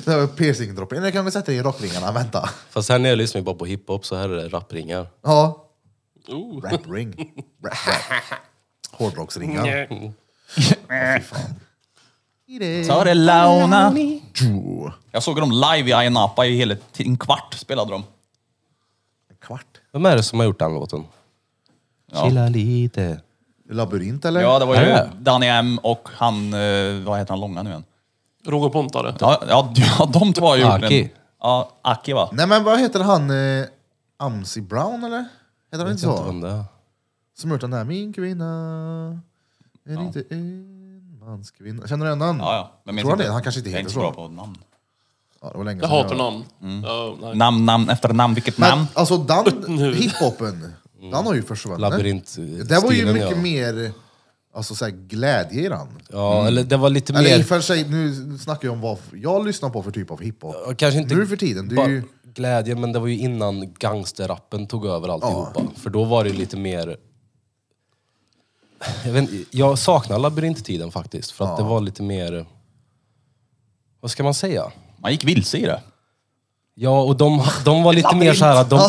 [SPEAKER 1] Det här var piercingdroppen. Du kan väl sätta dig i rockringarna. Vänta.
[SPEAKER 4] Fast här nere lyssnar vi bara på hiphop, så här är det rappringar.
[SPEAKER 1] Ja.
[SPEAKER 3] Oh.
[SPEAKER 1] Rapring. Rap, rap. Hårdrocksringar.
[SPEAKER 3] Nej.
[SPEAKER 1] Ja, fy fan.
[SPEAKER 2] Ta det launa.
[SPEAKER 1] Tjo.
[SPEAKER 2] Jag såg dem live i Ayia Napa i hela t- en kvart spelade de.
[SPEAKER 1] En kvart.
[SPEAKER 4] Vem är det som har gjort den låten?
[SPEAKER 2] Ja.
[SPEAKER 4] Chilla lite.
[SPEAKER 1] Labyrint eller?
[SPEAKER 2] Ja, det var ju
[SPEAKER 4] Äh.
[SPEAKER 2] Danny M och han, eh, vad heter han långa nu än?
[SPEAKER 3] Roger Pontare.
[SPEAKER 2] Ja, ja, ja de två har ju gjort
[SPEAKER 4] Aki.
[SPEAKER 2] en... Ja, Aki va?
[SPEAKER 1] Nej men vad heter han? Eh, Amsi Brown eller? Heter han inte
[SPEAKER 4] Jag
[SPEAKER 1] så?
[SPEAKER 4] vet inte vem det är.
[SPEAKER 1] Som gjort den där Min kvinna är inte en mans kvinna. Känner du igen den?
[SPEAKER 2] Ja, ja. Men minns
[SPEAKER 1] Tror han
[SPEAKER 2] inte.
[SPEAKER 1] det? Han kanske inte
[SPEAKER 2] Jag är
[SPEAKER 1] heter
[SPEAKER 2] inte så bra
[SPEAKER 1] så.
[SPEAKER 2] på namn.
[SPEAKER 1] Ja, det var länge
[SPEAKER 3] Jag
[SPEAKER 1] sedan
[SPEAKER 3] hatar namn. Ja, nej.
[SPEAKER 2] Namn, namn, efter namn, vilket
[SPEAKER 1] Men
[SPEAKER 2] namn?
[SPEAKER 1] alltså den
[SPEAKER 3] huvud.
[SPEAKER 1] hiphopen, den har ju försvunnit.
[SPEAKER 4] Labyrint, eh,
[SPEAKER 1] Det var ju
[SPEAKER 4] stilen,
[SPEAKER 1] mycket
[SPEAKER 4] ja.
[SPEAKER 1] mer alltså, så här, glädje i den.
[SPEAKER 4] Ja, eller det var lite
[SPEAKER 1] Eller i och
[SPEAKER 4] mer...
[SPEAKER 1] för sig, nu snackar jag om vad jag lyssnar på för typ av hiphop.
[SPEAKER 4] Ja, Kanske inte
[SPEAKER 1] nu för tiden, det är
[SPEAKER 4] bara
[SPEAKER 1] ju...
[SPEAKER 4] glädje, men det var ju innan gangsterrappen tog över alltihopa. För då var det lite mer... Jag, vet, inte, jag saknar labyrinttiden faktiskt, för att det var lite mer... Vad ska man säga?
[SPEAKER 2] Man gick vilse i det.
[SPEAKER 4] Ja, och de, de var lite mer så här att de,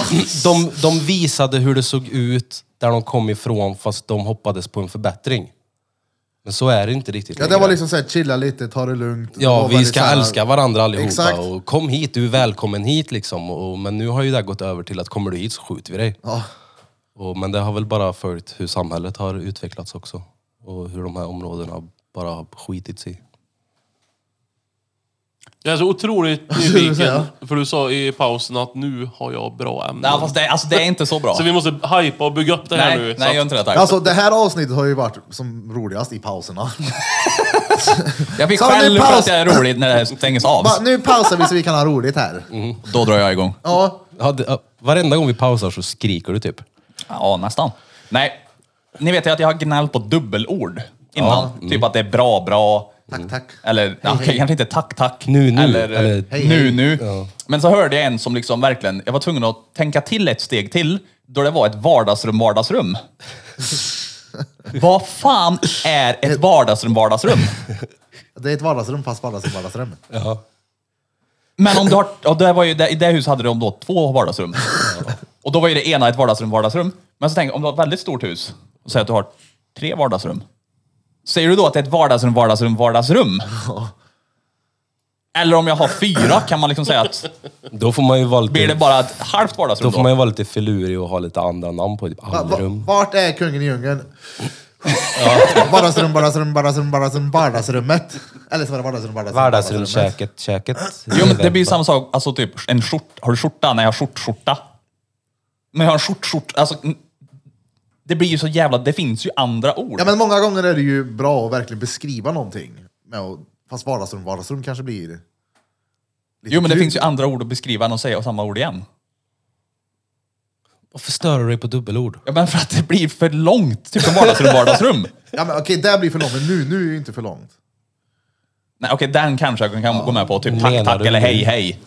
[SPEAKER 4] de, de visade hur det såg ut där de kom ifrån, fast de hoppades på en förbättring. Men så är det inte riktigt
[SPEAKER 1] Ja, det
[SPEAKER 4] längre.
[SPEAKER 1] var liksom såhär, chilla lite, ta det lugnt. Det
[SPEAKER 4] Ja,
[SPEAKER 1] var
[SPEAKER 4] vi
[SPEAKER 1] väldigt
[SPEAKER 4] ska
[SPEAKER 1] så här-
[SPEAKER 4] älska varandra allihopa
[SPEAKER 1] Exakt.
[SPEAKER 4] och kom hit, du är välkommen hit liksom. Och, men nu har ju det här gått över till att kommer du hit så skjuter vi dig.
[SPEAKER 1] Ja.
[SPEAKER 4] Och, men det har väl bara följt hur samhället har utvecklats också. Och hur de här områdena bara har skitits i.
[SPEAKER 3] Jag är så otroligt nyfiken, för du sa i pausen att nu har jag bra ämnen.
[SPEAKER 2] Nej, fast det, alltså, det är inte så bra.
[SPEAKER 3] Så vi måste hypa och bygga upp det här
[SPEAKER 2] nej,
[SPEAKER 3] nu. så
[SPEAKER 2] nej,
[SPEAKER 3] att-
[SPEAKER 2] gör inte det tack.
[SPEAKER 1] Alltså det här avsnittet har ju varit som roligast i pauserna.
[SPEAKER 2] jag fick
[SPEAKER 1] så nu
[SPEAKER 2] skäll för
[SPEAKER 1] paus.
[SPEAKER 2] att jag är rolig när det stängs av.
[SPEAKER 1] Bara, nu pausar vi så vi kan ha roligt här.
[SPEAKER 2] Då drar jag igång.
[SPEAKER 1] Ja,
[SPEAKER 4] Ja, det, ja, varenda gång vi pausar så skriker du typ.
[SPEAKER 2] Ja, nästan. Nej, ni vet ju att jag har gnällt på dubbelord innan. Typ att det är bra, bra.
[SPEAKER 1] tack tack.
[SPEAKER 2] Eller ja, okej, kanske inte tack, tack.
[SPEAKER 4] Nu, nu,
[SPEAKER 2] Eller, eh,
[SPEAKER 4] eller-
[SPEAKER 1] Hej,
[SPEAKER 2] nu,
[SPEAKER 1] hej.
[SPEAKER 2] nu. Men så hörde jag en som liksom verkligen, jag var tvungen att tänka till ett steg till då det var ett vardagsrum, vardagsrum. Vad fan är ett vardagsrum, vardagsrum?
[SPEAKER 1] Det är ett vardagsrum fast vardagsrum, vardagsrum.
[SPEAKER 4] Ja.
[SPEAKER 2] Men om du har, och det var ju, i det huset hade de då två vardagsrum. Och då var ju det ena ett vardagsrum, vardagsrum. Men så tänk om du har ett väldigt stort hus och säger att du har tre vardagsrum. Säger du då att det är ett vardagsrum, vardagsrum, vardagsrum? Eller om jag har fyra kan man liksom säga att
[SPEAKER 4] Då får man ju vara
[SPEAKER 2] blir det
[SPEAKER 4] lite,
[SPEAKER 2] bara ett halvt vardagsrum
[SPEAKER 4] då
[SPEAKER 2] då?
[SPEAKER 4] får man ju vara lite filurig och ha lite andra namn på typ
[SPEAKER 1] Va, va,
[SPEAKER 4] allrum.
[SPEAKER 1] vart är kungen i djungeln? Vardagsrum, vardagsrum, vardagsrum, vardagsrum, vardagsrummet. Eller så var det vardagsrum, vardagsrum, vardagsrummet.
[SPEAKER 4] Vardagsrumskäket, käket.
[SPEAKER 2] Jo men det blir ju samma sak, alltså typ en skjort. Har du skjorta? Nej, jag har skjortskjorta. Men jag har en skjortskjorta, alltså. n- Det blir ju så jävla, det finns ju andra ord.
[SPEAKER 1] Ja men många gånger är det ju bra att verkligen beskriva någonting. Med att- Fast vardagsrum, vardagsrum kanske blir... lite
[SPEAKER 2] jo men det
[SPEAKER 1] kul.
[SPEAKER 2] finns ju andra ord att beskriva än att säga samma ord igen.
[SPEAKER 4] Varför stör du dig på dubbelord?
[SPEAKER 2] Ja, men för att det blir för långt. Typ som vardagsrum, vardagsrum.
[SPEAKER 1] Ja men okej, det blir för långt, men nu, nu är det ju inte för långt.
[SPEAKER 2] Nej, okej, den kanske jag kan gå med på. Typ tack,
[SPEAKER 4] Menar
[SPEAKER 2] tack
[SPEAKER 4] du
[SPEAKER 2] eller
[SPEAKER 4] nu?
[SPEAKER 2] hej, hej.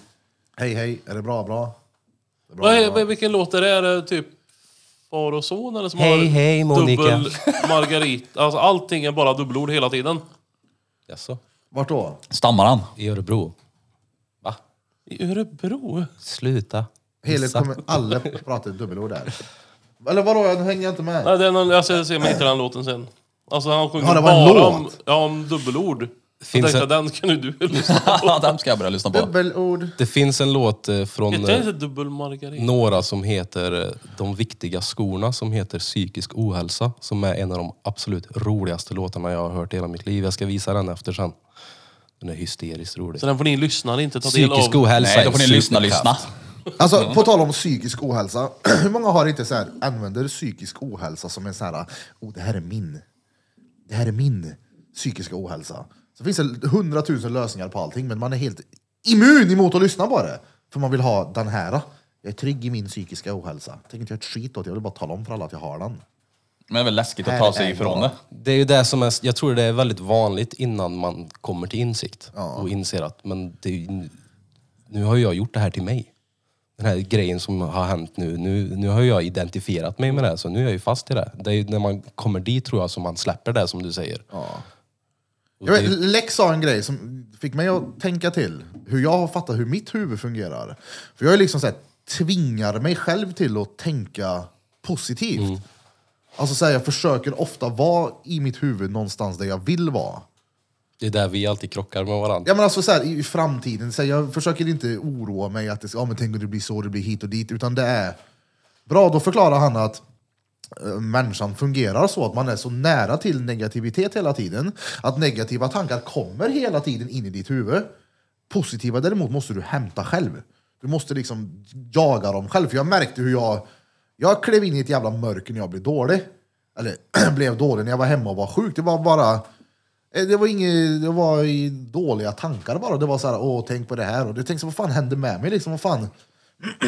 [SPEAKER 1] Hej hej, är det bra, bra? Det är bra,
[SPEAKER 3] Vad är,
[SPEAKER 1] bra.
[SPEAKER 3] vad- vilken låt är det? Är det typ far och son eller som
[SPEAKER 4] Hej,
[SPEAKER 3] har
[SPEAKER 4] hej, Monica.
[SPEAKER 3] dubbel margarita? Alltså allting är bara dubbelord hela tiden.
[SPEAKER 4] Jaså?
[SPEAKER 1] Vart då?
[SPEAKER 2] Stammar han?
[SPEAKER 4] I Örebro? Va?
[SPEAKER 3] I Örebro?
[SPEAKER 4] Sluta.
[SPEAKER 1] Hela
[SPEAKER 4] Missa.
[SPEAKER 1] kommer alla prata dubbelord där. Eller vadå, jag hänger inte med.
[SPEAKER 3] Nej, det är någon, alltså, jag ser mig inte den låten sen. Alltså han sjunger
[SPEAKER 1] Ja, det var en
[SPEAKER 3] bara
[SPEAKER 1] låt.
[SPEAKER 3] om, ja, om dubbelord.
[SPEAKER 4] Finns
[SPEAKER 3] jag tänkte
[SPEAKER 4] en-
[SPEAKER 3] att den kan ju du lyssna på.
[SPEAKER 2] Ja, den ska jag börja lyssna på.
[SPEAKER 1] Dubbelord.
[SPEAKER 4] Det finns en låt eh, från
[SPEAKER 3] Heter den
[SPEAKER 4] eh,
[SPEAKER 3] inte dubbelmargarita?
[SPEAKER 4] några som heter eh, De viktiga skorna som heter Psykisk ohälsa. Som är en av de absolut roligaste låtarna jag har hört i hela mitt liv. Jag ska visa den efter sen. Den är hysteriskt rolig.
[SPEAKER 3] Så den får ni lyssnare inte ta del
[SPEAKER 4] Psykisk
[SPEAKER 3] av.
[SPEAKER 4] ohälsa
[SPEAKER 2] Nej, då får
[SPEAKER 4] är
[SPEAKER 2] ni
[SPEAKER 4] en
[SPEAKER 2] lyssna,
[SPEAKER 4] superkraft.
[SPEAKER 2] lyssna.
[SPEAKER 1] Alltså på tal om psykisk ohälsa, hur många har inte så här, använder psykisk ohälsa som en så här, oh det här är min, det här är min psykiska ohälsa. Så finns det hundratusen lösningar på allting men man är helt immun emot att lyssna på det. För man vill ha den här. Jag är trygg i min psykiska ohälsa. Tänker inte göra ett skit åt det, jag vill bara tala om för alla att jag har den.
[SPEAKER 2] Men det är väl läskigt att ta sig ifrån det.
[SPEAKER 4] Det är ju det som är, jag tror det är väldigt vanligt innan man kommer till insikt och inser att men det, är ju- nu har ju jag gjort det här till mig. Den här grejen som har hänt nu, nu, nu har jag identifierat mig med det här, så nu är jag ju fast i det. Det är ju när man kommer dit tror jag som man släpper det som du säger.
[SPEAKER 1] Jag vet, Lex sa en grej som fick mig att tänka till hur jag har fattat hur mitt huvud fungerar. För jag är liksom så här, tvingar mig själv till att tänka positivt. Alltså så här, jag försöker ofta vara i mitt huvud någonstans där jag vill vara.
[SPEAKER 4] Det är där vi alltid krockar med varandra.
[SPEAKER 1] Ja, men alltså, så här, i, I framtiden, så här, jag försöker inte oroa mig att det ska, ja, men tänk om det blir så, det blir hit och dit, utan det är bra. Då förklarar han att eh, människan fungerar så att man är så nära till negativitet hela tiden, att negativa tankar kommer hela tiden in i ditt huvud. Positiva däremot måste du hämta själv. Du måste liksom jaga dem själv. För jag märkte hur jag, jag klev in i ett jävla mörker när jag blev dålig. Eller blev dålig när jag var hemma och var sjuk. Det var bara, Eh, Det var, inget, det var i dåliga tankar bara. Det var så här, åh tänk på det här. Och det tänkte, vad fan hände med mig liksom? Vad fan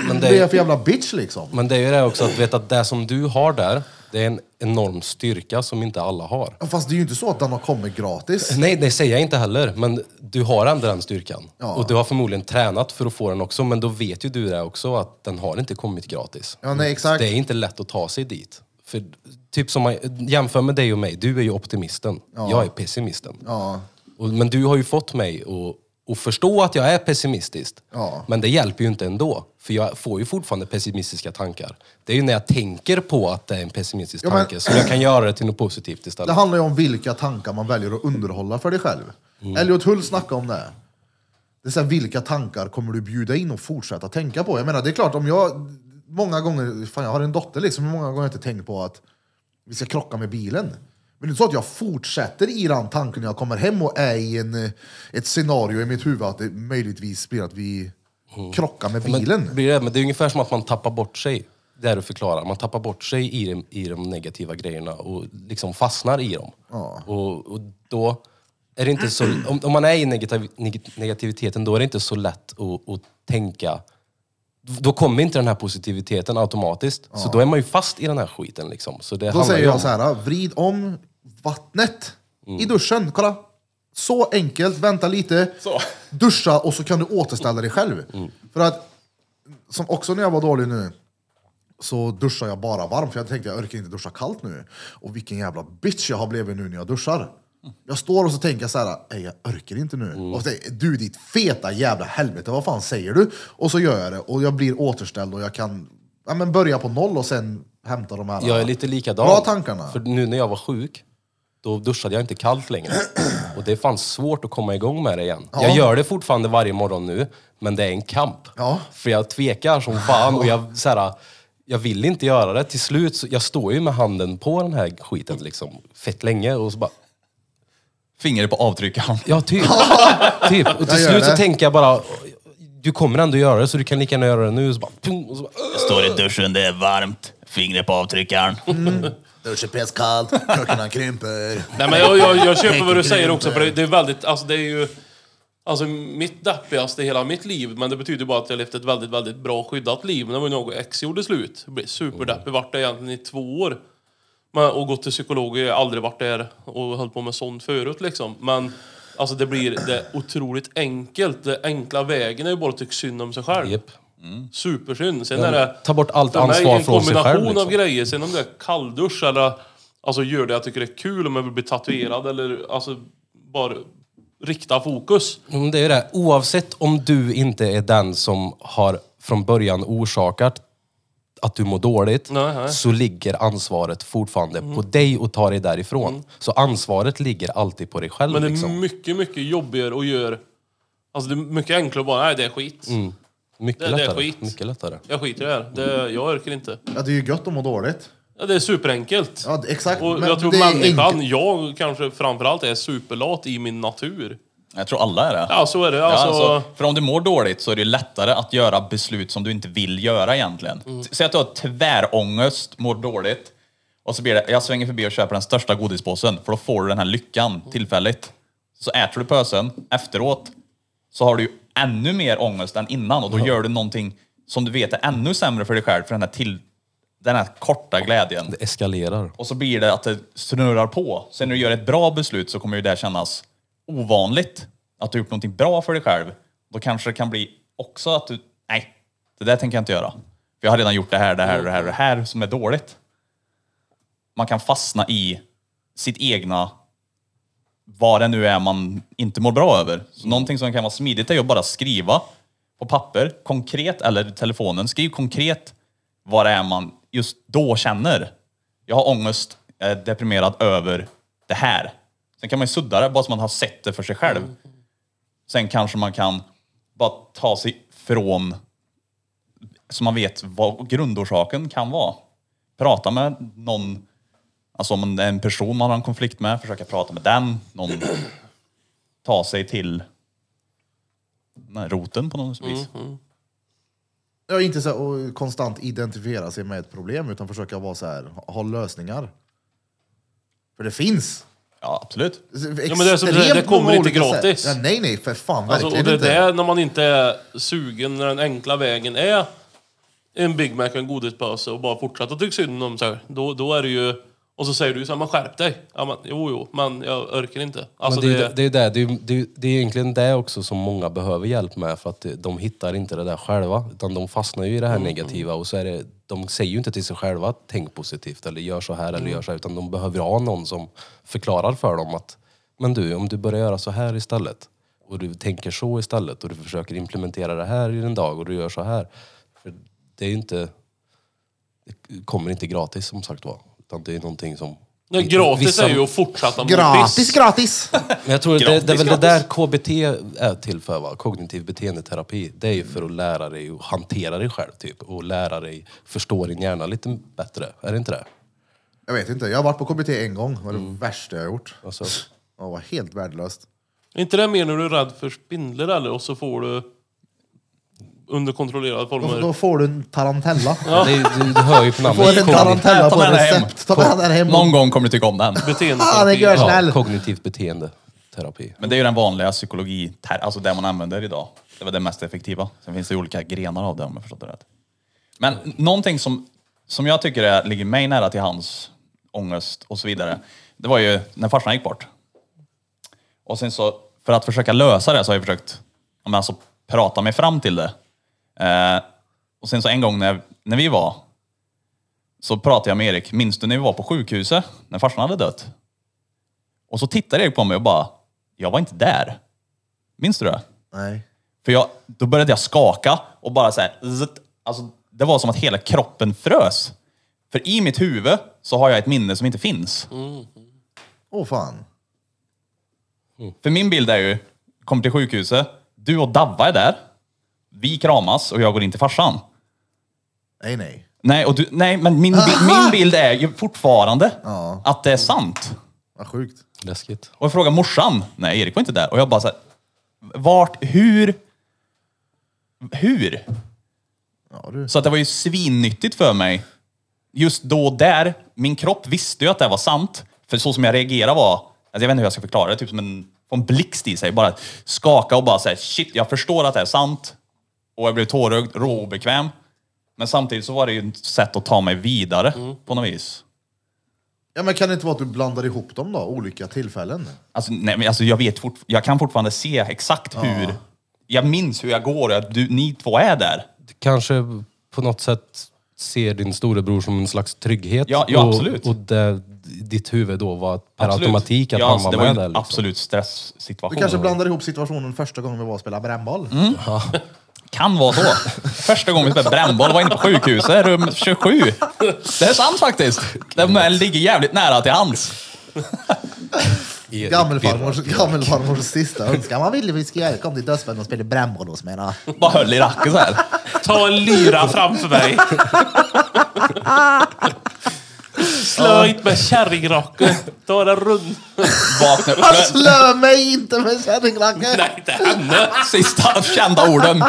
[SPEAKER 4] Men
[SPEAKER 1] det är
[SPEAKER 4] det,
[SPEAKER 1] jag för jävla bitch liksom?
[SPEAKER 4] men det är ju det också att veta att det som du har där, det är en enorm styrka som inte alla har.
[SPEAKER 1] Fast det är ju inte så att den har kommit gratis.
[SPEAKER 4] Nej, det säger jag inte heller. Men du har ändå den styrkan.
[SPEAKER 1] Ja.
[SPEAKER 4] Och du har förmodligen tränat för att få den också. Men då vet ju du det också att den har inte kommit gratis.
[SPEAKER 1] Ja, nej exakt.
[SPEAKER 4] Det är inte lätt att ta sig dit. För typ som man, jämför med dig och mig. Du är ju optimisten. Jag är pessimisten.
[SPEAKER 1] Ja.
[SPEAKER 4] Och, men du har ju fått mig att, att förstå att jag är pessimistisk.
[SPEAKER 1] Ja.
[SPEAKER 4] Men det hjälper ju inte ändå. För jag får ju fortfarande pessimistiska tankar. Det är ju när jag tänker på att det är en pessimistisk
[SPEAKER 1] Ja, men-
[SPEAKER 4] tanke som jag kan göra det till något positivt istället.
[SPEAKER 1] Det handlar ju om vilka tankar man väljer att underhålla för dig själv. Elliot Hull snackade om det. Det är så här, vilka tankar kommer du bjuda in och fortsätta tänka på? Jag menar, det är klart om jag... Många gånger, fan jag har en dotter liksom, hur många gånger har jag inte tänkt på att vi ska krocka med bilen. Men det är inte så att jag fortsätter i den tanken när jag kommer hem och är i en, eh, ett scenario i mitt huvud att det möjligtvis blir att vi krockar med bilen.
[SPEAKER 4] Men, blir det, men det är ungefär som att man tappar bort sig. Det är du förklarar. Man tappar bort sig i de, i de negativa grejerna och liksom fastnar i dem. Och, och då är det inte så... Om, om man är i negativ, neg- negativiteten, då är det inte så lätt att, att tänka... Då kommer inte den här positiviteten automatiskt. Så då är man ju fast i den här skiten. Liksom. Så det
[SPEAKER 1] Då
[SPEAKER 4] handlar
[SPEAKER 1] säger
[SPEAKER 4] ju om, Mm.
[SPEAKER 1] jag så här, "Ah, vrid om vattnet i duschen. Kolla! Så enkelt, vänta lite,
[SPEAKER 2] Så.
[SPEAKER 1] duscha och så kan du återställa dig själv.
[SPEAKER 4] Mm.
[SPEAKER 1] För att, som också när jag var dålig nu, så duschar jag bara varmt för jag tänkte jag orkar inte duscha kallt nu. Och vilken jävla bitch jag har blivit nu när jag duschar. Jag står och så tänker jag så här, "Ey, jag orkar inte nu.
[SPEAKER 4] Mm.
[SPEAKER 1] Och så tänker, jag, du ditt feta jävla helvete, vad fan säger du? Och så gör jag det och jag blir återställd och jag kan ja, men börja på noll och sen hämta de här
[SPEAKER 4] Jag är lite likadan.
[SPEAKER 1] Bra tankarna.
[SPEAKER 4] För nu när jag var sjuk, då duschade jag inte kallt längre. Och det fanns svårt att komma igång med det igen. Jag gör det fortfarande varje morgon nu, men det är en kamp.
[SPEAKER 1] Ja.
[SPEAKER 4] För jag tvekar som fan och jag, så här, jag vill inte göra det. Till slut, så, jag står ju med handen på den här skiten liksom, fett länge och så bara,
[SPEAKER 2] Fingret på avtryckaren.
[SPEAKER 4] ja typ. typ. Och
[SPEAKER 1] Jag
[SPEAKER 4] till
[SPEAKER 1] gör
[SPEAKER 4] slut
[SPEAKER 1] det.
[SPEAKER 4] så tänker jag bara, du kommer ändå göra det så du kan lika gärna göra det nu. Så bara, pum, och så bara,
[SPEAKER 2] Står i duschen, det är varmt. Fingret på avtryckaren.
[SPEAKER 1] Duschen pisskallt, kökarna krymper.
[SPEAKER 3] Nej, men jag, jag, jag köper vad du säger också, för det, det är väldigt, alltså det är ju... Alltså mitt deppigaste i hela mitt liv, men det betyder bara att jag levt ett väldigt, väldigt bra skyddat liv. Men det var ju något ex gjorde slut. Jag blev superdeppig, vart det egentligen i två år. Men, och gått till psykolog, jag har aldrig varit där och höll på med sånt förut liksom. Men alltså det blir det är otroligt enkelt. Den enkla vägen är ju bara att tycka synd om sig själv.
[SPEAKER 4] Jep.
[SPEAKER 3] Supersynd. Sen är det...
[SPEAKER 4] Ta bort allt
[SPEAKER 3] för mig
[SPEAKER 4] ansvar
[SPEAKER 3] en
[SPEAKER 4] från sig själv,
[SPEAKER 3] kombination av
[SPEAKER 4] liksom.
[SPEAKER 3] grejer. Sen om det är kalldusch eller alltså, gör det jag tycker det är kul, om jag vill bli tatuerad eller alltså, bara rikta fokus.
[SPEAKER 4] Mm, det är ju det. Oavsett om du inte är den som har från början orsakat att du mår dåligt,
[SPEAKER 3] Nej, nej. Mm.
[SPEAKER 4] så ligger ansvaret fortfarande på dig och tar dig därifrån. Så ansvaret ligger alltid på dig själv.
[SPEAKER 3] Men det är
[SPEAKER 4] liksom.
[SPEAKER 3] mycket, mycket jobbigare att göra... Alltså det är mycket enklare att bara, nej det är skit.
[SPEAKER 4] mycket,
[SPEAKER 3] det- det är
[SPEAKER 4] lättare.
[SPEAKER 3] skit.
[SPEAKER 4] mycket lättare.
[SPEAKER 3] Jag skiter i det här. Det, jag orkar inte.
[SPEAKER 1] Ja, det är ju gött att må dåligt.
[SPEAKER 3] Ja, det är superenkelt.
[SPEAKER 1] Ja, det- exakt.
[SPEAKER 3] Och
[SPEAKER 1] men
[SPEAKER 3] jag tror
[SPEAKER 1] det är
[SPEAKER 3] människan,
[SPEAKER 1] enkelt.
[SPEAKER 3] jag kanske framförallt är superlat i min natur.
[SPEAKER 2] Jag tror alla är det.
[SPEAKER 3] Ja, så är det.
[SPEAKER 2] Ja,
[SPEAKER 3] Alltså,
[SPEAKER 2] alltså, för om du mår dåligt så är det lättare att göra beslut som du inte vill göra egentligen. Säg att du har tvärångest, mår dåligt och så blir det, jag svänger förbi och köper den största godispåsen för då får du den här lyckan tillfälligt. Så äter du pösen efteråt så har du ju ännu mer ångest än innan och då gör du någonting som du vet är ännu sämre för dig själv för den här, till, den här korta glädjen.
[SPEAKER 4] Det eskalerar.
[SPEAKER 2] Och så blir det att det snurrar på. Sen när du gör ett bra beslut så kommer ju det kännas ovanligt. Att du har gjort någonting bra för dig själv. Då kanske det kan bli också att du, nej, det där tänker jag inte göra. För jag har redan gjort det här, det här, det här, det här som är dåligt. Man kan fastna i sitt egna, vad det nu är man inte mår bra över. Så någonting som kan vara smidigt är ju att bara skriva på papper, konkret, eller i telefonen. Skriv konkret vad det är man just då känner. Jag har ångest, jag är deprimerad över det här. Sen kan man ju sudda det, bara så man har sett det för sig själv. Sen kanske man kan bara ta sig från, så man vet vad grundorsaken kan vara. Prata med någon, alltså om det är en person man har en konflikt med, försöka prata med den. Någon, ta sig till nej, roten på något vis.
[SPEAKER 1] Ja, inte så här, och konstant identifiera sig med ett problem utan försöka vara så här, ha- ha lösningar. För det finns!
[SPEAKER 2] Ja, absolut.
[SPEAKER 1] Ja,
[SPEAKER 3] men det är som du säger, det kommer inte gratis.
[SPEAKER 1] Ja, nej, nej, för fan.
[SPEAKER 3] Alltså, och
[SPEAKER 1] verkligen
[SPEAKER 3] det är
[SPEAKER 1] inte.
[SPEAKER 3] där när man inte är sugen, när den enkla vägen är en Big Mac och en godispåse och bara fortsätta tycka synd om så här, då, då är det ju... Och så säger du ju så här, men skärp dig. Ja, men, jo, jo, men jag orkar inte. Alltså,
[SPEAKER 4] men det, är
[SPEAKER 3] det,
[SPEAKER 4] ju- det, är ju det, det, är ju- det, är ju- det är egentligen det också som många behöver hjälp med för att det- de hittar inte det där själva. Utan de fastnar ju i det
[SPEAKER 3] Mm.
[SPEAKER 4] här negativa och så är det, de säger ju inte till sig själva tänk positivt eller gör så här eller
[SPEAKER 3] Mm.
[SPEAKER 4] gör så här. Utan de behöver ha någon som förklarar för dem att men du, om du börjar göra så här istället och du tänker så istället och du försöker implementera det här i din dag och du gör så här. För det är ju inte, det kommer inte gratis som sagt var. Utan det är någonting som
[SPEAKER 3] Nej, gratis
[SPEAKER 4] vissa-
[SPEAKER 3] är ju att fortsätta
[SPEAKER 1] Gratis, gratis!
[SPEAKER 4] men jag tror att det,
[SPEAKER 2] Gratis,
[SPEAKER 4] det är väl det där
[SPEAKER 2] gratis.
[SPEAKER 4] KBT är till för, va? kognitiv beteendeterapi. Det är ju för att lära dig att hantera dig själv typ. Och lära dig förstå din hjärna lite bättre. Är det inte det?
[SPEAKER 1] Jag vet inte, jag har varit på KBT en gång. Det var det
[SPEAKER 3] Mm.
[SPEAKER 1] värsta jag har gjort.
[SPEAKER 4] Alltså,
[SPEAKER 1] Det var helt värdelöst.
[SPEAKER 3] Är inte det mer när du är rädd för spindlar eller? Och så får du under kontrollerade
[SPEAKER 1] Då,
[SPEAKER 3] former.
[SPEAKER 1] då får du en tarantella.
[SPEAKER 4] det, är- du, du hör ju på
[SPEAKER 1] Du får
[SPEAKER 4] namnet.
[SPEAKER 1] en
[SPEAKER 4] Kognitiv,
[SPEAKER 1] tarantella
[SPEAKER 2] Ta
[SPEAKER 1] på
[SPEAKER 2] med den hem.
[SPEAKER 1] recept. Ta med den där hem.
[SPEAKER 2] Någon gång kommer du tycka om den.
[SPEAKER 1] Ah, det är
[SPEAKER 3] Beteendeterapi.
[SPEAKER 1] gör snäll.
[SPEAKER 4] ja, kognitivt beteendeterapi.
[SPEAKER 2] Men det är ju den vanliga psykologi, ter- alltså det man använder idag. Det var det mest effektiva. Sen finns det ju olika grenar av det om jag förstått det rätt. Men n- någonting som, som jag tycker är, ligger mig nära till hans ångest och så vidare. Det var ju när farsan gick bort. Och sen så, för att försöka lösa det så har jag försökt ja, men alltså, prata mig fram till det. Eh, och sen så en gång när, när vi var, så pratade jag med Erik, minns du när vi var på sjukhuset? När farsan hade dött? Och så tittade Erik på mig och bara, jag var inte där. Minns du det?
[SPEAKER 1] Nej.
[SPEAKER 2] För jag, då började jag skaka och bara så här, zzzt. alltså, det var som att hela kroppen frös. För i mitt huvud så har jag ett minne som inte finns.
[SPEAKER 1] Åh fan.
[SPEAKER 2] För min bild är ju, kommer till sjukhuset, du och Davva är där, vi kramas och jag går in till farsan.
[SPEAKER 1] Nej, nej.
[SPEAKER 2] Nej, och du, nej men min, bi- min bild är ju fortfarande
[SPEAKER 1] Ja.
[SPEAKER 2] att det är sant.
[SPEAKER 1] Vad sjukt.
[SPEAKER 4] Läskigt.
[SPEAKER 2] Och jag frågade morsan, nej Erik var inte där. Och jag bara såhär, vart, hur? Hur?
[SPEAKER 1] Ja, du.
[SPEAKER 2] Så att det var ju svinnyttigt för mig. Just då och där, min kropp visste ju att det var sant. För så som jag reagerade var, alltså jag vet inte hur jag ska förklara det, typ som en, få en blixt i sig. Bara skaka och bara säga shit, jag förstår att det är sant. Och jag blev tårögd, råobekväm. Men samtidigt så var det ju ett sätt att ta mig vidare på något vis.
[SPEAKER 1] Ja, men kan det inte vara att du blandar ihop dem då? Olika tillfällen?
[SPEAKER 2] Alltså, nej, men alltså jag, vet fort, jag kan fortfarande se exakt hur... Jag minns hur jag går och att du, ni två är där.
[SPEAKER 4] kanske på något sätt ser din storebror som en slags trygghet.
[SPEAKER 2] Ja, ja,
[SPEAKER 4] och,
[SPEAKER 2] absolut.
[SPEAKER 4] Och det, ditt huvud då var per
[SPEAKER 2] Absolut.
[SPEAKER 4] automatik att
[SPEAKER 2] ja,
[SPEAKER 4] han
[SPEAKER 2] alltså,
[SPEAKER 4] var
[SPEAKER 2] Det
[SPEAKER 4] med
[SPEAKER 2] var ju
[SPEAKER 4] där.
[SPEAKER 2] en
[SPEAKER 4] Liksom.
[SPEAKER 2] absolut
[SPEAKER 1] Du
[SPEAKER 2] stresssituation.
[SPEAKER 1] kanske blandar ihop situationen första gången vi var och spelade brännboll?
[SPEAKER 2] Kan vara så. Första gången vi spelade brännboll var inne på sjukhuset, rum 27. Det är sant faktiskt. Den här ligger jävligt nära till hands.
[SPEAKER 4] Erik
[SPEAKER 1] Gammelfarmors,
[SPEAKER 4] Birra.
[SPEAKER 1] gammelfarmors sista önskan. Vad ville vi ska göra? Kom till dödsbädden och spela brännboll hos mig då. Alltså,
[SPEAKER 2] Bara höll i racken så här.
[SPEAKER 3] Ta en lyra framför mig. Slå inte med kärringraken. Ta den runt.
[SPEAKER 2] Vakna upp.
[SPEAKER 1] Slö mig inte med kärringracken!
[SPEAKER 3] Nej, inte henne.
[SPEAKER 2] Sista kända orden.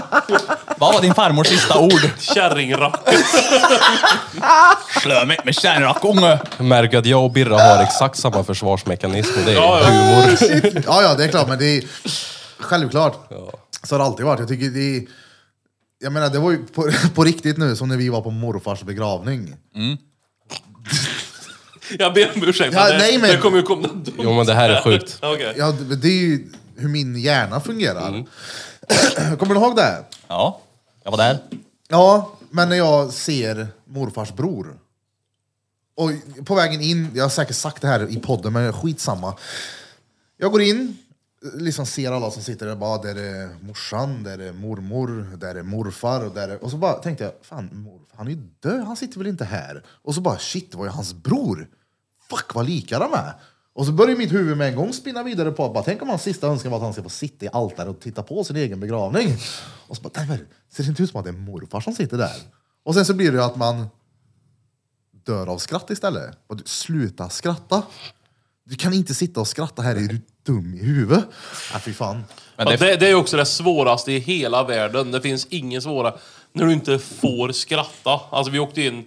[SPEAKER 2] Vad var din farmors sista ord?
[SPEAKER 3] Kärringraken.
[SPEAKER 2] Slö mig med kärnrackunge.
[SPEAKER 4] Jag märker att jag och Birra har exakt samma försvarsmekanism och det är
[SPEAKER 3] Ja, ja.
[SPEAKER 4] humor.
[SPEAKER 1] Ja, ja, det är klart, men det är självklart. Så har det alltid varit. Jag tycker det är... Jag menar, det var ju på, på riktigt nu, som när vi var på morfars begravning.
[SPEAKER 3] Jag ber om ursäkt.
[SPEAKER 1] Ja,
[SPEAKER 3] men det,
[SPEAKER 1] nej, men-
[SPEAKER 3] det kommer ju komma dumt.
[SPEAKER 4] Jo men det här är sjukt.
[SPEAKER 3] Okej.
[SPEAKER 1] Ja, det det är ju hur min hjärna fungerar. Kommer du ihåg det?
[SPEAKER 2] Ja, jag var där.
[SPEAKER 1] Ja, men när jag ser morfars bror. Och på vägen in, jag har säkert sagt det här i podden, men skitsamma. Jag går in, liksom ser alla som sitter där. Bara, där är morsan, där är mormor, där är morfar. Och, där är... och så bara tänkte jag, fan morfar, han är ju död, han sitter väl inte här? Och så bara, shit, det var ju hans bror. Fuck vad lika de är. Och så börjar mitt huvud med en gång spinna vidare på att bara, tänk om hans sista önskan var att han ska få sitta i altaret och titta på sin egen begravning. Och så bara, nej, men, ser det inte ut som att det är morfar som sitter där? Och sen så blir det ju att man dör av skratt istället. Och du, sluta skratta! Du kan inte sitta och skratta här, är du dum i huvudet? Ja, fy fan.
[SPEAKER 2] Men det,
[SPEAKER 3] Ja, det, det är också det svåraste i hela världen. Det finns ingen svåra när du inte får skratta. Alltså vi åkte in,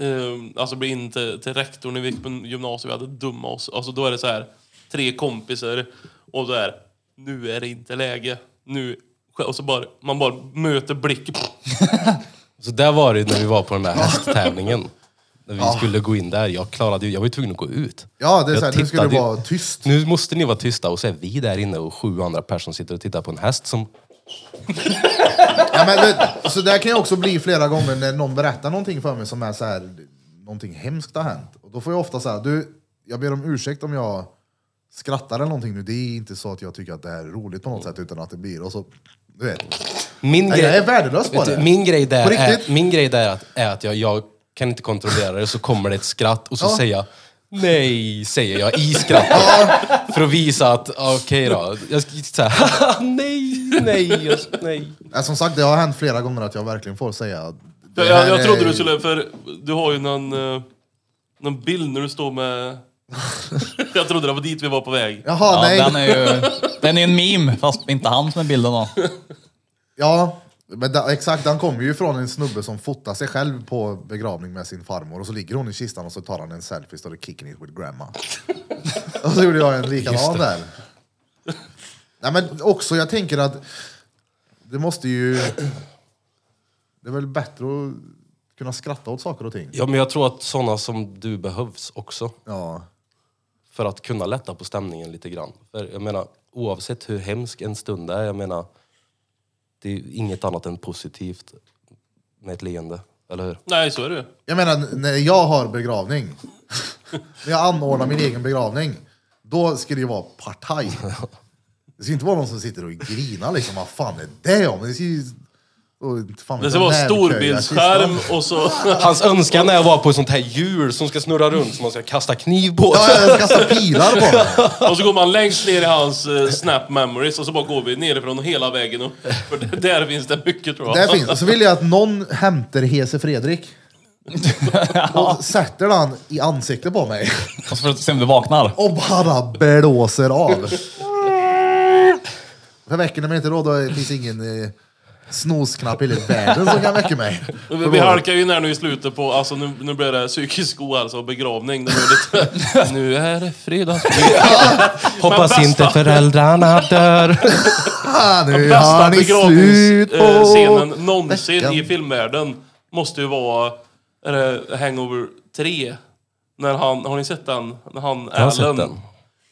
[SPEAKER 3] eh, alltså blev in till, till rektorn i vi gick på gymnasiet, vi hade dumma oss. Alltså då är det så här, tre kompisar och så här, nu är det inte läge. Nu, och så bara, man bara möter blicken.
[SPEAKER 4] Så där var det när vi var på den där hästtävlingen. När vi skulle gå in där, jag klarade ju, jag var ju tvungen att gå ut.
[SPEAKER 1] Ja, det är
[SPEAKER 4] Jag
[SPEAKER 1] såhär, nu ska du
[SPEAKER 4] tittade ju-
[SPEAKER 1] vara tyst.
[SPEAKER 4] Nu måste ni vara tysta och så är vi där inne och sju andra personer sitter och tittar på en häst som...
[SPEAKER 1] Ja, men det, så där kan jag också bli flera gånger när någon berättar någonting för mig som är så här, någonting hemskt har hänt. Och då får jag ofta så här, du, jag ber om ursäkt om jag skrattar eller någonting nu. Det är inte så att jag tycker att det här är roligt på något sätt utan att det blir och så, du vet.
[SPEAKER 4] Min
[SPEAKER 1] Nej,
[SPEAKER 4] grej,
[SPEAKER 1] jag är värdelös på
[SPEAKER 4] Vet du,
[SPEAKER 1] det.
[SPEAKER 4] Min grej där,
[SPEAKER 1] På
[SPEAKER 4] är,
[SPEAKER 1] riktigt.
[SPEAKER 4] min grej där är att, är att jag, jag kan inte kontrollera det, så kommer det ett skratt och så
[SPEAKER 1] Ja.
[SPEAKER 4] säger jag Nej, säger jag i skrattet. för att visa att, okej då. Jag ska så här, nej, nej, jag, nej.
[SPEAKER 1] Ja, Som sagt, det har hänt flera gånger att jag verkligen får säga. det
[SPEAKER 3] Jag,
[SPEAKER 1] här
[SPEAKER 3] jag, jag
[SPEAKER 1] är-
[SPEAKER 3] trodde du skulle, för du har ju någon, eh, någon bild när du står med... jag trodde det var dit vi var på väg.
[SPEAKER 1] Jaha,
[SPEAKER 2] ja,
[SPEAKER 1] nej.
[SPEAKER 2] den är ju den är en meme, fast inte han som är bilden då.
[SPEAKER 1] Ja, men da, exakt. Han kommer ju från en snubbe som fotar sig själv på begravning med sin farmor och så ligger hon i kistan och så tar han en selfie och står det kicking it with grandma. och så gjorde jag en likadan där. Nej men också, jag tänker att det måste ju... Det är väl bättre att kunna skratta åt saker och ting.
[SPEAKER 4] Ja, men jag tror att sådana som du behövs också.
[SPEAKER 1] Ja.
[SPEAKER 4] för att kunna lätta på stämningen lite grann. För jag menar, oavsett hur hemsk en stund är, jag menar, det är ju inget annat än positivt med ett leende, eller hur?
[SPEAKER 3] Nej, så är det ju.
[SPEAKER 1] Jag menar, när jag har begravning, när jag anordnar min egen begravning, då ska det ju vara partaj. Det ska inte vara någon som sitter och grinar liksom, vad fan är det om? Det ska ju... och inte fan vet
[SPEAKER 3] Det ska
[SPEAKER 1] jag,
[SPEAKER 3] vara
[SPEAKER 1] närköja
[SPEAKER 3] storbildsskärm
[SPEAKER 1] kistan.
[SPEAKER 3] och så...
[SPEAKER 4] Hans önskan är att vara på ett sånt här hjul som ska snurra runt som man ska kasta kniv på.
[SPEAKER 1] Ja, jag kastar pilar på den.
[SPEAKER 3] Och så går man längst ner i hans eh, snap memories och så bara går vi nerifrån hela vägen upp. För det- där finns det mycket tror jag.
[SPEAKER 1] Där finns det. Så vill jag att någon hämtar Hese Fredrik och sätter den i ansiktet på mig
[SPEAKER 2] Och så får du se om du vaknar.
[SPEAKER 1] och bara blåser av. För väcker ni mig inte då, då finns ingen eh, snosknapp i hela världen som kan väcka mig.
[SPEAKER 3] Vi- Vi halkar ju in här nu i slutet på, alltså nu, nu blir det psykisk ohälsa och begravning. Det blir lite, nu är det fredag.
[SPEAKER 4] Hoppas
[SPEAKER 3] Men
[SPEAKER 4] inte
[SPEAKER 3] bästa-
[SPEAKER 4] föräldrarna dör.
[SPEAKER 1] Ah, nu har
[SPEAKER 3] Bästa eh,
[SPEAKER 1] ni slut på...
[SPEAKER 3] begravningsscenen någonsin i
[SPEAKER 1] veckan.
[SPEAKER 3] filmvärlden måste ju vara är det Hangover 3. När han, har ni sett den? När han,
[SPEAKER 4] har sett den.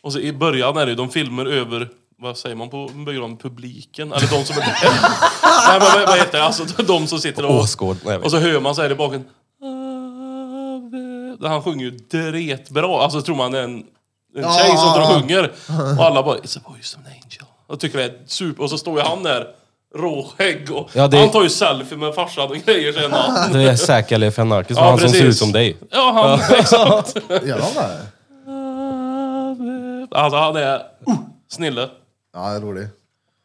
[SPEAKER 3] Och så i början är det ju, de filmer över, vad säger man på en begravning? Publiken? Eller de som är där. Nej men vad- vad heter det? Alltså de som sitter och...
[SPEAKER 4] Åskåd. Nej, jag vet.
[SPEAKER 3] Och så hör man så här i baken. Ave. Han sjunger ju dretbra. Alltså tror man det är en, en
[SPEAKER 1] Ja,
[SPEAKER 3] tjej som
[SPEAKER 1] ja,
[SPEAKER 3] drar och
[SPEAKER 1] ja.
[SPEAKER 3] sjunger. Och alla bara, it's a voice of an angel. Jag tycker det är super. Och så står ju han där, råskägg. Och
[SPEAKER 4] Ja, det-
[SPEAKER 3] Han tar ju selfie med farsan och grejer sen. Han,
[SPEAKER 4] Det är Zac Efron Anarkis,
[SPEAKER 3] Ja,
[SPEAKER 4] han som ser
[SPEAKER 3] precis.
[SPEAKER 4] ut som dig.
[SPEAKER 3] ja, han, exakt.
[SPEAKER 1] Gör de det?
[SPEAKER 3] Ave. Alltså han är uh, snille.
[SPEAKER 1] Ja, det är roligt.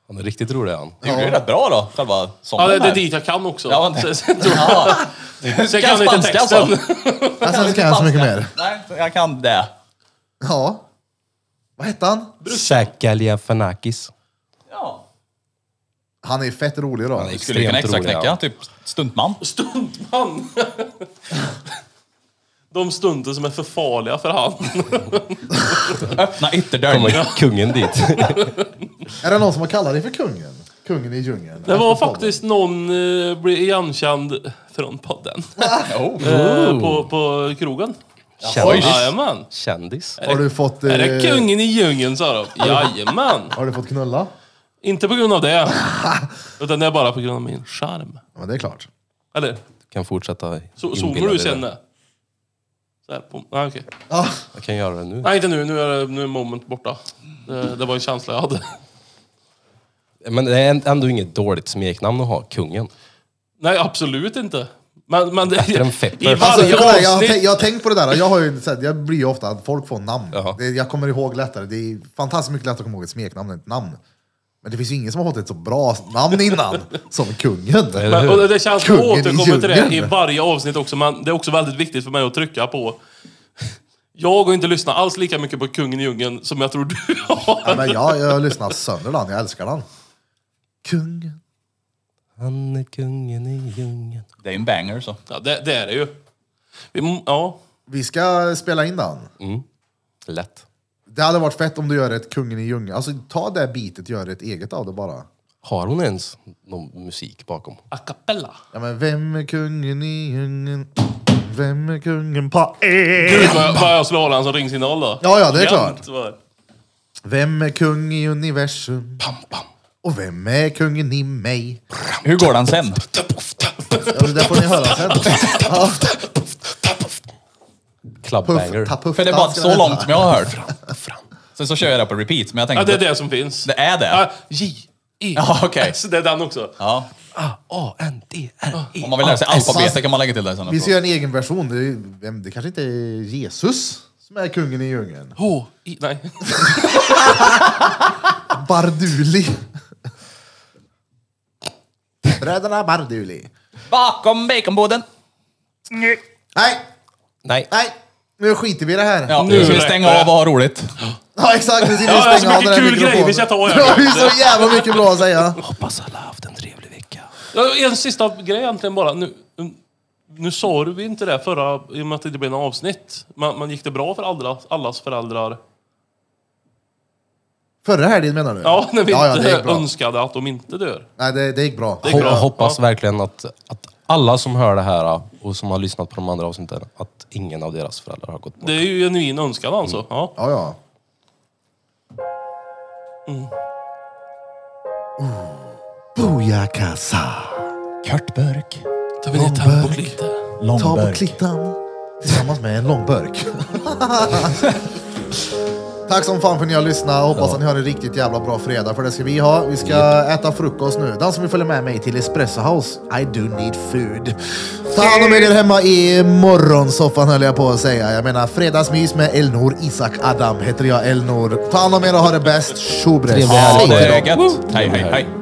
[SPEAKER 4] Han är riktigt rolig han.
[SPEAKER 2] Det gjorde ju rätt bra då, själva
[SPEAKER 3] Ja,
[SPEAKER 2] sången
[SPEAKER 3] det, det är
[SPEAKER 2] där.
[SPEAKER 3] dit jag kan också.
[SPEAKER 2] Ja, det-
[SPEAKER 3] sen, sen, tror jag-
[SPEAKER 2] Ja.
[SPEAKER 3] sen
[SPEAKER 2] Kan
[SPEAKER 3] kan jag inte
[SPEAKER 2] spanska
[SPEAKER 3] texten.
[SPEAKER 2] alltså.
[SPEAKER 1] Jag ska inte säga så mycket mer.
[SPEAKER 2] Nej, jag kan det.
[SPEAKER 1] Ja. Vad hette han?
[SPEAKER 4] Zac Efron Anarkis.
[SPEAKER 2] Ja.
[SPEAKER 1] Han är fett rolig då.
[SPEAKER 4] är-
[SPEAKER 2] Skulle kunna
[SPEAKER 4] Extremt
[SPEAKER 2] extra
[SPEAKER 4] roliga.
[SPEAKER 2] knäcka, typ stuntman.
[SPEAKER 3] Stuntman! De stunter som är för farliga för han.
[SPEAKER 2] Öppna ytterdörren.
[SPEAKER 4] Kommer kungen dit.
[SPEAKER 1] Är det någon som har kallat dig för kungen? Kungen i djungeln?
[SPEAKER 3] Det var
[SPEAKER 1] Efter podden.
[SPEAKER 3] faktiskt någon eh, blev igenkänd från podden.
[SPEAKER 2] Oh.
[SPEAKER 3] Eh, på, på krogen.
[SPEAKER 4] Kändis.
[SPEAKER 3] Jajamän.
[SPEAKER 4] Kändis.
[SPEAKER 1] Har du fått...
[SPEAKER 3] Är det
[SPEAKER 1] eh,
[SPEAKER 3] kungen i djungeln sa de. Jajamän.
[SPEAKER 1] Har du fått knulla?
[SPEAKER 3] Inte på grund av det. Utan det är bara på grund av min charm.
[SPEAKER 1] Ja, men det är klart.
[SPEAKER 3] Eller,
[SPEAKER 4] Kan fortsätta
[SPEAKER 3] så,
[SPEAKER 4] inbilla
[SPEAKER 3] zoomar du
[SPEAKER 4] dig
[SPEAKER 3] sen
[SPEAKER 4] det.
[SPEAKER 3] det? Så här, på, nej, okej.
[SPEAKER 1] Ja,
[SPEAKER 4] Jag kan göra det nu.
[SPEAKER 3] nej, inte nu. Nu är, det, nu är moment borta. Det, det var en känsla jag hade.
[SPEAKER 4] Men det är ändå inget dåligt smeknamn att ha, kungen.
[SPEAKER 3] Nej, absolut inte. Men, men det,
[SPEAKER 4] Bättre än Fepper.
[SPEAKER 3] I
[SPEAKER 1] Alltså,
[SPEAKER 3] varje
[SPEAKER 1] jag, nej, jag, har tänkt-
[SPEAKER 3] avsnitt...
[SPEAKER 1] jag har tänkt på det där, jag, har ju, så här, jag blir ju ofta att folk får namn.
[SPEAKER 4] Jaha.
[SPEAKER 1] Det, jag kommer ihåg lättare, det är fantastiskt mycket lättare att komma ihåg ett smeknamn än ett namn. Men det finns ju ingen som har fått ett så bra namn innan som kungen.
[SPEAKER 3] Men, och det- det känns som att
[SPEAKER 1] Kungen i
[SPEAKER 3] återkommer till det i
[SPEAKER 1] djungeln.
[SPEAKER 3] varje avsnitt också, men det är också väldigt viktigt för mig att trycka på. Jag har inte lyssnat alls lika mycket på Kungen i djungeln som jag tror du
[SPEAKER 1] Nej,
[SPEAKER 3] har.
[SPEAKER 1] men jag, jag har lyssnat sönder den, jag älskar den. Kungen.
[SPEAKER 4] Han är kungen i djungeln.
[SPEAKER 2] Det är ju en banger så.
[SPEAKER 3] Ja, det, det är det ju. Vi, må- ja.
[SPEAKER 1] Vi ska spela in den.
[SPEAKER 4] Lätt.
[SPEAKER 1] Det hade varit fett om du gör ett Kungen i djungeln. Alltså ta det bitet och gör ett eget av det bara.
[SPEAKER 4] Har hon ens någon musik bakom?
[SPEAKER 3] A cappella.
[SPEAKER 1] Ja men vem är kungen i djungeln? Vem är kungen på er?
[SPEAKER 3] Gud vad jag, vad jag slår den som ringsignal då.
[SPEAKER 1] Ja, ja, det är
[SPEAKER 3] Jämt
[SPEAKER 1] klart.
[SPEAKER 3] var det.
[SPEAKER 1] Vem är kung i universum?
[SPEAKER 4] Pam, pam.
[SPEAKER 1] Och vem är kungen i mig?
[SPEAKER 2] Hur går den sen?
[SPEAKER 1] Ja, det där får ni höra sen. Ja,
[SPEAKER 4] Clubbanger.
[SPEAKER 1] puff, ta, puff,
[SPEAKER 2] För det är
[SPEAKER 1] ta,
[SPEAKER 2] bara
[SPEAKER 1] ska
[SPEAKER 2] så
[SPEAKER 1] den
[SPEAKER 2] långt
[SPEAKER 1] heta.
[SPEAKER 2] som jag har hört. Sen så kör jag det på repeat, men jag tänker...
[SPEAKER 3] Ja, det är det som finns.
[SPEAKER 2] Det är
[SPEAKER 3] Ja,
[SPEAKER 2] det?
[SPEAKER 3] J, E,
[SPEAKER 2] Ja, okej.
[SPEAKER 3] S. Det är den också.
[SPEAKER 2] Ja.
[SPEAKER 4] Ah, A-N-D-R-E.
[SPEAKER 2] Om man vill lära sig alfabetet kan man lägga till det sen.
[SPEAKER 1] Vi ska
[SPEAKER 2] också.
[SPEAKER 1] göra en egen version. Det, är- vem- det kanske inte är Jesus som är kungen i djungeln.
[SPEAKER 3] H, I, nej.
[SPEAKER 1] Barduli. Bröderna Barduli.
[SPEAKER 4] Ah.
[SPEAKER 2] Bakom baconboden!
[SPEAKER 1] Nej,
[SPEAKER 4] Nej.
[SPEAKER 1] nej. Nu skiter vi i det här.
[SPEAKER 2] Ja,
[SPEAKER 1] Ja,
[SPEAKER 2] nu ska vi
[SPEAKER 3] räcker
[SPEAKER 2] stänga
[SPEAKER 3] det.
[SPEAKER 2] av och ha roligt.
[SPEAKER 1] exakt. Nu ska vi
[SPEAKER 3] Ja, det är så
[SPEAKER 1] stänga av
[SPEAKER 3] mycket
[SPEAKER 1] den här
[SPEAKER 3] kul grejer
[SPEAKER 1] mikrofonen.
[SPEAKER 3] vi ska ta över.
[SPEAKER 1] Ja, det är så jävla mycket bra att säga.
[SPEAKER 4] Hoppas alla har haft en trevlig vecka.
[SPEAKER 3] Ja, En sista grej egentligen bara. Nu, nu sa du inte det förra, i och med att det inte blev något avsnitt. Men, men gick det bra för alla, allas föräldrar?
[SPEAKER 1] Förra helgen menar du?
[SPEAKER 3] Ja, när vi
[SPEAKER 1] ja,
[SPEAKER 3] inte
[SPEAKER 1] det gick bra.
[SPEAKER 3] önskade att de inte dör.
[SPEAKER 1] Nej, det, det gick bra.
[SPEAKER 3] Det gick
[SPEAKER 4] Ho-
[SPEAKER 3] bra.
[SPEAKER 4] Jag hoppas verkligen att, att alla som hör det här ah, och som har lyssnat på de andra avsnitten, att ingen av deras föräldrar har gått bort.
[SPEAKER 3] Det är ju en genuin önskan alltså. Ja.
[SPEAKER 1] Ja, ja. Mm. Booja kassa.
[SPEAKER 2] Kurt Burk.
[SPEAKER 3] Då vill jag
[SPEAKER 1] ta på
[SPEAKER 3] lite.
[SPEAKER 1] Ta på
[SPEAKER 2] Långburk.
[SPEAKER 1] klittan tillsammans med en lång burk. Tack som fan för att ni har lyssnat. Hoppas att ni har en riktigt jävla bra fredag, för det ska vi ha. Vi ska äta frukost nu. Den som vill följa med mig till Espresso House, I do need food. Ta hand om er hemma i morgonsoffan höll jag på att säga. Jag menar fredagsmys med Elnor Isak Adam heter jag Elnor. Ta hand om er och ha det bäst. Tjo bre.
[SPEAKER 4] Trevlig
[SPEAKER 1] Säg
[SPEAKER 4] helg.
[SPEAKER 2] Ja,
[SPEAKER 1] till
[SPEAKER 2] det
[SPEAKER 1] dem.
[SPEAKER 2] är gött. Hej, hej, hej.